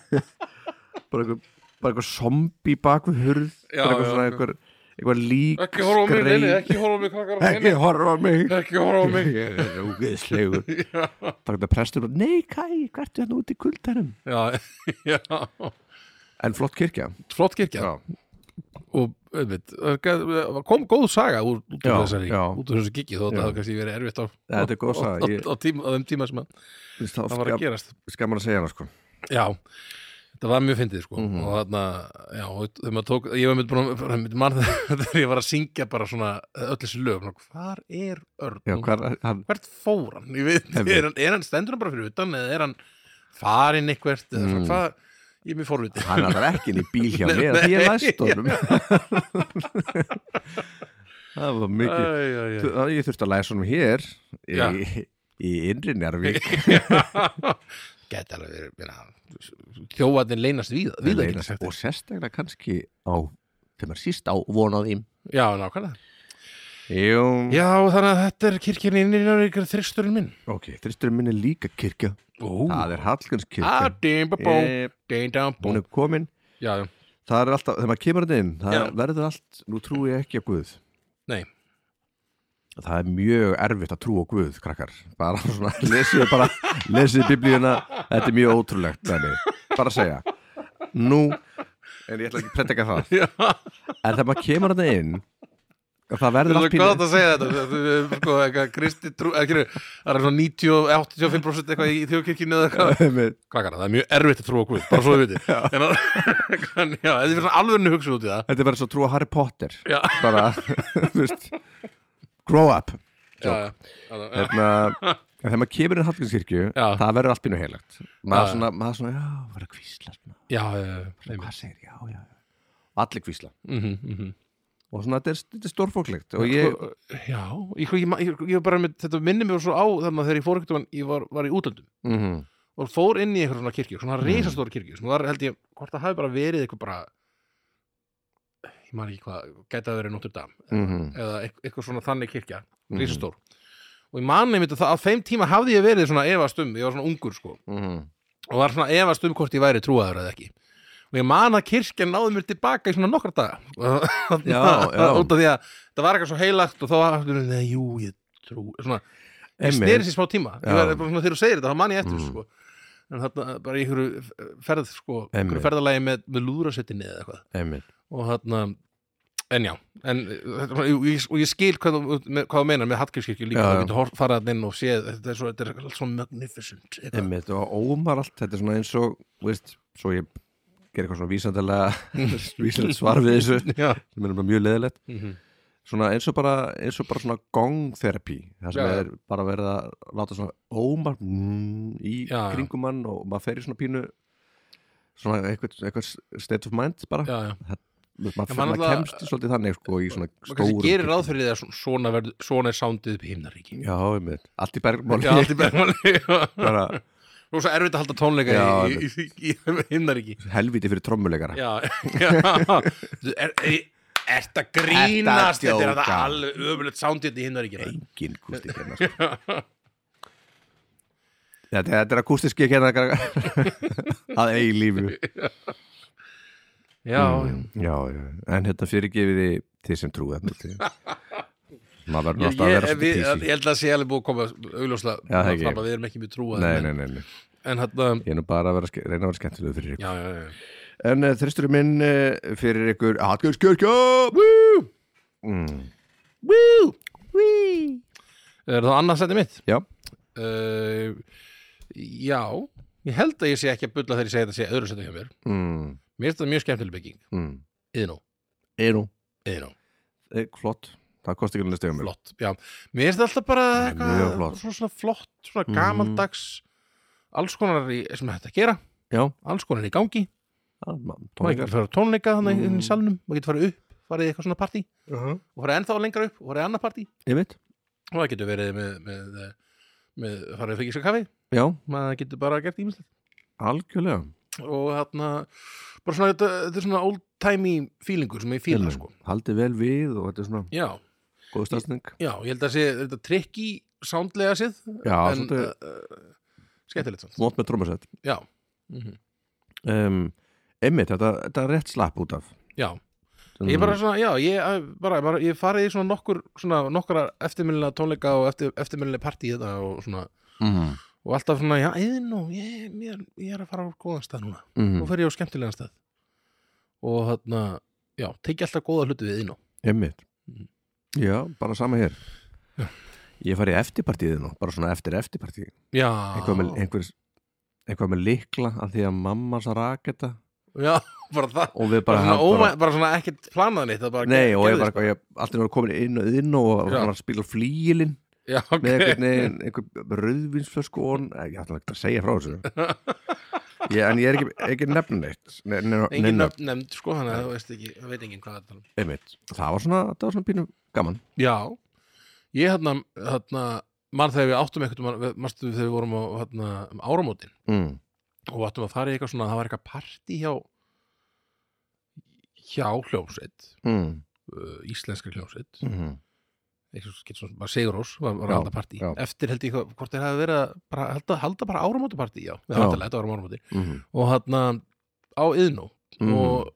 [SPEAKER 1] bara eitthvað bara eitthvað zombi bak við hurð
[SPEAKER 2] Já,
[SPEAKER 1] bara eitthvað
[SPEAKER 2] já,
[SPEAKER 1] svona
[SPEAKER 2] já.
[SPEAKER 1] eitthvað eitthvað lík
[SPEAKER 2] ekki horfa á mig, nei, nei,
[SPEAKER 1] skreið-
[SPEAKER 2] ekki horfa á mig krakkar nei,
[SPEAKER 1] ekki horfa á mig
[SPEAKER 2] nei, Ekki horfa á mig
[SPEAKER 1] ég er ógeðslegur bara þetta prestur og nei kæ, hvertu hérna út í kuldanum
[SPEAKER 2] Já, já
[SPEAKER 1] en flott kirkja
[SPEAKER 2] Flott kirkja og veit, kom góð saga úr, út úr
[SPEAKER 1] Já,
[SPEAKER 2] þessari,
[SPEAKER 1] já.
[SPEAKER 2] út úr þessu kikki þó að
[SPEAKER 1] Já.
[SPEAKER 2] það hafði kannski verið erfitt á,
[SPEAKER 1] Ja, þetta er góð saga.
[SPEAKER 2] á, á,
[SPEAKER 1] Ég-
[SPEAKER 2] á, tím, á þeim tíma sem að
[SPEAKER 1] Vist, það
[SPEAKER 2] það var að gerast
[SPEAKER 1] skaman að segja hana sko
[SPEAKER 2] Já, þetta var mjög fyndið sko
[SPEAKER 1] Mhm.
[SPEAKER 2] og þarna, já, og þegar maður tók ég var mynd búin að, bara mynd mann þegar ég var að syngja bara svona eh, öll þessi lög svona, hvar er Örn?
[SPEAKER 1] já,
[SPEAKER 2] Og
[SPEAKER 1] hvar, hann,
[SPEAKER 2] Hvert fór hann? Ég veit,
[SPEAKER 1] Einmitt.
[SPEAKER 2] er, hann, er hann stendur hann bara fyrir utan eða er hann farinn eitthvert eða svona,
[SPEAKER 1] Mm.
[SPEAKER 2] hvað, ég er mér forvitið
[SPEAKER 1] hann er alltaf ekki inn í bíl hjá
[SPEAKER 2] Nei,
[SPEAKER 1] mér því ég
[SPEAKER 2] nei,
[SPEAKER 1] læst honum það var
[SPEAKER 2] Æ,
[SPEAKER 1] mikið
[SPEAKER 2] já, já.
[SPEAKER 1] Þú- það- ég þurfti að læsa honum hér
[SPEAKER 2] Já.
[SPEAKER 1] í, í innri njárvík
[SPEAKER 2] Já. gæti alveg verið meina, þjófarnir leynast við, við
[SPEAKER 1] Leynast- og sérstaklega kannski á þegar maður síst á vonaðím
[SPEAKER 2] já, nákvæmlega
[SPEAKER 1] Jú,
[SPEAKER 2] já, þannig að þetta er kirkjan innrýnur ykkur þristurinn minn
[SPEAKER 1] ok, þristurinn minn er líka kirkja
[SPEAKER 2] Ó.
[SPEAKER 1] það er
[SPEAKER 2] Ah,
[SPEAKER 1] Hallgarnskirkja
[SPEAKER 2] ding, ba, bó,
[SPEAKER 1] Eh,
[SPEAKER 2] ding, dang, bó.
[SPEAKER 1] hún er komin
[SPEAKER 2] já, já.
[SPEAKER 1] það er alltaf, þegar maður kemur hann inn það
[SPEAKER 2] Já.
[SPEAKER 1] verður allt, nú trúi ég ekki á Guð
[SPEAKER 2] Nei.
[SPEAKER 1] það er mjög erfitt að trúa á Guð, krakkar bara svona, lesið bara lesið biblíuna, þetta er mjög ótrúlegt þannig, bara að segja nú, en ég ætla ekki að predika það
[SPEAKER 2] Já.
[SPEAKER 1] en þegar maður kemur hann inn það
[SPEAKER 2] Það
[SPEAKER 1] verður
[SPEAKER 2] er
[SPEAKER 1] allt
[SPEAKER 2] svo
[SPEAKER 1] pínu-
[SPEAKER 2] gott að segja þetta þetta er, sko, eitthvað kristi trú eða, ekki, það er svona 90-85% eitthvað í þjóðkirkjunni eða eitthvað
[SPEAKER 1] Einmitt.
[SPEAKER 2] krakkar, það er mjög erfitt að trúa á Guð, bara svo við vitið en að- en já, þetta er svona alveg hugsað út í það
[SPEAKER 1] Þetta er bara svo að trúa Harry Potter
[SPEAKER 2] já,
[SPEAKER 1] bara, þú veist grow up
[SPEAKER 2] já, já, já, já.
[SPEAKER 1] Þarna, en þegar maður kemur inn Hallgrímskirkju
[SPEAKER 2] Já.
[SPEAKER 1] það verður allt bínu heilagt maður
[SPEAKER 2] Já.
[SPEAKER 1] svona, maður svona, já, verður að kvísla svona,
[SPEAKER 2] já, já, já,
[SPEAKER 1] hvað segir, já, já já." allir kvísla
[SPEAKER 2] Mhm, mhm.
[SPEAKER 1] og svona, þetta er, þetta er stórfólklegt og ég,
[SPEAKER 2] Sko, já, ég, ég, ég, ég var bara með, þetta minnir mér svo á þannig að þegar ég fór ekkert ég var, var í útlöndum
[SPEAKER 1] mm
[SPEAKER 2] og fór inn í einhver svona kirkju, svona reisastóra kirkju sem var held ég, hvort það hafi bara verið eitthvað bara ég man ekki hvað, gæti að verið Notre Dame
[SPEAKER 1] Mhm.
[SPEAKER 2] eða eit- eitthvað svona þannig kirkja
[SPEAKER 1] Mhm.
[SPEAKER 2] reisastór og ég man nefnir það að þeim tíma hafði ég verið svona efast um, ég var svona ungur sko
[SPEAKER 1] Mm
[SPEAKER 2] og var svona efast um hvort ég væri trúaður eða ekki og ég man að kirkjan náði mér tilbaka í svona nokkra daga
[SPEAKER 1] Já, já.
[SPEAKER 2] út af því að það var eitthvað svo heilagt og þá var aftur, nei, jú, ég trú svona, ég
[SPEAKER 1] Einmitt.
[SPEAKER 2] sneri sér smá tíma ég
[SPEAKER 1] Já.
[SPEAKER 2] var, bara svona, þegar þú segir þetta, þá man ég eftir
[SPEAKER 1] Mm.
[SPEAKER 2] sko. en þarna bara í einhverju ferð sko,
[SPEAKER 1] Einmitt.
[SPEAKER 2] einhverju ferðalagi með, með lúðrasettinni eða eitthvað
[SPEAKER 1] einmitt
[SPEAKER 2] og þarna, en já en, þetta var- og, ég, og ég skil hvað, þú- með, hvað þú meinar með Hallgrímskirkju líka
[SPEAKER 1] Já,
[SPEAKER 2] þú
[SPEAKER 1] já.
[SPEAKER 2] getur horf- farið þarna inn og séð þetta er svo, þetta er allt svo magnificent eitthvað.
[SPEAKER 1] einmitt og ómar allt, þetta er svona eins og þú veist, svo ég gerir eitthvað svona vísandalega vísandalega svar við þessu
[SPEAKER 2] já,
[SPEAKER 1] sem er bara mjög leðilegt
[SPEAKER 2] mm
[SPEAKER 1] svona eins og bara, eins og bara svona gongtherapí það sem
[SPEAKER 2] Já, já.
[SPEAKER 1] er bara verið að láta svona ómar mm, í
[SPEAKER 2] Já, já.
[SPEAKER 1] kringum mann og maður fer í svona pínu svona eitthvað, eitthvað state of mind bara
[SPEAKER 2] já, já
[SPEAKER 1] maður, maður,
[SPEAKER 2] maður
[SPEAKER 1] maður
[SPEAKER 2] náttúrulega-
[SPEAKER 1] kemst svolítið þannig sko í svona
[SPEAKER 2] maður kannski
[SPEAKER 1] stóru
[SPEAKER 2] gerir ráð fyrir því að svona- svona, verð, svona er sándið upp í himnaríki
[SPEAKER 1] já, einmitt, allt í bergmáli
[SPEAKER 2] Já, allt í bergmáli já.
[SPEAKER 1] bara
[SPEAKER 2] og svo erfitt að halda tónleika
[SPEAKER 1] Já,
[SPEAKER 2] í, í, í, í himnaríki
[SPEAKER 1] helviti fyrir trommuleikara
[SPEAKER 2] já, já Þú, er, er, Ert að grínast
[SPEAKER 1] Ertu að
[SPEAKER 2] Þetta er
[SPEAKER 1] djóka?
[SPEAKER 2] þetta alveg öfulegt sándið í himnaríki
[SPEAKER 1] engin kústik hérna sko. þetta, þetta er akústisk ekki hérna krakkar. að eigi lífu
[SPEAKER 2] Já,
[SPEAKER 1] Mm, já, já, en hérna fyrirgefiði þið sem trúið þarna úti maður verður
[SPEAKER 2] já
[SPEAKER 1] alltaf að
[SPEAKER 2] ég,
[SPEAKER 1] vera
[SPEAKER 2] við,
[SPEAKER 1] svolítið
[SPEAKER 2] ég
[SPEAKER 1] tísi
[SPEAKER 2] held að það sé alveg búið að koma augljóslega
[SPEAKER 1] Já, það ekki.
[SPEAKER 2] fram að við erum ekki mjög trúað
[SPEAKER 1] nei,
[SPEAKER 2] en,
[SPEAKER 1] nei, nei, nei,
[SPEAKER 2] en hérna
[SPEAKER 1] ég er nú bara að vera, ske- reyna að vera skemmtilegu fyrir ykkur
[SPEAKER 2] Já, já, já
[SPEAKER 1] en uh, þristurinn minn uh, fyrir ykkur Hallgjörnskjörkja mm.
[SPEAKER 2] Woo! Er það annað sætti mitt?
[SPEAKER 1] já,
[SPEAKER 2] uh, Já Ég held að ég sé ekki að bulla þegar ég segi þetta sé öðru sætti hjá mér
[SPEAKER 1] mm.
[SPEAKER 2] Mér finnst það mjög skemmtileg bygging
[SPEAKER 1] Mm.
[SPEAKER 2] Iðnó,
[SPEAKER 1] er nú
[SPEAKER 2] iðnó,
[SPEAKER 1] eh, flott, það kosti ekki alveg stegum mér
[SPEAKER 2] flott já. Mér finnst það alltaf bara
[SPEAKER 1] Það er mjög
[SPEAKER 2] eitthvað
[SPEAKER 1] flott.
[SPEAKER 2] svona, svona flott, svona
[SPEAKER 1] Mhm.
[SPEAKER 2] gamaldags alls konar í, sem er hægt að gera
[SPEAKER 1] já,
[SPEAKER 2] alls konar í gangi,
[SPEAKER 1] það, man,
[SPEAKER 2] maður
[SPEAKER 1] tónleikar
[SPEAKER 2] getur farið á tónleika þannig inn
[SPEAKER 1] Mhm.
[SPEAKER 2] í salnum, maður getur farið upp farið í eitthvað svona partí
[SPEAKER 1] Mhm.
[SPEAKER 2] og farið ennþá lengra upp og farið í annað partí
[SPEAKER 1] ég veit,
[SPEAKER 2] og það getur verið með, með, með, með farið fyrir kaffi,
[SPEAKER 1] já,
[SPEAKER 2] maður getur bara gert ímislegt
[SPEAKER 1] algjörlega
[SPEAKER 2] og þarna bara svona, þetta, þetta er svona old timey feelingur sem ég fíla
[SPEAKER 1] Einmitt.
[SPEAKER 2] sko
[SPEAKER 1] haldið vel við og þetta er svona
[SPEAKER 2] já,
[SPEAKER 1] góð stafsning
[SPEAKER 2] já, ég held að sé þetta trikki soundlega sið
[SPEAKER 1] já,
[SPEAKER 2] en
[SPEAKER 1] svolítið,
[SPEAKER 2] uh, uh, skemmtilegt samt
[SPEAKER 1] mót með trómasett
[SPEAKER 2] já, mhm,
[SPEAKER 1] um, einmitt, þetta, þetta er rétt slapp út af
[SPEAKER 2] já,
[SPEAKER 1] Mm.
[SPEAKER 2] ég bara svona já, ég eh, bara, bara ég farið í svona nokkur svona nokkra eftirmyndina tónleika og eftir, eftirmyndina partí þetta og svona
[SPEAKER 1] mm,
[SPEAKER 2] og alltaf svona, já, eðin og ég, mér, ég er að fara á góðan stað núna nú
[SPEAKER 1] mm,
[SPEAKER 2] fer ég á skemmtilegan stað og þarna, já, tekja alltaf góða hluti við eðin og
[SPEAKER 1] einmitt
[SPEAKER 2] Mhm.
[SPEAKER 1] já, bara sama hér ég farið eftirpartíði nú, bara svona eftir eftirpartíði
[SPEAKER 2] já,
[SPEAKER 1] eitthvað með, einhver, eitthvað með likla af því að mamma sá raketa
[SPEAKER 2] já, bara það
[SPEAKER 1] og við
[SPEAKER 2] bara,
[SPEAKER 1] bara,
[SPEAKER 2] svona, óvæ,
[SPEAKER 1] bara
[SPEAKER 2] bara, svona ekkert planað neitt það bara sko.
[SPEAKER 1] nei, og ég
[SPEAKER 2] gerðist.
[SPEAKER 1] bara, eitthvað, ég, allt er nú komin inn og inn og
[SPEAKER 2] Já.
[SPEAKER 1] hann var að spila flíilinn
[SPEAKER 2] já, ok
[SPEAKER 1] með einhvern veginn, einhver rauðvinsflösku og hann, ég ætla ekki að segja frá þessu ég, en ég er ekki, ekki nefn neitt ne, ne, ne,
[SPEAKER 2] engin
[SPEAKER 1] ne,
[SPEAKER 2] nöfn nefnd, sko, þannig að þú veist ekki það veit enginn hvað þetta
[SPEAKER 1] einmitt, það var svona, það var svona pínu gaman
[SPEAKER 2] já, ég hérna, hérna mann þegar við áttum eitthvað marstu þegar við vorum á hérna, um áramótin
[SPEAKER 1] mm.
[SPEAKER 2] og við áttum að fara í eitthvað svona það var eitthvað partí hjá hjá hljómsveit
[SPEAKER 1] Mm.
[SPEAKER 2] uh, íslenskri hljómsveit
[SPEAKER 1] Mm.
[SPEAKER 2] eitthvað sem getur svona bara Sigurós var, var
[SPEAKER 1] Já,
[SPEAKER 2] að halda partí
[SPEAKER 1] já.
[SPEAKER 2] eftir held ég hvað- hvort þeir hafi verið að bara, halda, halda bara áramóti partí já,
[SPEAKER 1] Já.
[SPEAKER 2] við halda leta árum áramóti
[SPEAKER 1] Mm.
[SPEAKER 2] og hann á yðnó
[SPEAKER 1] Mm.
[SPEAKER 2] og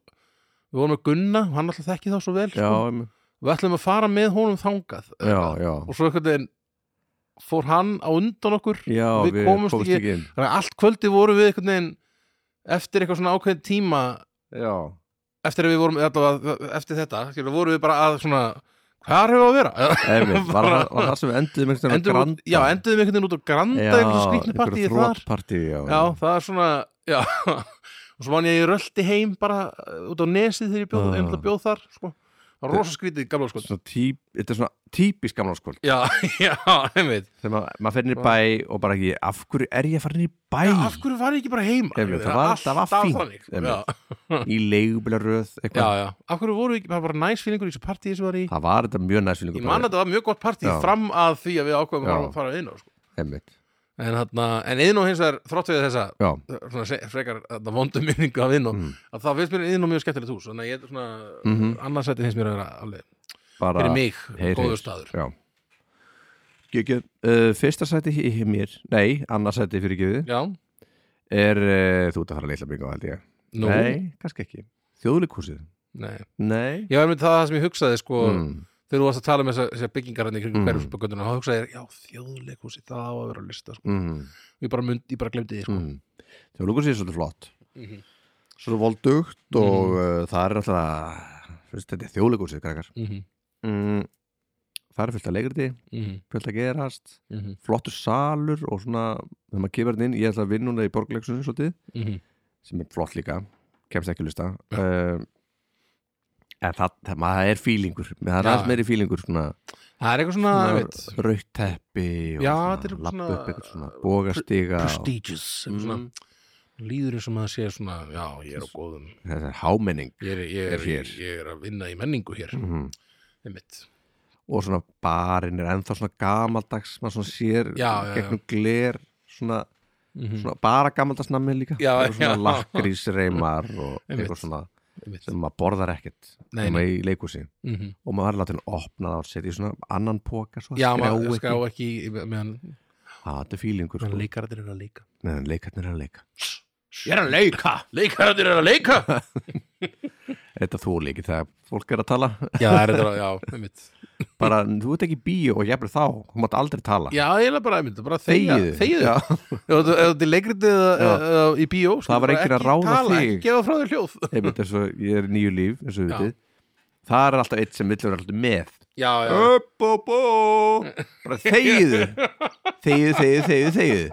[SPEAKER 2] við vorum að gunna hann alltaf þekki þá svo vel
[SPEAKER 1] já,
[SPEAKER 2] sko.
[SPEAKER 1] em-
[SPEAKER 2] við ætlum að fara með honum þangað
[SPEAKER 1] já, já
[SPEAKER 2] og svo einhvern veginn fór hann á undan okkur
[SPEAKER 1] já,
[SPEAKER 2] Við komumst ekki-
[SPEAKER 1] inn
[SPEAKER 2] þannig að allt kvöldi voru við einhvern veginn eftir eitthvað svona ákveðin tíma
[SPEAKER 1] já,
[SPEAKER 2] eftir að við vorum allavega, eftir þetta skilur, voru við bara að svona hvað hefur að vera?
[SPEAKER 1] emi, var,
[SPEAKER 2] Bara-
[SPEAKER 1] það- var það sem við enduðum einhvern veginn á
[SPEAKER 2] Endum, út-
[SPEAKER 1] Granda
[SPEAKER 2] já, enduðum einhvern veginn út á granda eitthvað skrýtni partíi þar
[SPEAKER 1] þrótpartí, já,
[SPEAKER 2] já, það er svona já. og svo man ég að ég rölti heim bara uh, út á nesið þegar ég bjóð,
[SPEAKER 1] Ah.
[SPEAKER 2] uh. bjóð þar sko. það var rosa skrítið í gamla sko
[SPEAKER 1] Svona típ, þetta er svona típisk gamláskvöld
[SPEAKER 2] já, já, einmitt
[SPEAKER 1] þegar maður, maður fer niður í bæ og bara ekki, af hverju er ég að fara niður í bæ
[SPEAKER 2] já, af hverju var ég ekki bara heima?
[SPEAKER 1] Einmitt, það var- það var
[SPEAKER 2] Alltaf
[SPEAKER 1] fínt,
[SPEAKER 2] þannig, sko.
[SPEAKER 1] einmitt.
[SPEAKER 2] já,
[SPEAKER 1] í leigubilaröð
[SPEAKER 2] já,
[SPEAKER 1] eitthvað,
[SPEAKER 2] já, af hverju voru við ekki það var bara næsfílingur í þessu partíi sem var í
[SPEAKER 1] það var þetta mjög næst
[SPEAKER 2] Ég man að þetta var mjög gott partí
[SPEAKER 1] Já.
[SPEAKER 2] fram að því að við ákveðum
[SPEAKER 1] Já.
[SPEAKER 2] að fara- fara að Einó sko.
[SPEAKER 1] einmitt,
[SPEAKER 2] en, þarna, en Einó hins vegar, þrótt við þessa
[SPEAKER 1] já,
[SPEAKER 2] svona, se- frekar þarna, vondum minningu af Einó
[SPEAKER 1] Mm.
[SPEAKER 2] að það finnst mér Einó mjög skemmtilegt hús þannig að ég, svona, mm
[SPEAKER 1] Mhm.
[SPEAKER 2] annars þetta finnst mér að vera alveg,
[SPEAKER 1] bara
[SPEAKER 2] fyrir mig,
[SPEAKER 1] heyr, heyr.
[SPEAKER 2] góður staður
[SPEAKER 1] já Gekjum, uh, fyrsta sæti í í mér nei, annars sæti fyrir gefið
[SPEAKER 2] Já,
[SPEAKER 1] er, uh, þú ert að fara að leitla bingo held ég
[SPEAKER 2] nú, nei,
[SPEAKER 1] nei, kannski ekki, þjóðleikúsið nei,
[SPEAKER 2] Ég var með það sem ég hugsaði sko,
[SPEAKER 1] mm.
[SPEAKER 2] þegar þú varst að tala með þessar þessar byggingar hann í kringum
[SPEAKER 1] Mm.
[SPEAKER 2] mm. hverjusböggönduna þá hugsaði ég, já, þjóðleikhúsi, það á að vera að lista sko.
[SPEAKER 1] Mm.
[SPEAKER 2] ég bara, mynd, ég bara glemdi því sko.
[SPEAKER 1] Mm. þjóðleikúsið er svolítið flott
[SPEAKER 2] Mhm.
[SPEAKER 1] svo voldugt og uh, það er alltaf fyrst, þetta er þjóðleikúsið krakkar
[SPEAKER 2] Mhm,
[SPEAKER 1] mm. það er fullt að leikriti
[SPEAKER 2] mhm,
[SPEAKER 1] fullt að gerast,
[SPEAKER 2] mhm,
[SPEAKER 1] flottur salur og svona, þegar maður kemur hann inn ég ætla að vinna núna í borgleiksunni svolítið
[SPEAKER 2] mhm.
[SPEAKER 1] sem er flott líka, kemst ekki að lusta um, en það, það maður er fílingur, það er
[SPEAKER 2] Já.
[SPEAKER 1] aðeins meiri fílingur svona,
[SPEAKER 2] Það er eitthvað svona,
[SPEAKER 1] svona
[SPEAKER 2] einmitt,
[SPEAKER 1] raut teppi og
[SPEAKER 2] Já, þetta er
[SPEAKER 1] svona,
[SPEAKER 2] eitthvað
[SPEAKER 1] lappa
[SPEAKER 2] svona-
[SPEAKER 1] upp eitthvað svona bógastiga og,
[SPEAKER 2] prestigious mm. svona,
[SPEAKER 1] Mm.
[SPEAKER 2] líður eins og maður sé svona já, ég er á góðum
[SPEAKER 1] þetta er hámenning
[SPEAKER 2] ég er, ég
[SPEAKER 1] Er
[SPEAKER 2] er,
[SPEAKER 1] hér.
[SPEAKER 2] ég, er að vinna í menningu hér mm.
[SPEAKER 1] mm.
[SPEAKER 2] einmitt
[SPEAKER 1] og svona barinn er ennþá svona gamaldags maður svona sér
[SPEAKER 2] Já, já, já.
[SPEAKER 1] gegnum gler svona,
[SPEAKER 2] Mhm.
[SPEAKER 1] svona bara gamaldags nammi líka
[SPEAKER 2] Já,
[SPEAKER 1] Eru svona
[SPEAKER 2] já.
[SPEAKER 1] lakrísreimar og
[SPEAKER 2] Einmitt.
[SPEAKER 1] eitthvað svona
[SPEAKER 2] einmitt
[SPEAKER 1] sem maður borðar ekkert
[SPEAKER 2] Nei,
[SPEAKER 1] nema í leikhúsi
[SPEAKER 2] Mhm.
[SPEAKER 1] og maður er látið að opna það og setja í svona annan póka svo að
[SPEAKER 2] já,
[SPEAKER 1] skrá
[SPEAKER 2] maður skrá
[SPEAKER 1] ekki.
[SPEAKER 2] ekki í- meðan
[SPEAKER 1] Já, þetta er fílingur
[SPEAKER 2] meðan
[SPEAKER 1] sko.
[SPEAKER 2] leikararnir eru að leika
[SPEAKER 1] meðan leikarnir er að leika
[SPEAKER 2] ég er að leika, leikararnir eru að leika
[SPEAKER 1] þetta þú leiki þegar fólk er að tala
[SPEAKER 2] já, það er þetta, já, einmitt
[SPEAKER 1] bara þú ert ekki í bíó og jafnir þá þú mátt aldrei tala
[SPEAKER 2] já, eiginlega bara, einmitt, bara þegja
[SPEAKER 1] Þegiðu.
[SPEAKER 2] þegið,
[SPEAKER 1] Já,
[SPEAKER 2] ef þú- ef þetta er leikritið eða-
[SPEAKER 1] Já.
[SPEAKER 2] eða eða í bíó skilur,
[SPEAKER 1] var
[SPEAKER 2] bara
[SPEAKER 1] enginn að
[SPEAKER 2] ekki
[SPEAKER 1] ráða
[SPEAKER 2] tala,
[SPEAKER 1] þig.
[SPEAKER 2] ekki gefa frá þér hljóð
[SPEAKER 1] einmitt, eins og ég er í nýju líf eins og við
[SPEAKER 2] Já.
[SPEAKER 1] vitið það er alltaf eitt sem vill vera alltaf með
[SPEAKER 2] já, já,
[SPEAKER 1] upp og bó bara þegiðu þegiðu, þegiðu, þegiðu, þegiðu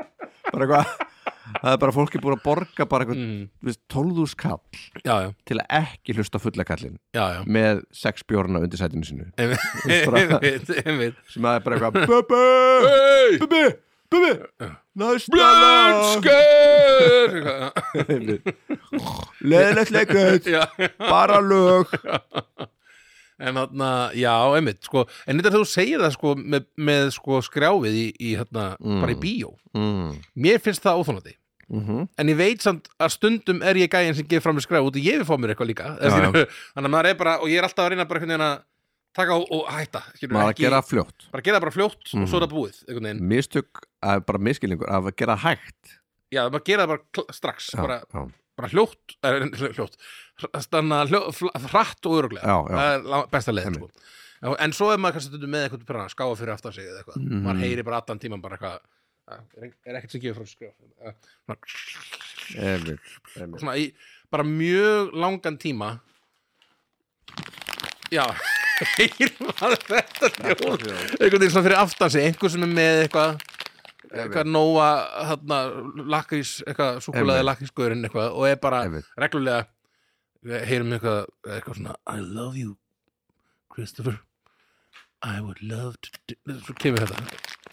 [SPEAKER 1] bara eitthvað það er bara fólk er búin að borga bara eitthvað
[SPEAKER 2] mm,
[SPEAKER 1] mm. tólðúskall
[SPEAKER 2] já, já,
[SPEAKER 1] til að ekki hlusta á fulla kallin
[SPEAKER 2] já, já.
[SPEAKER 1] með sex bjórna undir sætinu sinu
[SPEAKER 2] einmitt, einmitt
[SPEAKER 1] sem það er bara eitthvað Bubi,
[SPEAKER 2] Hey!
[SPEAKER 1] bubi, bubi Næstala
[SPEAKER 2] Blönsker
[SPEAKER 1] Leðilegt leikut,
[SPEAKER 2] Já,
[SPEAKER 1] bara lög
[SPEAKER 2] en þarna, já, einmitt sko, en þetta þegar þú segir það sko með, með sko skrjáfið í, í hérna,
[SPEAKER 1] Mm.
[SPEAKER 2] bara í bíó,
[SPEAKER 1] mm.
[SPEAKER 2] mér finnst það óþólandi
[SPEAKER 1] Mm -hmm.
[SPEAKER 2] en ég veit samt að stundum er ég gæðin sem gefur fram með skrjáf út og ég vil fá mér eitthvað líka
[SPEAKER 1] Já, já.
[SPEAKER 2] þannig að maður er bara, og ég er alltaf að reyna bara einhvern veginn að taka og, og hætta skilur,
[SPEAKER 1] Maður að gera fljótt
[SPEAKER 2] bara gera bara fljótt
[SPEAKER 1] Mm.
[SPEAKER 2] og svo er það búið einhvern veginn,
[SPEAKER 1] Mistök, að, bara miskilningur af að gera hægt
[SPEAKER 2] já, maður gera það bara kl- strax,
[SPEAKER 1] Já,
[SPEAKER 2] Sko bara
[SPEAKER 1] já,
[SPEAKER 2] bara hljótt, er, hljótt stanna hljó, fl- hratt og öruglega
[SPEAKER 1] Já, já.
[SPEAKER 2] það er la- besta leið
[SPEAKER 1] Einmitt.
[SPEAKER 2] sko. Já, en svo er maður kannski stundum með eitthvað pyrrana, skáfa fyrir aftan sig eða eitthvað
[SPEAKER 1] Mhm.
[SPEAKER 2] maður heyri bara allan tíman bara eitthvað "Ah, er, er ekkert sem gefur frá sér skrjá Eh, svona-
[SPEAKER 1] einmitt, einmitt.
[SPEAKER 2] svona í bara mjög langan tíma já heyri maður þetta hljóð einhvern veginn svona fyrir aftan sig einhver sem er með eitthvað eitthvað nóa þarna lakrís eitthvað súkulaði lakrísgöðurinn eitthvað og er bara
[SPEAKER 1] Einmitt.
[SPEAKER 2] reglulega við heyrum eitthvað, eitthvað svona I love you Christopher I would love to do-" svo kemur þetta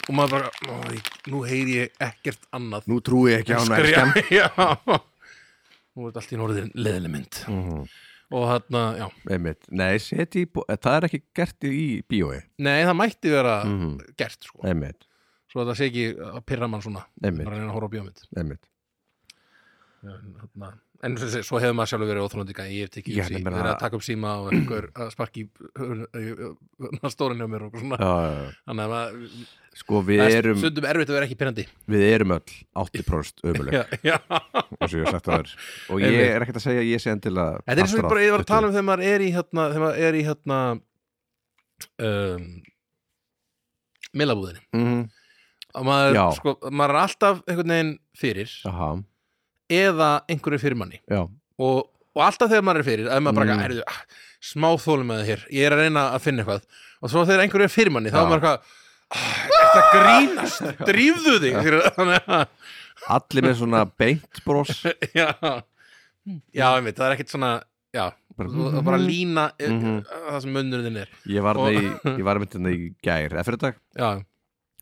[SPEAKER 2] og maður bara, ó, ég, nú heyri ég ekkert annað
[SPEAKER 1] Nú trúi ég ekki á hana elskan.
[SPEAKER 2] já nú er þetta allt í norðin leðileg mynd
[SPEAKER 1] Mhm.
[SPEAKER 2] og þarna, já,
[SPEAKER 1] Einmitt, nei, setji í bó- það er ekki gert í í bíói
[SPEAKER 2] nei það mætti vera
[SPEAKER 1] Mhm.
[SPEAKER 2] gert sko,
[SPEAKER 1] Einmitt
[SPEAKER 2] svo þetta sé ekki að pyrra mann svona
[SPEAKER 1] einmitt,
[SPEAKER 2] bara að reyna að horfa á bíómynd
[SPEAKER 1] einmitt
[SPEAKER 2] en, þarna- Hérna. en svo, svo hefur maður sjálfur verið óþrólandi ég hef tekið
[SPEAKER 1] Já,
[SPEAKER 2] upp sí,
[SPEAKER 1] ég meina-
[SPEAKER 2] verið að taka upp síma og einhver að sparki stórin hjá mér og svona
[SPEAKER 1] já, já, já.
[SPEAKER 2] þannig að maður,
[SPEAKER 1] sko við
[SPEAKER 2] það er
[SPEAKER 1] erum,
[SPEAKER 2] stundum erfitt að vera ekki pyrrandi
[SPEAKER 1] við erum öll 80% ömuleg
[SPEAKER 2] já, já.
[SPEAKER 1] eins og ég hef sagt það er og ég
[SPEAKER 2] Einmitt.
[SPEAKER 1] er ekkert að segja að ég sé endilega
[SPEAKER 2] þetta er eins og ég
[SPEAKER 1] partur
[SPEAKER 2] bara ég var
[SPEAKER 1] af
[SPEAKER 2] að tala um þegar maður er í hérna, þegar maður er í hérna um, millabúðinni
[SPEAKER 1] Mhm,
[SPEAKER 2] og maður,
[SPEAKER 1] Já.
[SPEAKER 2] sko, maður er alltaf einhvern veginn fyrir
[SPEAKER 1] Aha,
[SPEAKER 2] eða einhverju fyrir manni
[SPEAKER 1] já,
[SPEAKER 2] og, og alltaf þegar maður er fyrir að maður bara
[SPEAKER 1] Mm.
[SPEAKER 2] mm. erðu, ah, smá þólum með það hér ég er að reyna að finna eitthvað og svo þegar einhverju er fyrir manni þá
[SPEAKER 1] Já.
[SPEAKER 2] er maður eitthvað "Ah, ertu að grínast, drífðu þig skilurðu, þannig að
[SPEAKER 1] allir með svona beint bros
[SPEAKER 2] já, já einmitt, það er ekkert svona já,
[SPEAKER 1] Bara-
[SPEAKER 2] þú- það er bara lína mm
[SPEAKER 1] Mhm.
[SPEAKER 2] það sem munnurinn er
[SPEAKER 1] Ég var
[SPEAKER 2] Og-
[SPEAKER 1] með, ég var með þetta í gær eða fyrir dag,
[SPEAKER 2] já,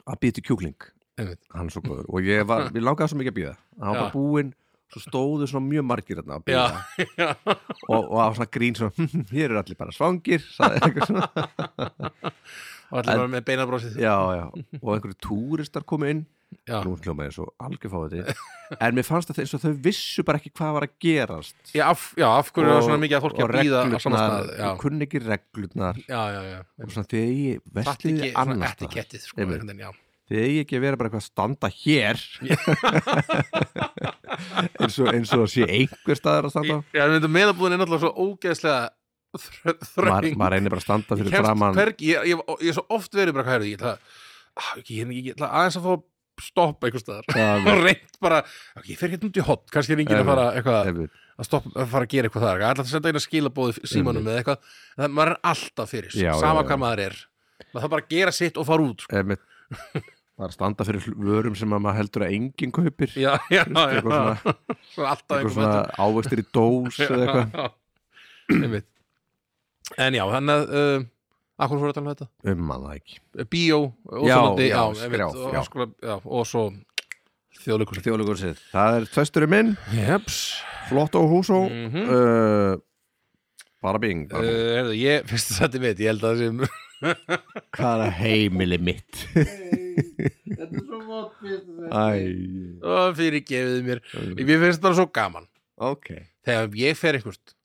[SPEAKER 1] að býta í kjúkling
[SPEAKER 2] einmitt,
[SPEAKER 1] hann er svo góður og ég var, við langaði svo mikið að býða hann var
[SPEAKER 2] Já.
[SPEAKER 1] bara búinn, svo stóðu svona mjög margir þarna að býða
[SPEAKER 2] já, já
[SPEAKER 1] og, og það var svona grín svona, "Hm, hér eru allir bara svangir sagði eitthvað svona,
[SPEAKER 2] og allir bara með beinabrósið
[SPEAKER 1] já, já og einhverju túristar komu inn
[SPEAKER 2] já.
[SPEAKER 1] nú hljómaði eins og algjör fáið en mér fannst það eins og þau vissu bara ekki hvað var að gerast
[SPEAKER 2] Já, af, já, af hverju er það svona mikið að fólki
[SPEAKER 1] og
[SPEAKER 2] að býða á sama
[SPEAKER 1] reglurnar,
[SPEAKER 2] stað já,
[SPEAKER 1] ég kunni ekki reglurnar
[SPEAKER 2] já, já, já.
[SPEAKER 1] og svona þegar ég
[SPEAKER 2] Fatt
[SPEAKER 1] vestið
[SPEAKER 2] ekki
[SPEAKER 1] þið
[SPEAKER 2] svona
[SPEAKER 1] annars staðar.
[SPEAKER 2] etikettið sko,
[SPEAKER 1] Einmitt.
[SPEAKER 2] hvernig, já.
[SPEAKER 1] þegar ég ekki að vera bara eitthvað að standa hér eins, og, eins og að sé einhver staðar að standa
[SPEAKER 2] Já, en þetta meðabúðin er náttúrulega svo ógeðslega þr-
[SPEAKER 1] maður
[SPEAKER 2] þröng
[SPEAKER 1] maður reynir bara að standa
[SPEAKER 2] Ég
[SPEAKER 1] fyrir
[SPEAKER 2] kemst
[SPEAKER 1] framann
[SPEAKER 2] hvergi- ég, ég, ég er svo oft verið bara hvað er það ah, ég, ég, ég, ég ætla aðeins að fá að stoppa einhvers staðar
[SPEAKER 1] Já,
[SPEAKER 2] og reynd bara, ok, ég fer hérna út í hot kannski er enginn að fara eitthvað
[SPEAKER 1] einmitt.
[SPEAKER 2] að, stoppa, að fara að gera eitthvað þar alltaf að senda einu skilabóð í símanum eða eitthvað en það, maður er alltaf fyrir,
[SPEAKER 1] Já, já,
[SPEAKER 2] sama
[SPEAKER 1] já.
[SPEAKER 2] hvað maður er maður þarf bara að gera sitt og fara út sko.
[SPEAKER 1] einmitt. maður er að standa fyrir hl- vörum sem að maður heldur að enginn kaupir
[SPEAKER 2] já, já, já,
[SPEAKER 1] eitthvað svona,
[SPEAKER 2] Svo
[SPEAKER 1] eitthvað
[SPEAKER 2] alltaf einhver
[SPEAKER 1] svona
[SPEAKER 2] matur.
[SPEAKER 1] ávextir í dós eða eitthvað
[SPEAKER 2] Já, já. Einmitt. en já, hann að uh, akkur fór að tala um þetta
[SPEAKER 1] um maður það ekki
[SPEAKER 2] bíó,
[SPEAKER 1] Já,
[SPEAKER 2] óþólandi
[SPEAKER 1] já,
[SPEAKER 2] einmitt,
[SPEAKER 1] skrjáf,
[SPEAKER 2] og,
[SPEAKER 1] já.
[SPEAKER 2] Skula, já, og svo þjóðleikur
[SPEAKER 1] Þjóðlegur sér. það er tvesturinn minn,
[SPEAKER 2] Jeps
[SPEAKER 1] flott og hús og
[SPEAKER 2] mm
[SPEAKER 1] uh, bara bing
[SPEAKER 2] uh,
[SPEAKER 1] bara bing.
[SPEAKER 2] heyrðu, Ég, fyrst að þetta er mitt, ég held að það um-
[SPEAKER 1] hvað er heimili mitt
[SPEAKER 2] Þetta er svo mótt
[SPEAKER 1] Ah. Æ,
[SPEAKER 2] Og fyrir gefið mér Mér finnst bara svo gaman
[SPEAKER 1] ok
[SPEAKER 2] Þegar ég fer einhvert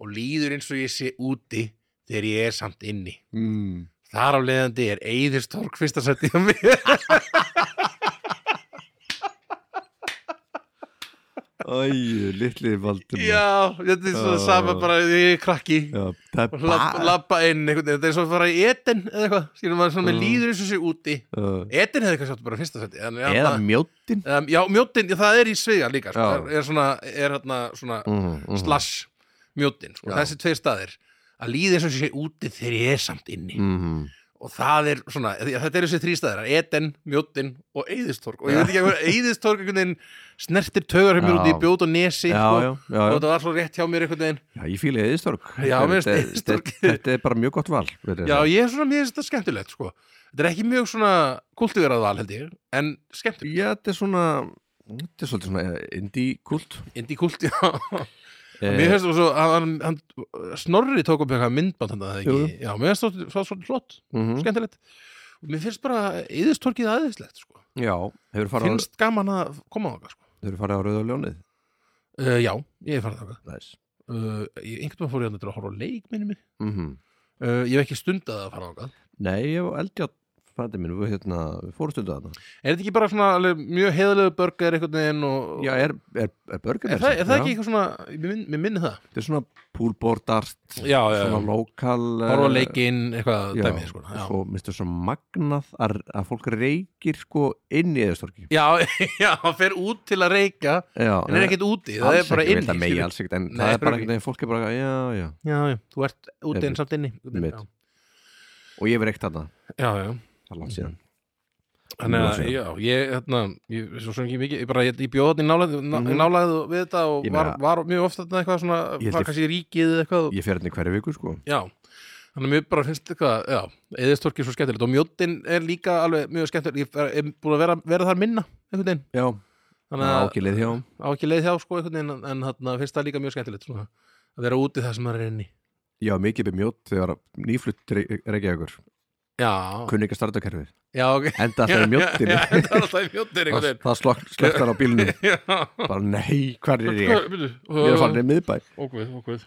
[SPEAKER 2] og líður eins og ég sé úti þegar ég er samt inni
[SPEAKER 1] mm.
[SPEAKER 2] Þar af leiðandi er Eyðistorg fyrsta sætti á mér
[SPEAKER 1] Æ, litli Valdimar
[SPEAKER 2] Já, þetta er
[SPEAKER 1] Ah.
[SPEAKER 2] svona sama bara því ég er krakki
[SPEAKER 1] Já, það er
[SPEAKER 2] Lab-
[SPEAKER 1] bara
[SPEAKER 2] labba inn, einhvern veginn, þetta er svo að fara í eten eða eitthvað, skilum maður
[SPEAKER 1] Mm.
[SPEAKER 2] svona með líður eins og sé úti
[SPEAKER 1] uh,
[SPEAKER 2] eten hefði kannski átt bara fyrsta seti en, já,
[SPEAKER 1] Eða
[SPEAKER 2] það-
[SPEAKER 1] mjóttin
[SPEAKER 2] um, já, mjótin, já, það er í sviga líka sko,
[SPEAKER 1] Já.
[SPEAKER 2] er, er svona, er hérna svona
[SPEAKER 1] mm,
[SPEAKER 2] slash mjótin, sko,
[SPEAKER 1] Já.
[SPEAKER 2] þessi tveir staðir að líða eins og sé úti þegar ég er samt inni
[SPEAKER 1] mm,
[SPEAKER 2] og það er svona, því að þetta eru þessi þrý staðir eten, mjótin og eyðistorg og ég veit ekki að hverju eyðistorg einhvern veginn snertir taugar hjá mér
[SPEAKER 1] Já.
[SPEAKER 2] út í bjót og nesi
[SPEAKER 1] Já,
[SPEAKER 2] sko,
[SPEAKER 1] já, já,
[SPEAKER 2] og
[SPEAKER 1] já.
[SPEAKER 2] þetta var svo rétt hjá mér einhvern veginn
[SPEAKER 1] já Ég fíla eðistorg
[SPEAKER 2] Já, mér finnst Eiðistorg-
[SPEAKER 1] þetta, þetta er bara mjög gott val veit þið
[SPEAKER 2] Já,
[SPEAKER 1] það?
[SPEAKER 2] ég er svona, mér finnst þetta skemmtilegt sko. Þetta er ekki mjög svona kultiverað val held ég, en skemmtilegt
[SPEAKER 1] já, þetta er svona Þetta er svolítið svona indie kult
[SPEAKER 2] Indi kult, já eh,
[SPEAKER 1] Eh,
[SPEAKER 2] Mér finnst þú svo, hann, hann, Snorri tók upp eitthvað myndband hann það
[SPEAKER 1] Jú,
[SPEAKER 2] ekki Já, mér finnst það svo- svolítið flott,
[SPEAKER 1] -hmm.
[SPEAKER 2] skemmtilegt Og mér finnst bara yðistorkið aðeinslegt sko.
[SPEAKER 1] Já, hefur farið, Finnst...
[SPEAKER 2] Finnst gaman að koma á það sko.
[SPEAKER 1] hefur farið á Rauða Ljónið
[SPEAKER 2] uh, Já, ég er farið þangað
[SPEAKER 1] Næs
[SPEAKER 2] uh, ég- Einhvern veginn fór ég þarna til að horfa á leik minni mig
[SPEAKER 1] mm -hmm.
[SPEAKER 2] uh, Ég hef ekki stundað að fara þangað
[SPEAKER 1] Nei, ég var eldjátt frændi minn, við, hérna, við fórum stundu að það
[SPEAKER 2] Er þetta ekki bara svona alveg, mjög heiðalegu börgar einhvern veginn og
[SPEAKER 1] Já, er, er, er börgum
[SPEAKER 2] Er það, er það ekki eitthvað svona, mér minn- mér minni það
[SPEAKER 1] Þetta er svona púlbordart
[SPEAKER 2] Já, já,
[SPEAKER 1] svona lokal
[SPEAKER 2] horfa á
[SPEAKER 1] eh,
[SPEAKER 2] leikinn, eitthvað
[SPEAKER 1] já,
[SPEAKER 2] dæmi sko. já.
[SPEAKER 1] svo minnst svo magnað að, að fólk reykir sko inn í eðistorki
[SPEAKER 2] Já, já, hann fer út til að reyka
[SPEAKER 1] já,
[SPEAKER 2] en er ekkert úti, það er bara
[SPEAKER 1] ekki,
[SPEAKER 2] inni
[SPEAKER 1] veit að megi
[SPEAKER 2] skilur.
[SPEAKER 1] Eh, alls ekkert en
[SPEAKER 2] Nei,
[SPEAKER 1] það er bara
[SPEAKER 2] ekki.
[SPEAKER 1] einhvern veginn fólk er bara já, já,
[SPEAKER 2] já, já, þú ert úti
[SPEAKER 1] Einmitt.
[SPEAKER 2] en samt inni
[SPEAKER 1] Einmitt.
[SPEAKER 2] Já,
[SPEAKER 1] og ég verið ekkert þarna
[SPEAKER 2] já, já.
[SPEAKER 1] það er langt síðan
[SPEAKER 2] Mm. Þannig að,
[SPEAKER 1] Ljósið.
[SPEAKER 2] já, ég, hérna ég, svo sem ekki mikið, ég bara, ég, ég bjóð hann í nálæð ná,
[SPEAKER 1] Mhm.
[SPEAKER 2] nálæð og við þetta og
[SPEAKER 1] Ég
[SPEAKER 2] var,
[SPEAKER 1] meina-
[SPEAKER 2] var mjög ofta þetta eitthvað svona,
[SPEAKER 1] Ég held
[SPEAKER 2] var
[SPEAKER 1] ég-
[SPEAKER 2] kannski í ríkið eða eitthvað,
[SPEAKER 1] ég fer hérna í hverju viku sko
[SPEAKER 2] já Þannig að mér bara finnst eitthvað, já, eðistorkið svo skemmtilegt og mjóttin er líka alveg mjög skemmtilegt, ég er- er búin að vera, vera þar minna, einhvern veginn,
[SPEAKER 1] já,
[SPEAKER 2] þannig að
[SPEAKER 1] ágilið hjá
[SPEAKER 2] á ekki leið hjá sko einhvern veginn en- en þarna finnst það líka mjög skemmtilegt svona, að vera úti það sem maður er inni
[SPEAKER 1] já, mikið byrð mjótt þegar nýflutt reykja ykkur
[SPEAKER 2] Já,
[SPEAKER 1] kunni ekki að starta kerfið
[SPEAKER 2] já, ok
[SPEAKER 1] enda alltaf í mjóttinni
[SPEAKER 2] Já, það er alltaf í mjóttinni
[SPEAKER 1] það,
[SPEAKER 2] einhvern
[SPEAKER 1] það slokk- slökkt hann á bílnum
[SPEAKER 2] veginn. Já.
[SPEAKER 1] bara nei, hvar er ég?
[SPEAKER 2] Hvað, byrju,
[SPEAKER 1] Ég er að fara nefn miðbæ
[SPEAKER 2] Ókvöð, ókvöð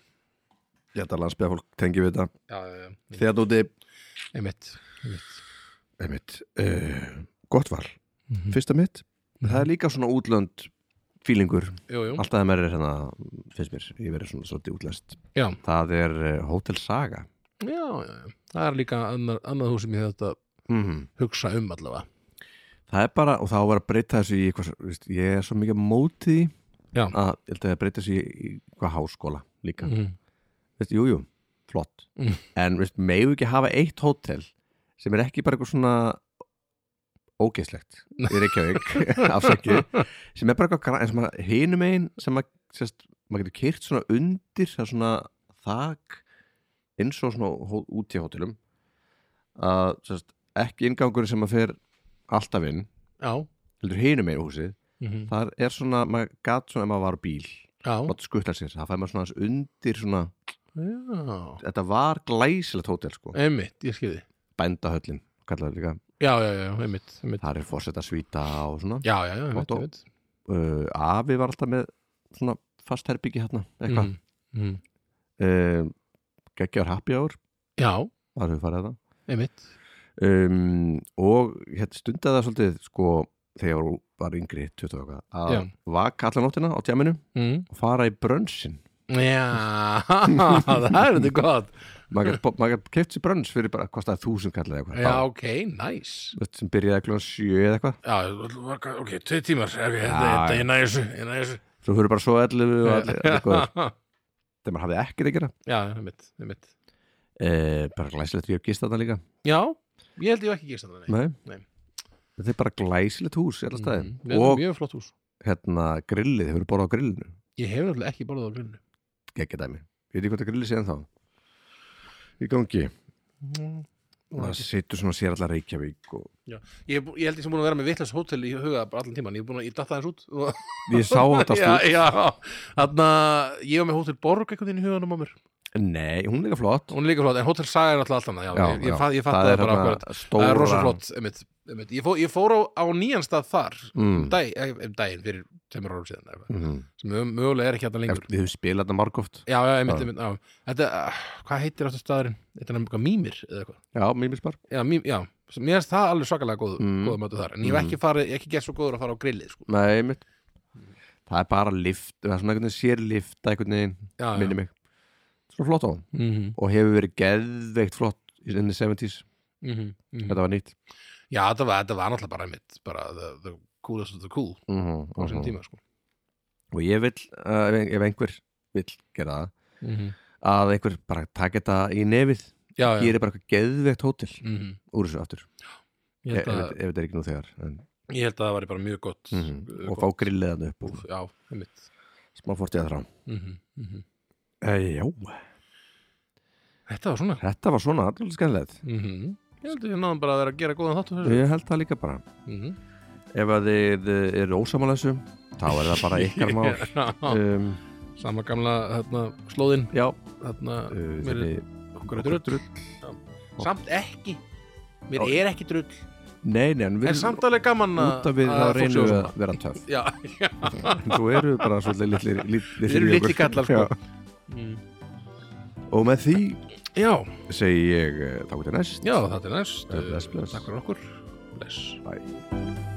[SPEAKER 1] Ég ætla að landsbyða fólk tengi við þetta
[SPEAKER 2] Já, já, já
[SPEAKER 1] Þegar þú þið,
[SPEAKER 2] Einmitt einmitt.
[SPEAKER 1] einmitt, uh, gott val
[SPEAKER 2] Mm.
[SPEAKER 1] Fyrsta mitt, það er líka svona útlönd fílingur
[SPEAKER 2] Jú, jú
[SPEAKER 1] Alltaf það mér er hérna, finnst mér, ég verið svona svolítið útlest
[SPEAKER 2] Já,
[SPEAKER 1] Það er uh, Hotel Saga
[SPEAKER 2] já, já já. Það er líka annar, annað hús sem ég þetta
[SPEAKER 1] -hmm.
[SPEAKER 2] hugsa um allavega
[SPEAKER 1] Það er bara, og það á að vera að breyta þessu í eitthvað, svo- veist, ég er svo mikið á móti því
[SPEAKER 2] Já.
[SPEAKER 1] að ég held að það breyta þessu í í eitthvað háskóla líka mm.
[SPEAKER 2] mm.
[SPEAKER 1] veist, Jú, jú, flott
[SPEAKER 2] Mm.
[SPEAKER 1] En veist, megu ekki hafa eitt hótel sem er ekki bara eitthvað svona ógeislegt í Reykjavík, afsakið sem er bara eitthvað gra- eins og maður hinum einn sem maður, sérst, maður getur kyrt svona undir það er svona þak eins og svona hó- út í hótelum að sérst, ekki ingangur sem maður fer alltaf inn
[SPEAKER 2] Já
[SPEAKER 1] heldur hinum einn húsið
[SPEAKER 2] mhm.
[SPEAKER 1] þar er svona, maður gat svona ef maður var á bíl
[SPEAKER 2] Já,
[SPEAKER 1] maður skuttla sér, það fær maður svona aðeins undir svona,
[SPEAKER 2] já
[SPEAKER 1] þetta var glæsilegt hótel sko,
[SPEAKER 2] Einmitt, ég skilði
[SPEAKER 1] bændahöllin kallaði líka,
[SPEAKER 2] Já, já, já, einmitt, einmitt.
[SPEAKER 1] þar er fórsetta svíta og svona
[SPEAKER 2] Já, já, já, einmitt,
[SPEAKER 1] Gott og-
[SPEAKER 2] einmitt.
[SPEAKER 1] uh, afi var alltaf með svona fast herbyggi hérna eitthvað
[SPEAKER 2] Mhm, mhm.
[SPEAKER 1] mm. geggjar happy hour
[SPEAKER 2] Já,
[SPEAKER 1] þar hefur farið það
[SPEAKER 2] einmitt
[SPEAKER 1] um, og hérna stundaði það svolítið sko þegar ég var, var yngri 20 og eitthvað, að
[SPEAKER 2] Já.
[SPEAKER 1] vaka allan nóttina á tjáminu
[SPEAKER 2] mm.
[SPEAKER 1] og fara í brönnsinn
[SPEAKER 2] Já, það er þetta gott
[SPEAKER 1] maður gat- maður gætt keft sér brönns fyrir bara kostaði þúsund kallið eitthvað
[SPEAKER 2] Já, ok, nice
[SPEAKER 1] Bara, sem byrjaði klokkan sjö eða eitthvað
[SPEAKER 2] Já, ok, tvei tímar okay, þetta,
[SPEAKER 1] Já,
[SPEAKER 2] þetta,
[SPEAKER 1] já.
[SPEAKER 2] Ég næði þessu, ég næði þessu
[SPEAKER 1] svo fyrir bara svo ellu og allir eitthvað
[SPEAKER 2] Já,
[SPEAKER 1] þegar maður hafði ekkert að gera
[SPEAKER 2] já, einmitt, einmitt
[SPEAKER 1] uh, bara glæsilegt ég gist þarna líka
[SPEAKER 2] Já, ég held ég hef ekki gist þetta nei.
[SPEAKER 1] Nei.
[SPEAKER 2] Nei.
[SPEAKER 1] þetta er bara glæsilegt hús í alla staði
[SPEAKER 2] Mhm, þetta er
[SPEAKER 1] og
[SPEAKER 2] Mjög flott hús
[SPEAKER 1] hérna grillið, hefur borðað á grillinu
[SPEAKER 2] Ég hef náttúrulega ekki borðað á grunnu
[SPEAKER 1] geggja dæmi, við veitum hvað það grillið sé ennþá í gangi og það situr svona sér allar Reykjavík og
[SPEAKER 2] ég, hef bú- ég held ég sem búin að vera með vitlas hótel í huga bara allan tíman Ég er búin að, ég datta þess út og,
[SPEAKER 1] ég sá þetta
[SPEAKER 2] Já,
[SPEAKER 1] stúr
[SPEAKER 2] já, þarna Ég var með hótel Borg einhvern veginn í huganum á mér
[SPEAKER 1] nei, hún er líka flott
[SPEAKER 2] Hún er líka flott, en hótel Saga er alltaf allan Já,
[SPEAKER 1] Já,
[SPEAKER 2] ég,
[SPEAKER 1] já.
[SPEAKER 2] ég, fatt- ég fatt það bara
[SPEAKER 1] hérna
[SPEAKER 2] akkurat
[SPEAKER 1] stóra
[SPEAKER 2] Það er rosa flott, einmitt, einmitt. Ég, fó, ég fór á, á nýjan stað þar
[SPEAKER 1] mm,
[SPEAKER 2] um dag, eh, um daginn fyrir tveimur árum síðan eitthvað,
[SPEAKER 1] mm,
[SPEAKER 2] sem mög- mögulega er ekki hérna lengur
[SPEAKER 1] við höfum spilað þetta margóft
[SPEAKER 2] Já, já, einmitt,
[SPEAKER 1] Já.
[SPEAKER 2] einmitt já. Þetta, uh, hvað heitir aftur staðurinn? Þetta er nefnilega mýmir eða eitthvað
[SPEAKER 1] já, mér misbar
[SPEAKER 2] Já, mým, já, Svo mér finnst það alveg svakalega góð,
[SPEAKER 1] Mm.
[SPEAKER 2] mm. góða mötu þar En ég hef ekki, farið, ég hef ekki gett svo góður að fara á grillið sko.
[SPEAKER 1] nei, mitt það er bara lift, það er svona einhvern veginn sér lift einhvern veginn,
[SPEAKER 2] Já, já
[SPEAKER 1] minni mig svo flott á hún
[SPEAKER 2] mm -hmm.
[SPEAKER 1] og hefur verið geðveikt flott í the 70s,
[SPEAKER 2] Mm -hmm.
[SPEAKER 1] þetta var nýtt
[SPEAKER 2] Já, þetta var, þetta var náttúrulega bara einmitt bara the, the coolest of the cool
[SPEAKER 1] mm -hmm,
[SPEAKER 2] á þessum tíma sko.
[SPEAKER 1] og ég vil, uh, ef ef einhver vil gera það
[SPEAKER 2] mm -hmm.
[SPEAKER 1] að einhver bara taka þetta í nefið
[SPEAKER 2] Já, já
[SPEAKER 1] gerir bara eitthvað geðvegt hótel
[SPEAKER 2] mm -hmm.
[SPEAKER 1] úr þessu aftur
[SPEAKER 2] ég,
[SPEAKER 1] ef,
[SPEAKER 2] held
[SPEAKER 1] ef,
[SPEAKER 2] að,
[SPEAKER 1] ef þetta er ekki nú þegar en,
[SPEAKER 2] ég held að það var bara mjög gott, uh,
[SPEAKER 1] Mhm. og
[SPEAKER 2] gott
[SPEAKER 1] fá grillið hann upp og
[SPEAKER 2] búð. Já, einmitt
[SPEAKER 1] smá fórtið að þrá
[SPEAKER 2] mm -hmm.
[SPEAKER 1] e, já,
[SPEAKER 2] Þetta var svona
[SPEAKER 1] þetta var svona allir skemmilegt
[SPEAKER 2] mm Ég held að ég náðum bara að vera að gera góðan þáttu þessu
[SPEAKER 1] ég held það líka bara
[SPEAKER 2] mm -hmm.
[SPEAKER 1] ef að þið eru ósamála þessu þá er það bara ykkar mál um,
[SPEAKER 2] Sama gamla hérna, slóðin
[SPEAKER 1] já,
[SPEAKER 2] hérna,
[SPEAKER 1] uh,
[SPEAKER 2] mér
[SPEAKER 1] þeirri,
[SPEAKER 2] er okkur er drull Samt ekki Mér er ekki drull
[SPEAKER 1] nei, nei, en við
[SPEAKER 2] En samt alveg gaman að
[SPEAKER 1] út af við
[SPEAKER 2] Hérna, að
[SPEAKER 1] þá
[SPEAKER 2] fólk sé
[SPEAKER 1] reynum við
[SPEAKER 2] svona.
[SPEAKER 1] að vera töff
[SPEAKER 2] Já, já,
[SPEAKER 1] en þú eru bara svolítið litlir litlir
[SPEAKER 2] við
[SPEAKER 1] í
[SPEAKER 2] erum
[SPEAKER 1] okkur.
[SPEAKER 2] litli kallar sko.
[SPEAKER 1] Já.
[SPEAKER 2] Mm.
[SPEAKER 1] og með því
[SPEAKER 2] Já,
[SPEAKER 1] segi ég eh, þá getur næst
[SPEAKER 2] já, þetta er næst
[SPEAKER 1] Eh, Bless, bless.
[SPEAKER 2] Takk fyrir okkur Bless
[SPEAKER 1] Bye.